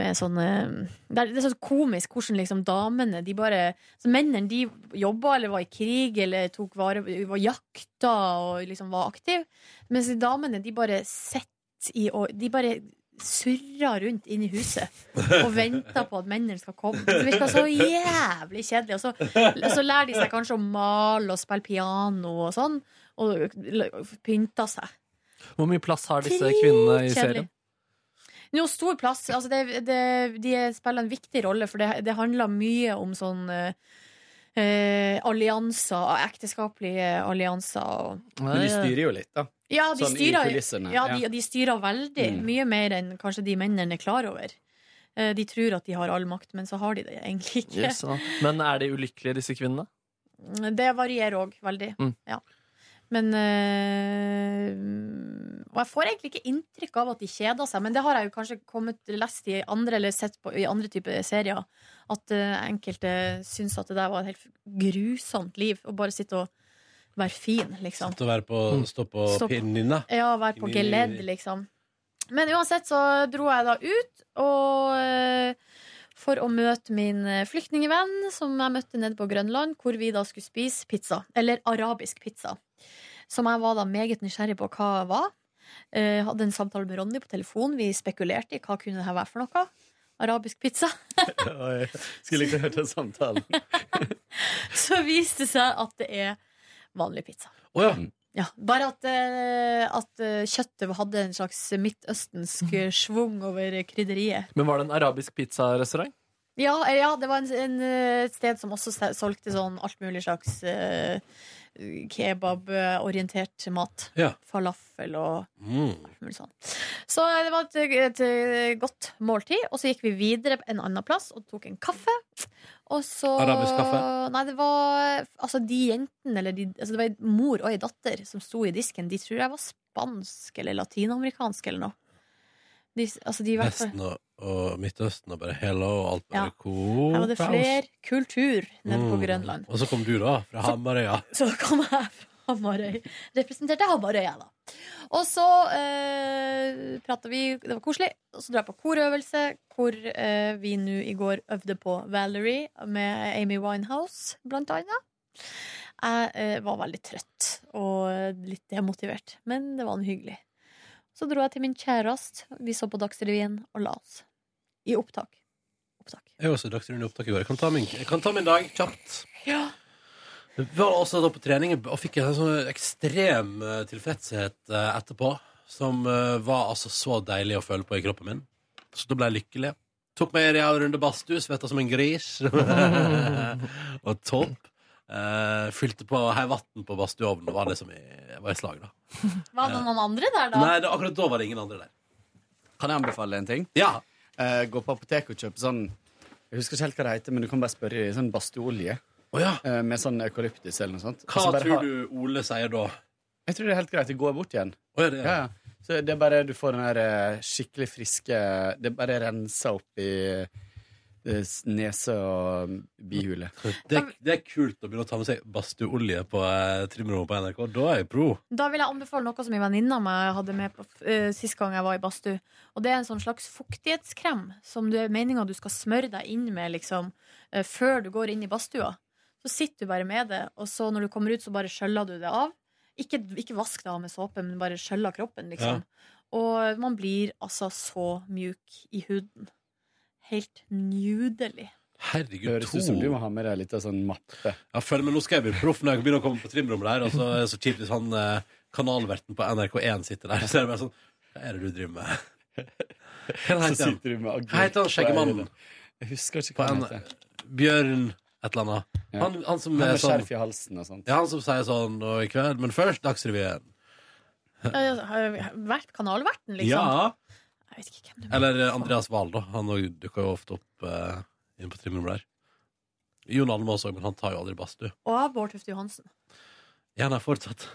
Med sånn eh, Det er det er så komisk hvordan liksom damene de bare så Mennene de jobba eller var i krig eller tok vare var jakta og liksom var aktiv Mens damene de bare sitter i og De bare surrer rundt inn i huset og venter på at mennene skal komme. Det virker så jævlig kjedelig. Og så, og så lærer de seg kanskje å male og spille piano og sånn. Og pynter seg.
Hvor mye plass har disse kvinnene i
Dritkjedelig.
serien?
Jo, stor plass. Altså det, det, de spiller en viktig rolle, for det, det handler mye om sånn eh, eh, allianser, ekteskapelige allianser. Og,
Men de styrer jo litt, da.
ja, de
sånn
styrer,
i kulissene.
Ja, de, de styrer veldig.
Mm.
Mye mer enn kanskje de mennene er klar over. Eh, De tror at de har all makt, men så har de det egentlig ikke.
Yes, ja. Men er de ulykkelige, disse kvinnene?
Mm, Det varierer òg veldig.
Mm.
Ja. Men øh, Og jeg får egentlig ikke inntrykk av at de kjeder seg, men det har jeg jo kanskje kommet lest i andre eller sett på i andre typer serier. At øh, enkelte syns at det der var et helt grusomt liv. Å bare sitte og være fin, liksom.
Til å være på, stå på
Stå på-
pinnene.
Ja, være på
Inni-
geledd, liksom. Men uansett så dro jeg da ut, og eh, for å møte min eh, flyktningevenn, som jeg møtte nede på Grønland, hvor vi da skulle spise pizza. Eller arabisk pizza. Som jeg var da meget nysgjerrig på hva var. Eh, hadde en samtale med Ronny på telefon. Vi spekulerte i hva kunne det her være for noe. Arabisk pizza.
Oi, Skulle ikke hørt den samtalen.
*laughs* Så viste det seg at det er vanlig pizza.
Å ja.
Ja, bare at, eh, at eh, kjøttet hadde en slags
*laughs*
midtøstensk eh, schwung over krydderiet.
Men var det en arabisk pizzarestaurant?
Ja, eh, ja det var en, en, eh, et sted som også se- solgte sånn alt mulig slags eh, kebaborientert mat.
Ja.
Falafel og
Mm.
alt mulig sånn. Så eh, det var et, et godt måltid, og så gikk vi videre en annen plass og tok en kaffe. Og så
Arabisk kaffe?
Nei, det var altså de jentene, eller de altså, Det var en mor og ei datter som sto i disken. De tror jeg var spansk eller latinamerikansk eller noe. De, altså, de i hvert fall
Vesten og, og Midtøsten og bare hello og alt
Ja.
bare cool.
Her var det fler kultur nede på
Mm.
Grønland.
Og så kom du, da, fra Hamarøya.
Så kom jeg fra Hamarøy. Representerte Hamarøya, da. Og så eh, prata vi, det var koselig. Og så dro jeg på korøvelse, hvor eh, vi nå i går øvde på Valerie med Amy Winehouse, blant annet. Jeg eh, var veldig trøtt og litt demotivert, men det var en hyggelig. Så dro jeg til min kjæreste, vi så på Dagsrevyen og la oss. I opptak.
Jeg var også i Dagsrevyen i opptak i går. Jeg kan ta min, jeg kan ta min dag kjapt.
Ja.
Jeg var også da på trening og fikk en sånn ekstrem eh, tilfredshet eh, etterpå. Som eh, var altså så deilig å føle på i kroppen min. Så da ble jeg lykkelig. Tok meg en real runde badstue, svetta som en gris. *laughs* og topp. Eh, fylte på hei vann på badstueovnen og var liksom i, var i slag, da.
Var det noen andre der, da?
Nei, det, akkurat da var det ingen andre der.
Kan jeg anbefale en ting?
Ja.
Eh, gå på apoteket og kjøpe sånn Jeg husker ikke helt hva det heter, men du kan bare spørre i sånn badstueolje. Eh, med sånn eukalyptus eller noe sånt.
Hva tror du Ole sier da?
Jeg tror det er helt greit. Det går bort igjen.
det er det.
ja, ja. Så det er bare du får den der eh, skikkelig friske Det er bare rensa opp i eh, s- nese og bihule.
Det, det er kult å begynne å ta med seg badstueolje på eh, trimrommet på NRK. Da er jeg pro.
Da vil jeg anbefale noe som en venninne av meg hadde med på, eh, sist gang jeg var i badstue. Og det er en sånn slags fuktighetskrem som det er meninga du skal smøre deg inn med liksom, eh, før du går inn i badstua. Så sitter du bare med det, og så når du kommer ut, så bare skjøller du det av. Ikke, ikke vask det av med såpe, men bare skjøller kroppen, liksom. Og man blir altså så mjuk i huden. Helt nydelig.
Herregud,
Høres ut som du må ha med deg litt av sånn mappe.
Jeg føler meg, Nå skal jeg bli proff når jeg begynner å komme på trimrommet der. Og så er det så kjipt hvis han eh, kanalverten på NRK1 sitter der. *laughs* Så er det bare sånn Hva er det du driver *laughs* med? Hva
Så
heter han?
sitter du med agurk
Hva heter han
på øynene.
skjeggemannen?
Jeg husker ikke
På
hva han
en-
heter.
Bjørn et eller annet.
Ja.
Han, han som
Han
er
med
sånn
skjerf i halsen og sånt.
Ja, han som sier sånn og i kveld, men først Dagsrevyen.
Eh, Har jeg vært kanalverten, liksom?
Ja.
Jeg vet ikke hvem du
Eller eh, Andreas Wahl, da. Han òg dukker jo ofte opp eh, inn på trimrommet der. Jon Almaas òg, men han tar jo aldri badstue.
Og Bård Tufte Johansen.
Ja, nei, fortsatt.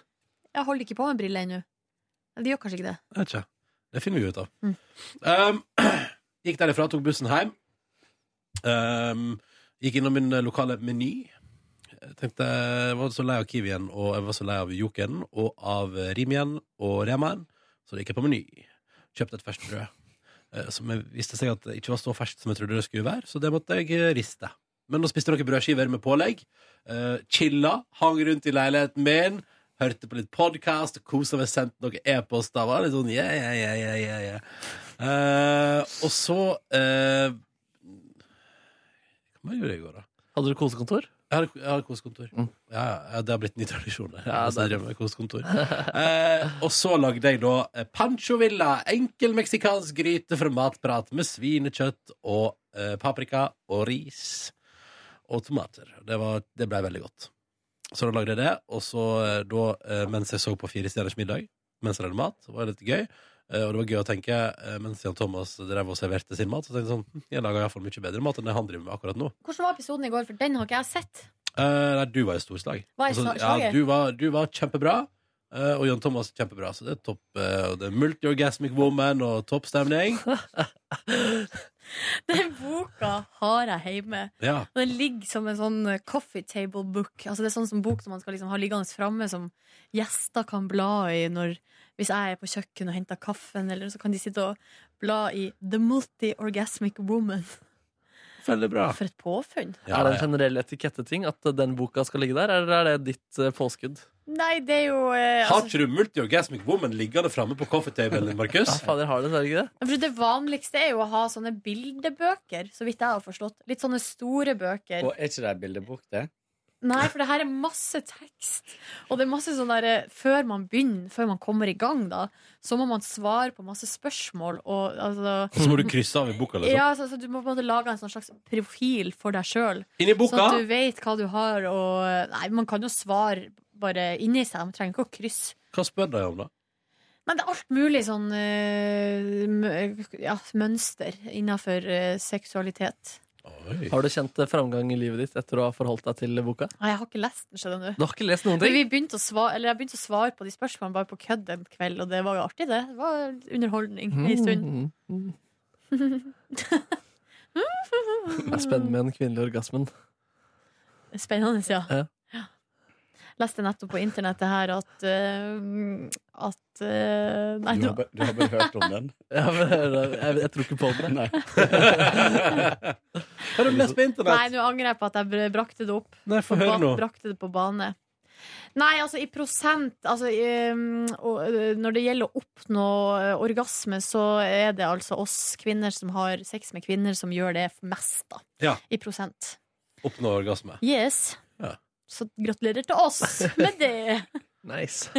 Jeg holder ikke på med briller ennå. De gjør kanskje ikke det.
Jeg vet ikke. Det finner vi ut av.
Mm.
Um, *clears throat* gikk derifra, tok bussen hjem. Um, gikk innom min eh, lokale meny. Jeg tenkte, jeg var så lei av Kiwien, og jeg var så lei av Joken, og av eh, Rimien og Remaen. Så gikk jeg på meny. Kjøpte et ferskt brød. eh, Som jeg viste seg at det ikke var så ferskt som jeg trodde det skulle være, så det måtte jeg eh, riste. Men da spiste jeg noen brødskiver med pålegg. eh, chilla, hang rundt i leiligheten min, hørte på litt podkast, kosa meg, sendte noen e-poster. var Litt sånn, yeah, yeah, yeah, yeah, yeah, yeah. Eh, og så eh, Hva gjorde jeg i går, da?
Hadde du kosekontor?
Jeg hadde, jeg hadde kosekontor. Ja, ja, det har blitt en ny tradisjon. Der.
Mm. Ja,
Altså,
det-
jeg drømmer om
*laughs*
kosekontor. eh, og så lagde jeg da eh, pancho villa, enkel meksikansk gryte fra matprat med svinekjøtt og eh, paprika og ris og tomater. Det, var, det ble veldig godt. Så da lagde jeg det, og så eh, da, eh, mens jeg så på Fire stjerners middag, mens jeg lagde mat, det var litt gøy. Eh, Og det var gøy å tenke, eh, mens Jan Thomas drev og serverte sin mat, så tenkte jeg sånn, hm, jeg lager iallfall mye bedre mat enn det han driver med akkurat nå.
Hvordan var episoden i går? For den har ikke jeg sett.
Eh, nei, du var i storslag.
Var jeg i sla-
Altså, ja,
slaget?
du, var, du var kjempebra, eh, og Jan Thomas kjempebra. Så det er topp. eh, og det er multi-orgasmic woman og topp stemning.
*laughs* Den boka har jeg hjemme.
Ja.
Og den ligger som en sånn eh, coffee table book. Altså Det er sånn som bok som man skal liksom ha liggende framme, som gjester kan bla i når, hvis jeg er på kjøkkenet og henter kaffen, eller så kan de sitte og bla i The Multi-Orgasmic Woman.
Veldig bra.
For et påfunn.
er det en generell etiketteting at den boka skal ligge der, eller er det ditt eh, påskudd?
Nei, det er jo eh,
Har ikke du multi-orgasmic woman liggende framme på coffeetaben, Markus?
*laughs* Ja, fader, har det, er det ikke det?
Ja, For det vanligste er jo å ha sånne bildebøker, så vidt jeg har forstått. Litt sånne store bøker.
Og er ikke det ei bildebok, det?
Nei, for det her er masse tekst. Og det er masse sånn der eh, Før man begynner, før man kommer i gang, da, så må man svare på masse spørsmål og altså
Så må du krysse av i boka, liksom.
Ja, så, så du må på en måte lage en sånn slags profil for deg sjøl.
Inni boka?
Sånn at du vet hva du har og eh, Nei, man kan jo svare bare inni seg. Man trenger ikke å krysse.
Hva spør de om, da?
Nei, det er alt mulig sånn eh, mø- ja, mønster innafor seksualitet.
Har du kjent eh, framgang i livet ditt etter å ha forholdt deg til boka?
Nei, jeg har ikke lest den, skjønner
Du har ikke lest noen
Men
ting?
Vi begynte å svare, eller jeg begynte å svare på de spørsmålene bare på kødd en kveld, og det var jo artig, det. Det var underholdning
Mm.
en stund. *laughs*
Det er spennende med den kvinnelige orgasmen.
Spennende, ja.
Ja.
Leste nettopp på internettet her at eh, At eh, nei,
Du
nå-
har, bare- du har bare hørt om den?
*laughs* Ja, men, jeg, jeg tror ikke på den.
Nei.
Hva har du lest på internett?
Nei, nå angrer jeg på at jeg br- brakte det opp.
Nei, få
På
høre
ba-
nå.
Brakte det på bane. Nei, altså i prosent altså, i, um, og, ø, Når det gjelder å oppnå ø, orgasme, så er det altså oss kvinner som har sex med kvinner, som gjør det mest, da.
Ja.
I prosent.
Oppnå orgasme.
Yes.
Ja.
Så gratulerer til oss med det!
*laughs*
Nice.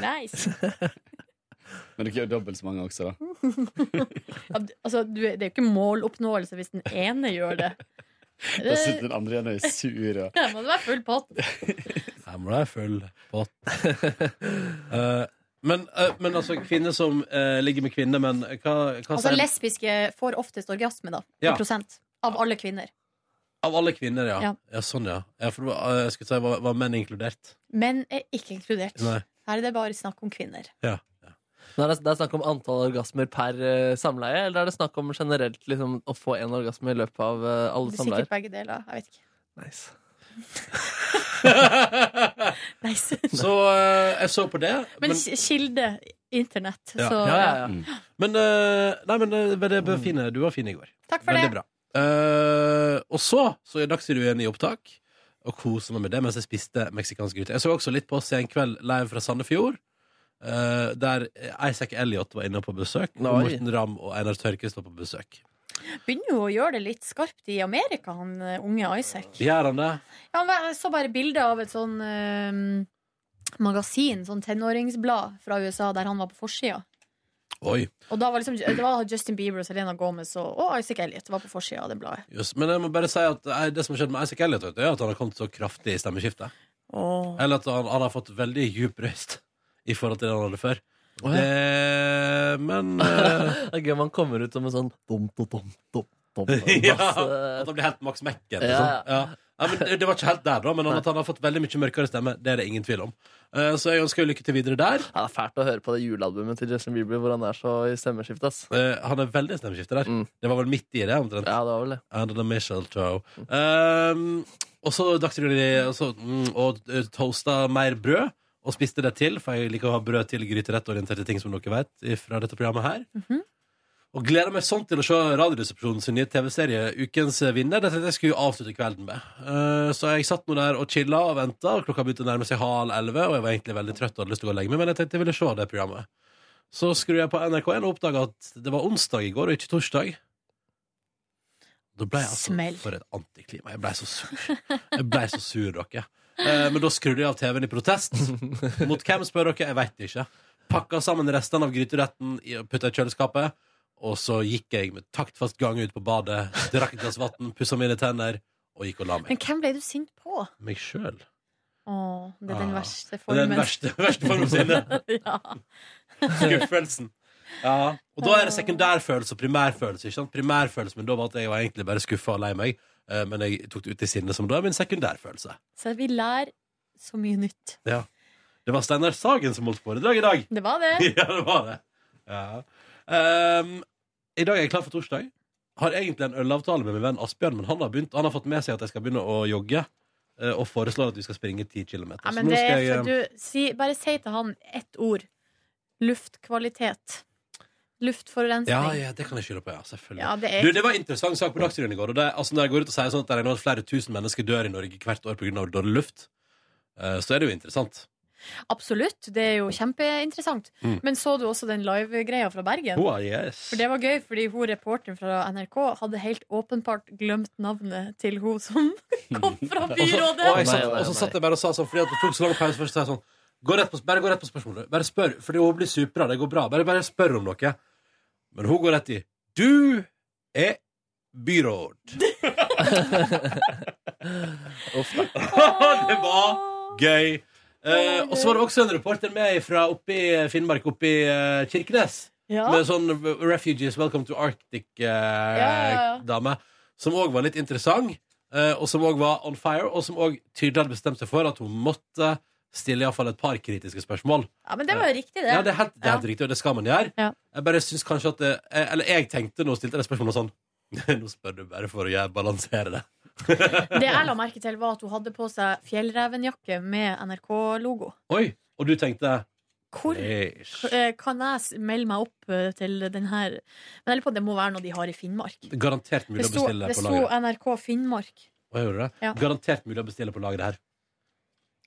nice.
*laughs* Men dere gjør dobbelt så mange også, da.
Ja, du- altså, du, det er jo ikke måloppnåelse hvis den ene gjør det. Eh,
Da sitter den andre igjen og er sur. Og...
Ja, må det være full pott.
Her må det være full pott. *laughs* Eh, men, eh, men altså, kvinner som eh, ligger med kvinner, men hva, hva
Altså
sier-
lesbiske får oftest orgasme, da.
Ja.
I prosent. Av alle kvinner.
Av alle kvinner, ja. ja.
Ja.
sånn, ja. ja for det var, eh, jeg skulle si, var, var menn inkludert?
Menn er ikke inkludert.
Nei.
Her er det bare snakk om kvinner.
Nå er det, det er snakk om antall orgasmer per eh, samleie, eller er det snakk om generelt liksom, å få én orgasme i løpet av eh, alle
Det er sikkert
samleier?
begge deler. Jeg vet ikke.
Nice.
nice.
*laughs* Så eh, jeg så på det.
Men ki- kilde internett.
Ja.
Så
Ja, ja, ja.
Mm.
Men, eh, nei, men eh, det var fine. du var fin i går.
Takk for
Veldig
det.
bra. Eh, og så så er Dagsrevyen i opptak, og koser meg med det mens jeg spiste meksikansk gryte. Jeg så også litt på Senkveld live fra Sandefjord, eh, der Isaac Elliot var inne på besøk. Og
Oi.
Morten Ramm og Einar Tørkes var på besøk.
Begynner jo å gjøre det litt skarpt i Amerika, han eh, unge Isaac.
Gjør han det?
Ja, han var- jeg så bare bilde av et sånn eh, magasin, sånn tenåringsblad fra USA, der han var på forsida.
Oi.
Og da var liksom, det var Justin Bieber og Selena Gomez og, og Isaac Elliot var på forsida av det bladet.
Jøss, Men jeg må bare si at eh, det som har skjedd med Isaac Elliot, vet du, er at han har kommet så kraftig i stemmeskiftet.
Åh.
Eller at han, han har fått veldig djup røst i forhold til det han hadde før.
Åh, ja.
Eh,
*laughs*
men eh,
Det er gøy man kommer ut som en sånn dum, dum, dum, dum, dum, *laughs*
Ja, at han blir helt Max Mekken.
Ja,
Liksom. Ja. Ja, men det- det var ikke helt der, da, men han, at han har fått veldig mye mørkere stemme, det er det ingen tvil om. Eh, så jeg ønsker jo lykke til videre der.
Ja, det er fælt å høre på det julealbumet til Justin Bieber hvor han er så i stemmeskiftet. ass.
Eh, han er veldig stemmeskifter der. Det var vel midt i det, omtrent.
Mm. Ja, det var vel det.
Under the mistletoe. Um, og så Dagsrevyen og så, mm, og eh, toasta mer brød. Og spiste det til, for jeg liker å ha brød til gryterettorienterte ting, som dere vet. Fra dette programmet her Og gleder meg sånn til å se Radioresepsjonen sin nye TV-serie Ukens vinner. Det tenkte jeg skulle avslutte kvelden med. Eh, så jeg satt nå der og chilla og venta, og klokka begynte å nærme seg halv elleve. Og jeg var egentlig veldig trøtt og hadde lyst til å gå og legge meg, men jeg tenkte jeg ville se det programmet. Så skrur jeg på NRK1 og oppdaga at det var onsdag i går, og ikke torsdag. Da ble jeg altså
Smell.
for et antiklima. Jeg blei så sur. Jeg blei så sur, dere. Eh, men da skrudde jeg av TV-en i protest. Mot hvem, spør dere? Jeg veit ikke. Pakka sammen restene av gryteretten og putta i kjøleskapet. Og så gikk jeg med taktfast gang ut på badet, drakk et glass vann, pussa mine tenner og gikk og la meg.
Men hvem ble du sint på?
Meg sjøl.
Åh, det er den
Ah.
verste
Det er
formen.
den verste, verste formen for sinne.
*laughs* ja.
Skuffelsen. Ja. Og da er det sekundærfølelse og primærfølelse. Ikke sant? Primærfølelse, Men da var at jeg var egentlig bare skuffa og lei meg. Eh, Men jeg tok det ut i sinne, som da er min sekundærfølelse.
Så vi lærer så mye nytt.
Ja. Det var Steinar Sagen som holdt foredrag i dag.
Det var det.
*laughs* Ja, det var det. Ja. Ehm, I dag er jeg klar for torsdag. Har egentlig en ølavtale med min venn Asbjørn, men han har, begynt, han har fått med seg at jeg skal begynne å jogge. eh, Og foreslår at vi skal springe 10 km.
Ja, men det er
eh,
for du, si, bare si til han ett ord. Luftkvalitet. Luftforurensning.
Ja, ja, det kan jeg skylde på, ja. Selvfølgelig.
Ja, det er-
Du, det var en interessant sak på Dagsrevyen i går. Og det, altså, når jeg går ut og sier sånn at det er nå at flere tusen mennesker dør i Norge hvert år pga. dårlig luft, eh, så er det jo interessant.
Absolutt, det er jo kjempeinteressant.
Mm.
Men så du også den live-greia fra Bergen?
Oh, yes.
For det var gøy, fordi hun reporteren fra NRK hadde helt åpenbart glemt navnet til hun
*laughs*
som kom fra byrådet.
Og, så, og, jeg satt, og så satt jeg bare og sa sånn, fordi at det tok så lang pause først, så sa jeg sånn gå rett på, Bare gå rett på spørsmålet. Bare spør. Fordi hun blir supra. Det går bra. Bare, bare spør om noe. Men hun går rett i Du er byråd. *laughs* det var gøy. Eh, og så var det også en reporter med fra oppe i Finnmark, oppe i eh, Kirkenes.
Ja.
Med sånn Refugees Welcome to
ja, ja.
Arctic-dame. som òg var litt interessant, eh, og som òg var on fire, og som òg tydelig hadde bestemt seg for at hun måtte stille iallfall et par kritiske spørsmål.
Ja, men det var jo riktig, det.
Ja, det er helt, det er helt riktig, og det skal man gjøre.
Ja.
Jeg bare synes kanskje at det, eh, Eller jeg tenkte når hun stilte det spørsmålet sånn *laughs* Nå spør du bare for å gjøre, balansere det.
Det jeg la merke til, var at hun hadde på seg fjellrevenjakke med NRK-logo.
Oi! Og du tenkte
Hvor
Eish.
eh, kan jeg s- melde meg opp eh, til den her Men jeg lurer på om det må være noe de har i Finnmark.
Garantert mulig
Det
å
sto,
bestille
det
på
sto
lageret.
NRK Finnmark.
Hva gjorde du?
Ja.
Garantert mulig å bestille på lageret her.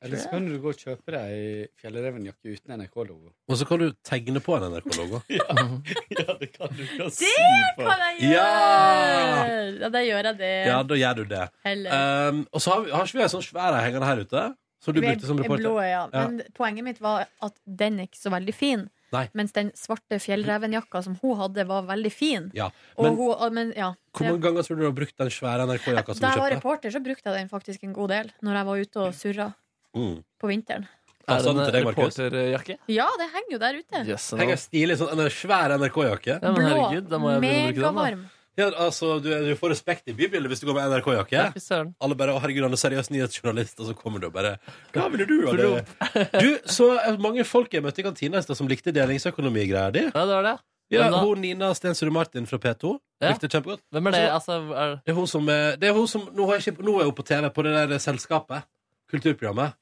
Eller så kan du gå og kjøpe deg Fjellreven-jakke uten NRK-logo.
Og så kan du tegne på en NRK-logo.
Ja, det kan du ikke
Det kan jeg gjøre!
Ja!
Ja, da gjør jeg det.
Ja, da gjør du det.
Heller.
Um, og så har, vi- har ikke vi en sånn svær en hengende her ute? Som du
Med-
brukte som
med
reporter?
blå øyne, ja.
Ja.
Men poenget mitt var at den er ikke så veldig fin.
Nei.
Mens den svarte fjellrevenjakka som hun hadde, var veldig fin.
Ja.
Og
Men
hun, og- men ja.
hvor mange ganger tror du du har brukt den svære NRK-jakka
Da
som du
jeg var
kjøpte?
reporter, så brukte jeg den faktisk en god del. Når jeg var ute og surra
Mm.
på vinteren.
Passer
Er
den
det
til
en eh,
deg, Markus?
reporterjakke?
Ja, det henger jo der ute.
Henger stilig sånn en svær NRK-jakke.
Ja, men Blå, herregud, da må jeg begynne å bruke den, da. megavarm.
Ja, altså, du, du får respekt i bybildet hvis du går med
Ja,
NRK-jakke.
fy søren.
Alle bare 'Å, herregud, han er seriøs nyhetsjournalist', og så kommer du og bare 'Hva ville du ha det?' Du, så eh, mange folk jeg møtte i kantina i stad som likte delingsøkonomigreier di.
Ja, det var det.
Ja,
Hvem da?
hun Nina Stensrud Martin fra P2
Ja.
likte det kjempegodt.
Hvem er det?
Og så-
Altså, er...
det er hun som, eh, det er hun som nå, har jeg ikke, nå er hun på TV på det der selskapet. Kulturprogrammet.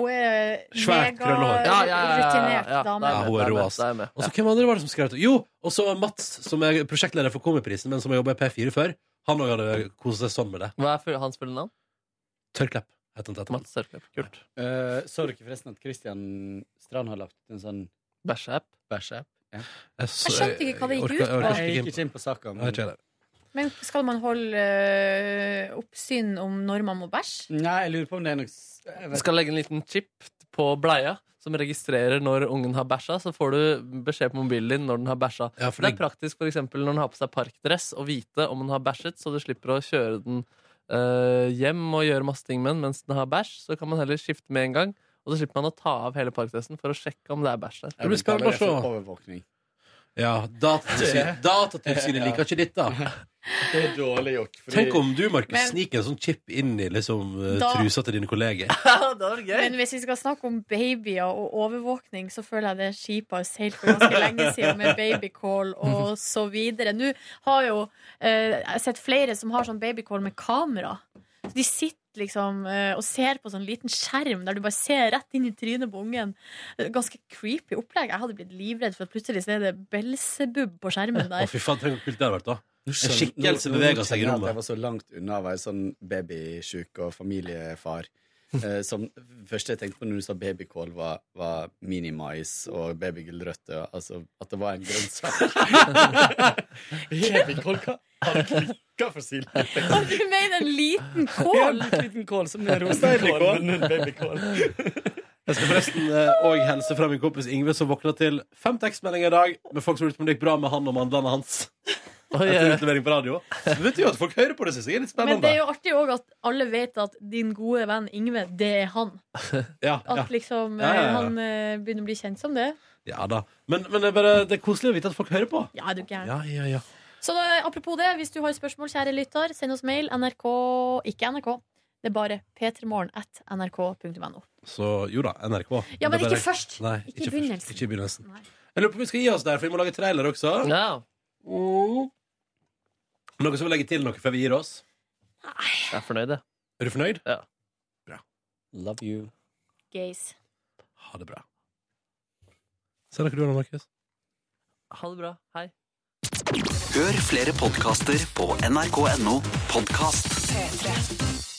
Hun er
Svært krøllhår.
mega rutinert dame.
Ja, hun er rå, ass. Og så hvem andre var det som skrev det? Jo, og så Mats, som er prosjektleder for Komiprisen, men som har jobba i P4 før. Han òg hadde kost seg sånn med det.
Hva er full- hans fulle navn?
Tørrklepp. heter han til etternavn.
Mats Sørklepp. Kult.
Eh, så dere forresten at Christian Strand har lagt en sånn
Bæsjeapp?
Bæsjeapp, ja.
Jeg,
skjønte ikke hva det gikk ut på.
Jeg gikk ikke inn på saka.
Jeg vet ikke heller.
Men skal man holde øh, oppsyn om når man må bæsje?
Nei, jeg lurer på om det er noe s- jeg
Du
vet-
skal legge en liten chip på bleia som registrerer når ungen har bæsja. Så får du beskjed på mobilen din når den har bæsja.
for
det er praktisk for eksempel når den har på seg parkdress, å vite om den har bæsjet, så du slipper å kjøre den eh, hjem og gjøre masse ting med den mens den har bæsj. Så kan man heller skifte med en gang. Og så slipper man å ta av hele parkdressen for å sjekke om det er bæsj der.
Det blir spennende å
Jeg kaller det for
se.
Overvåkning.
Ja, Datatilsynet datatilsynet liker ikke dette.
Det er dårlig gjort. fordi-
Tenk om du, Markus,
Men-
sniker en sånn chip inn i liksom, eh,
Da-
trusa til dine kolleger.
Men hvis vi skal snakke om babyer og overvåkning, så føler jeg det skipet har seilt for ganske lenge siden med babycall og så videre. Nå har jo eh, jeg har sett flere som har sånn babycall med kamera. Så de sitter liksom eh, og ser på sånn liten skjerm der du bare ser rett inn i trynet på ungen. Ganske creepy opplegg. Jeg hadde blitt livredd for at plutselig så er det Belsebub på skjermen
Å,
der.
fy faen, tenk hvor kult det hadde vært, da. En
Skjønner-
skikkelse
nå- nå
beveger seg i
kjenner jeg at
rommet.
Jeg var så langt unna å være sånn babysjuk og familiefar. Eh, som første jeg tenkte på når du sa babykål, var, var minimais og babygulrøtter. Altså at det var en grønnsak. babykål, hva? Har du klikka for sild?
Og *laughs* du mener en liten
Ja,
kål?
en liten kål som er rosenkål, men en babykål.
Jeg skal forresten eh, òg hilse fra min kompis Ingve, som våkna til fem tekstmeldinger i dag med folk som lurte på om det gikk bra med han og mandlene hans. Etter utlevering på radio. Det betyr jo at folk hører på det, syns jeg. Det er litt
Men det
spennende.
er jo artig òg at alle vet at din gode venn Ingve, det er han.
Ja, ja.
At liksom
Ja, ja, ja.
eh, han eh, begynner å bli kjent som det.
ja da. Men, men det, er bare, det er koselig å vite at folk hører på.
Ja, er du gæren.
Ja, ja, ja.
Så da, apropos det, hvis du har spørsmål, kjære lytter, send oss mail nrk Ikke NRK. Det er bare p3morgen at nrk.no.
Så jo da, NRK.
Ja, men
Det er
ikke først.
Nei,
Ikke i
ikke, først.
begynnelsen.
Ikke i begynnelsen. Jeg lurer på om vi skal gi oss der, for vi må lage trailer også. Mm. Noen som vil legge til noe før vi gir oss?
Jeg er fornøyd, jeg.
Er du fornøyd?
Ja.
Love you.
Gays.
Ha det bra. Ser dere du nå, Markus?
Ha det bra. Hei.
Hør flere podkaster på nrk.no podkast.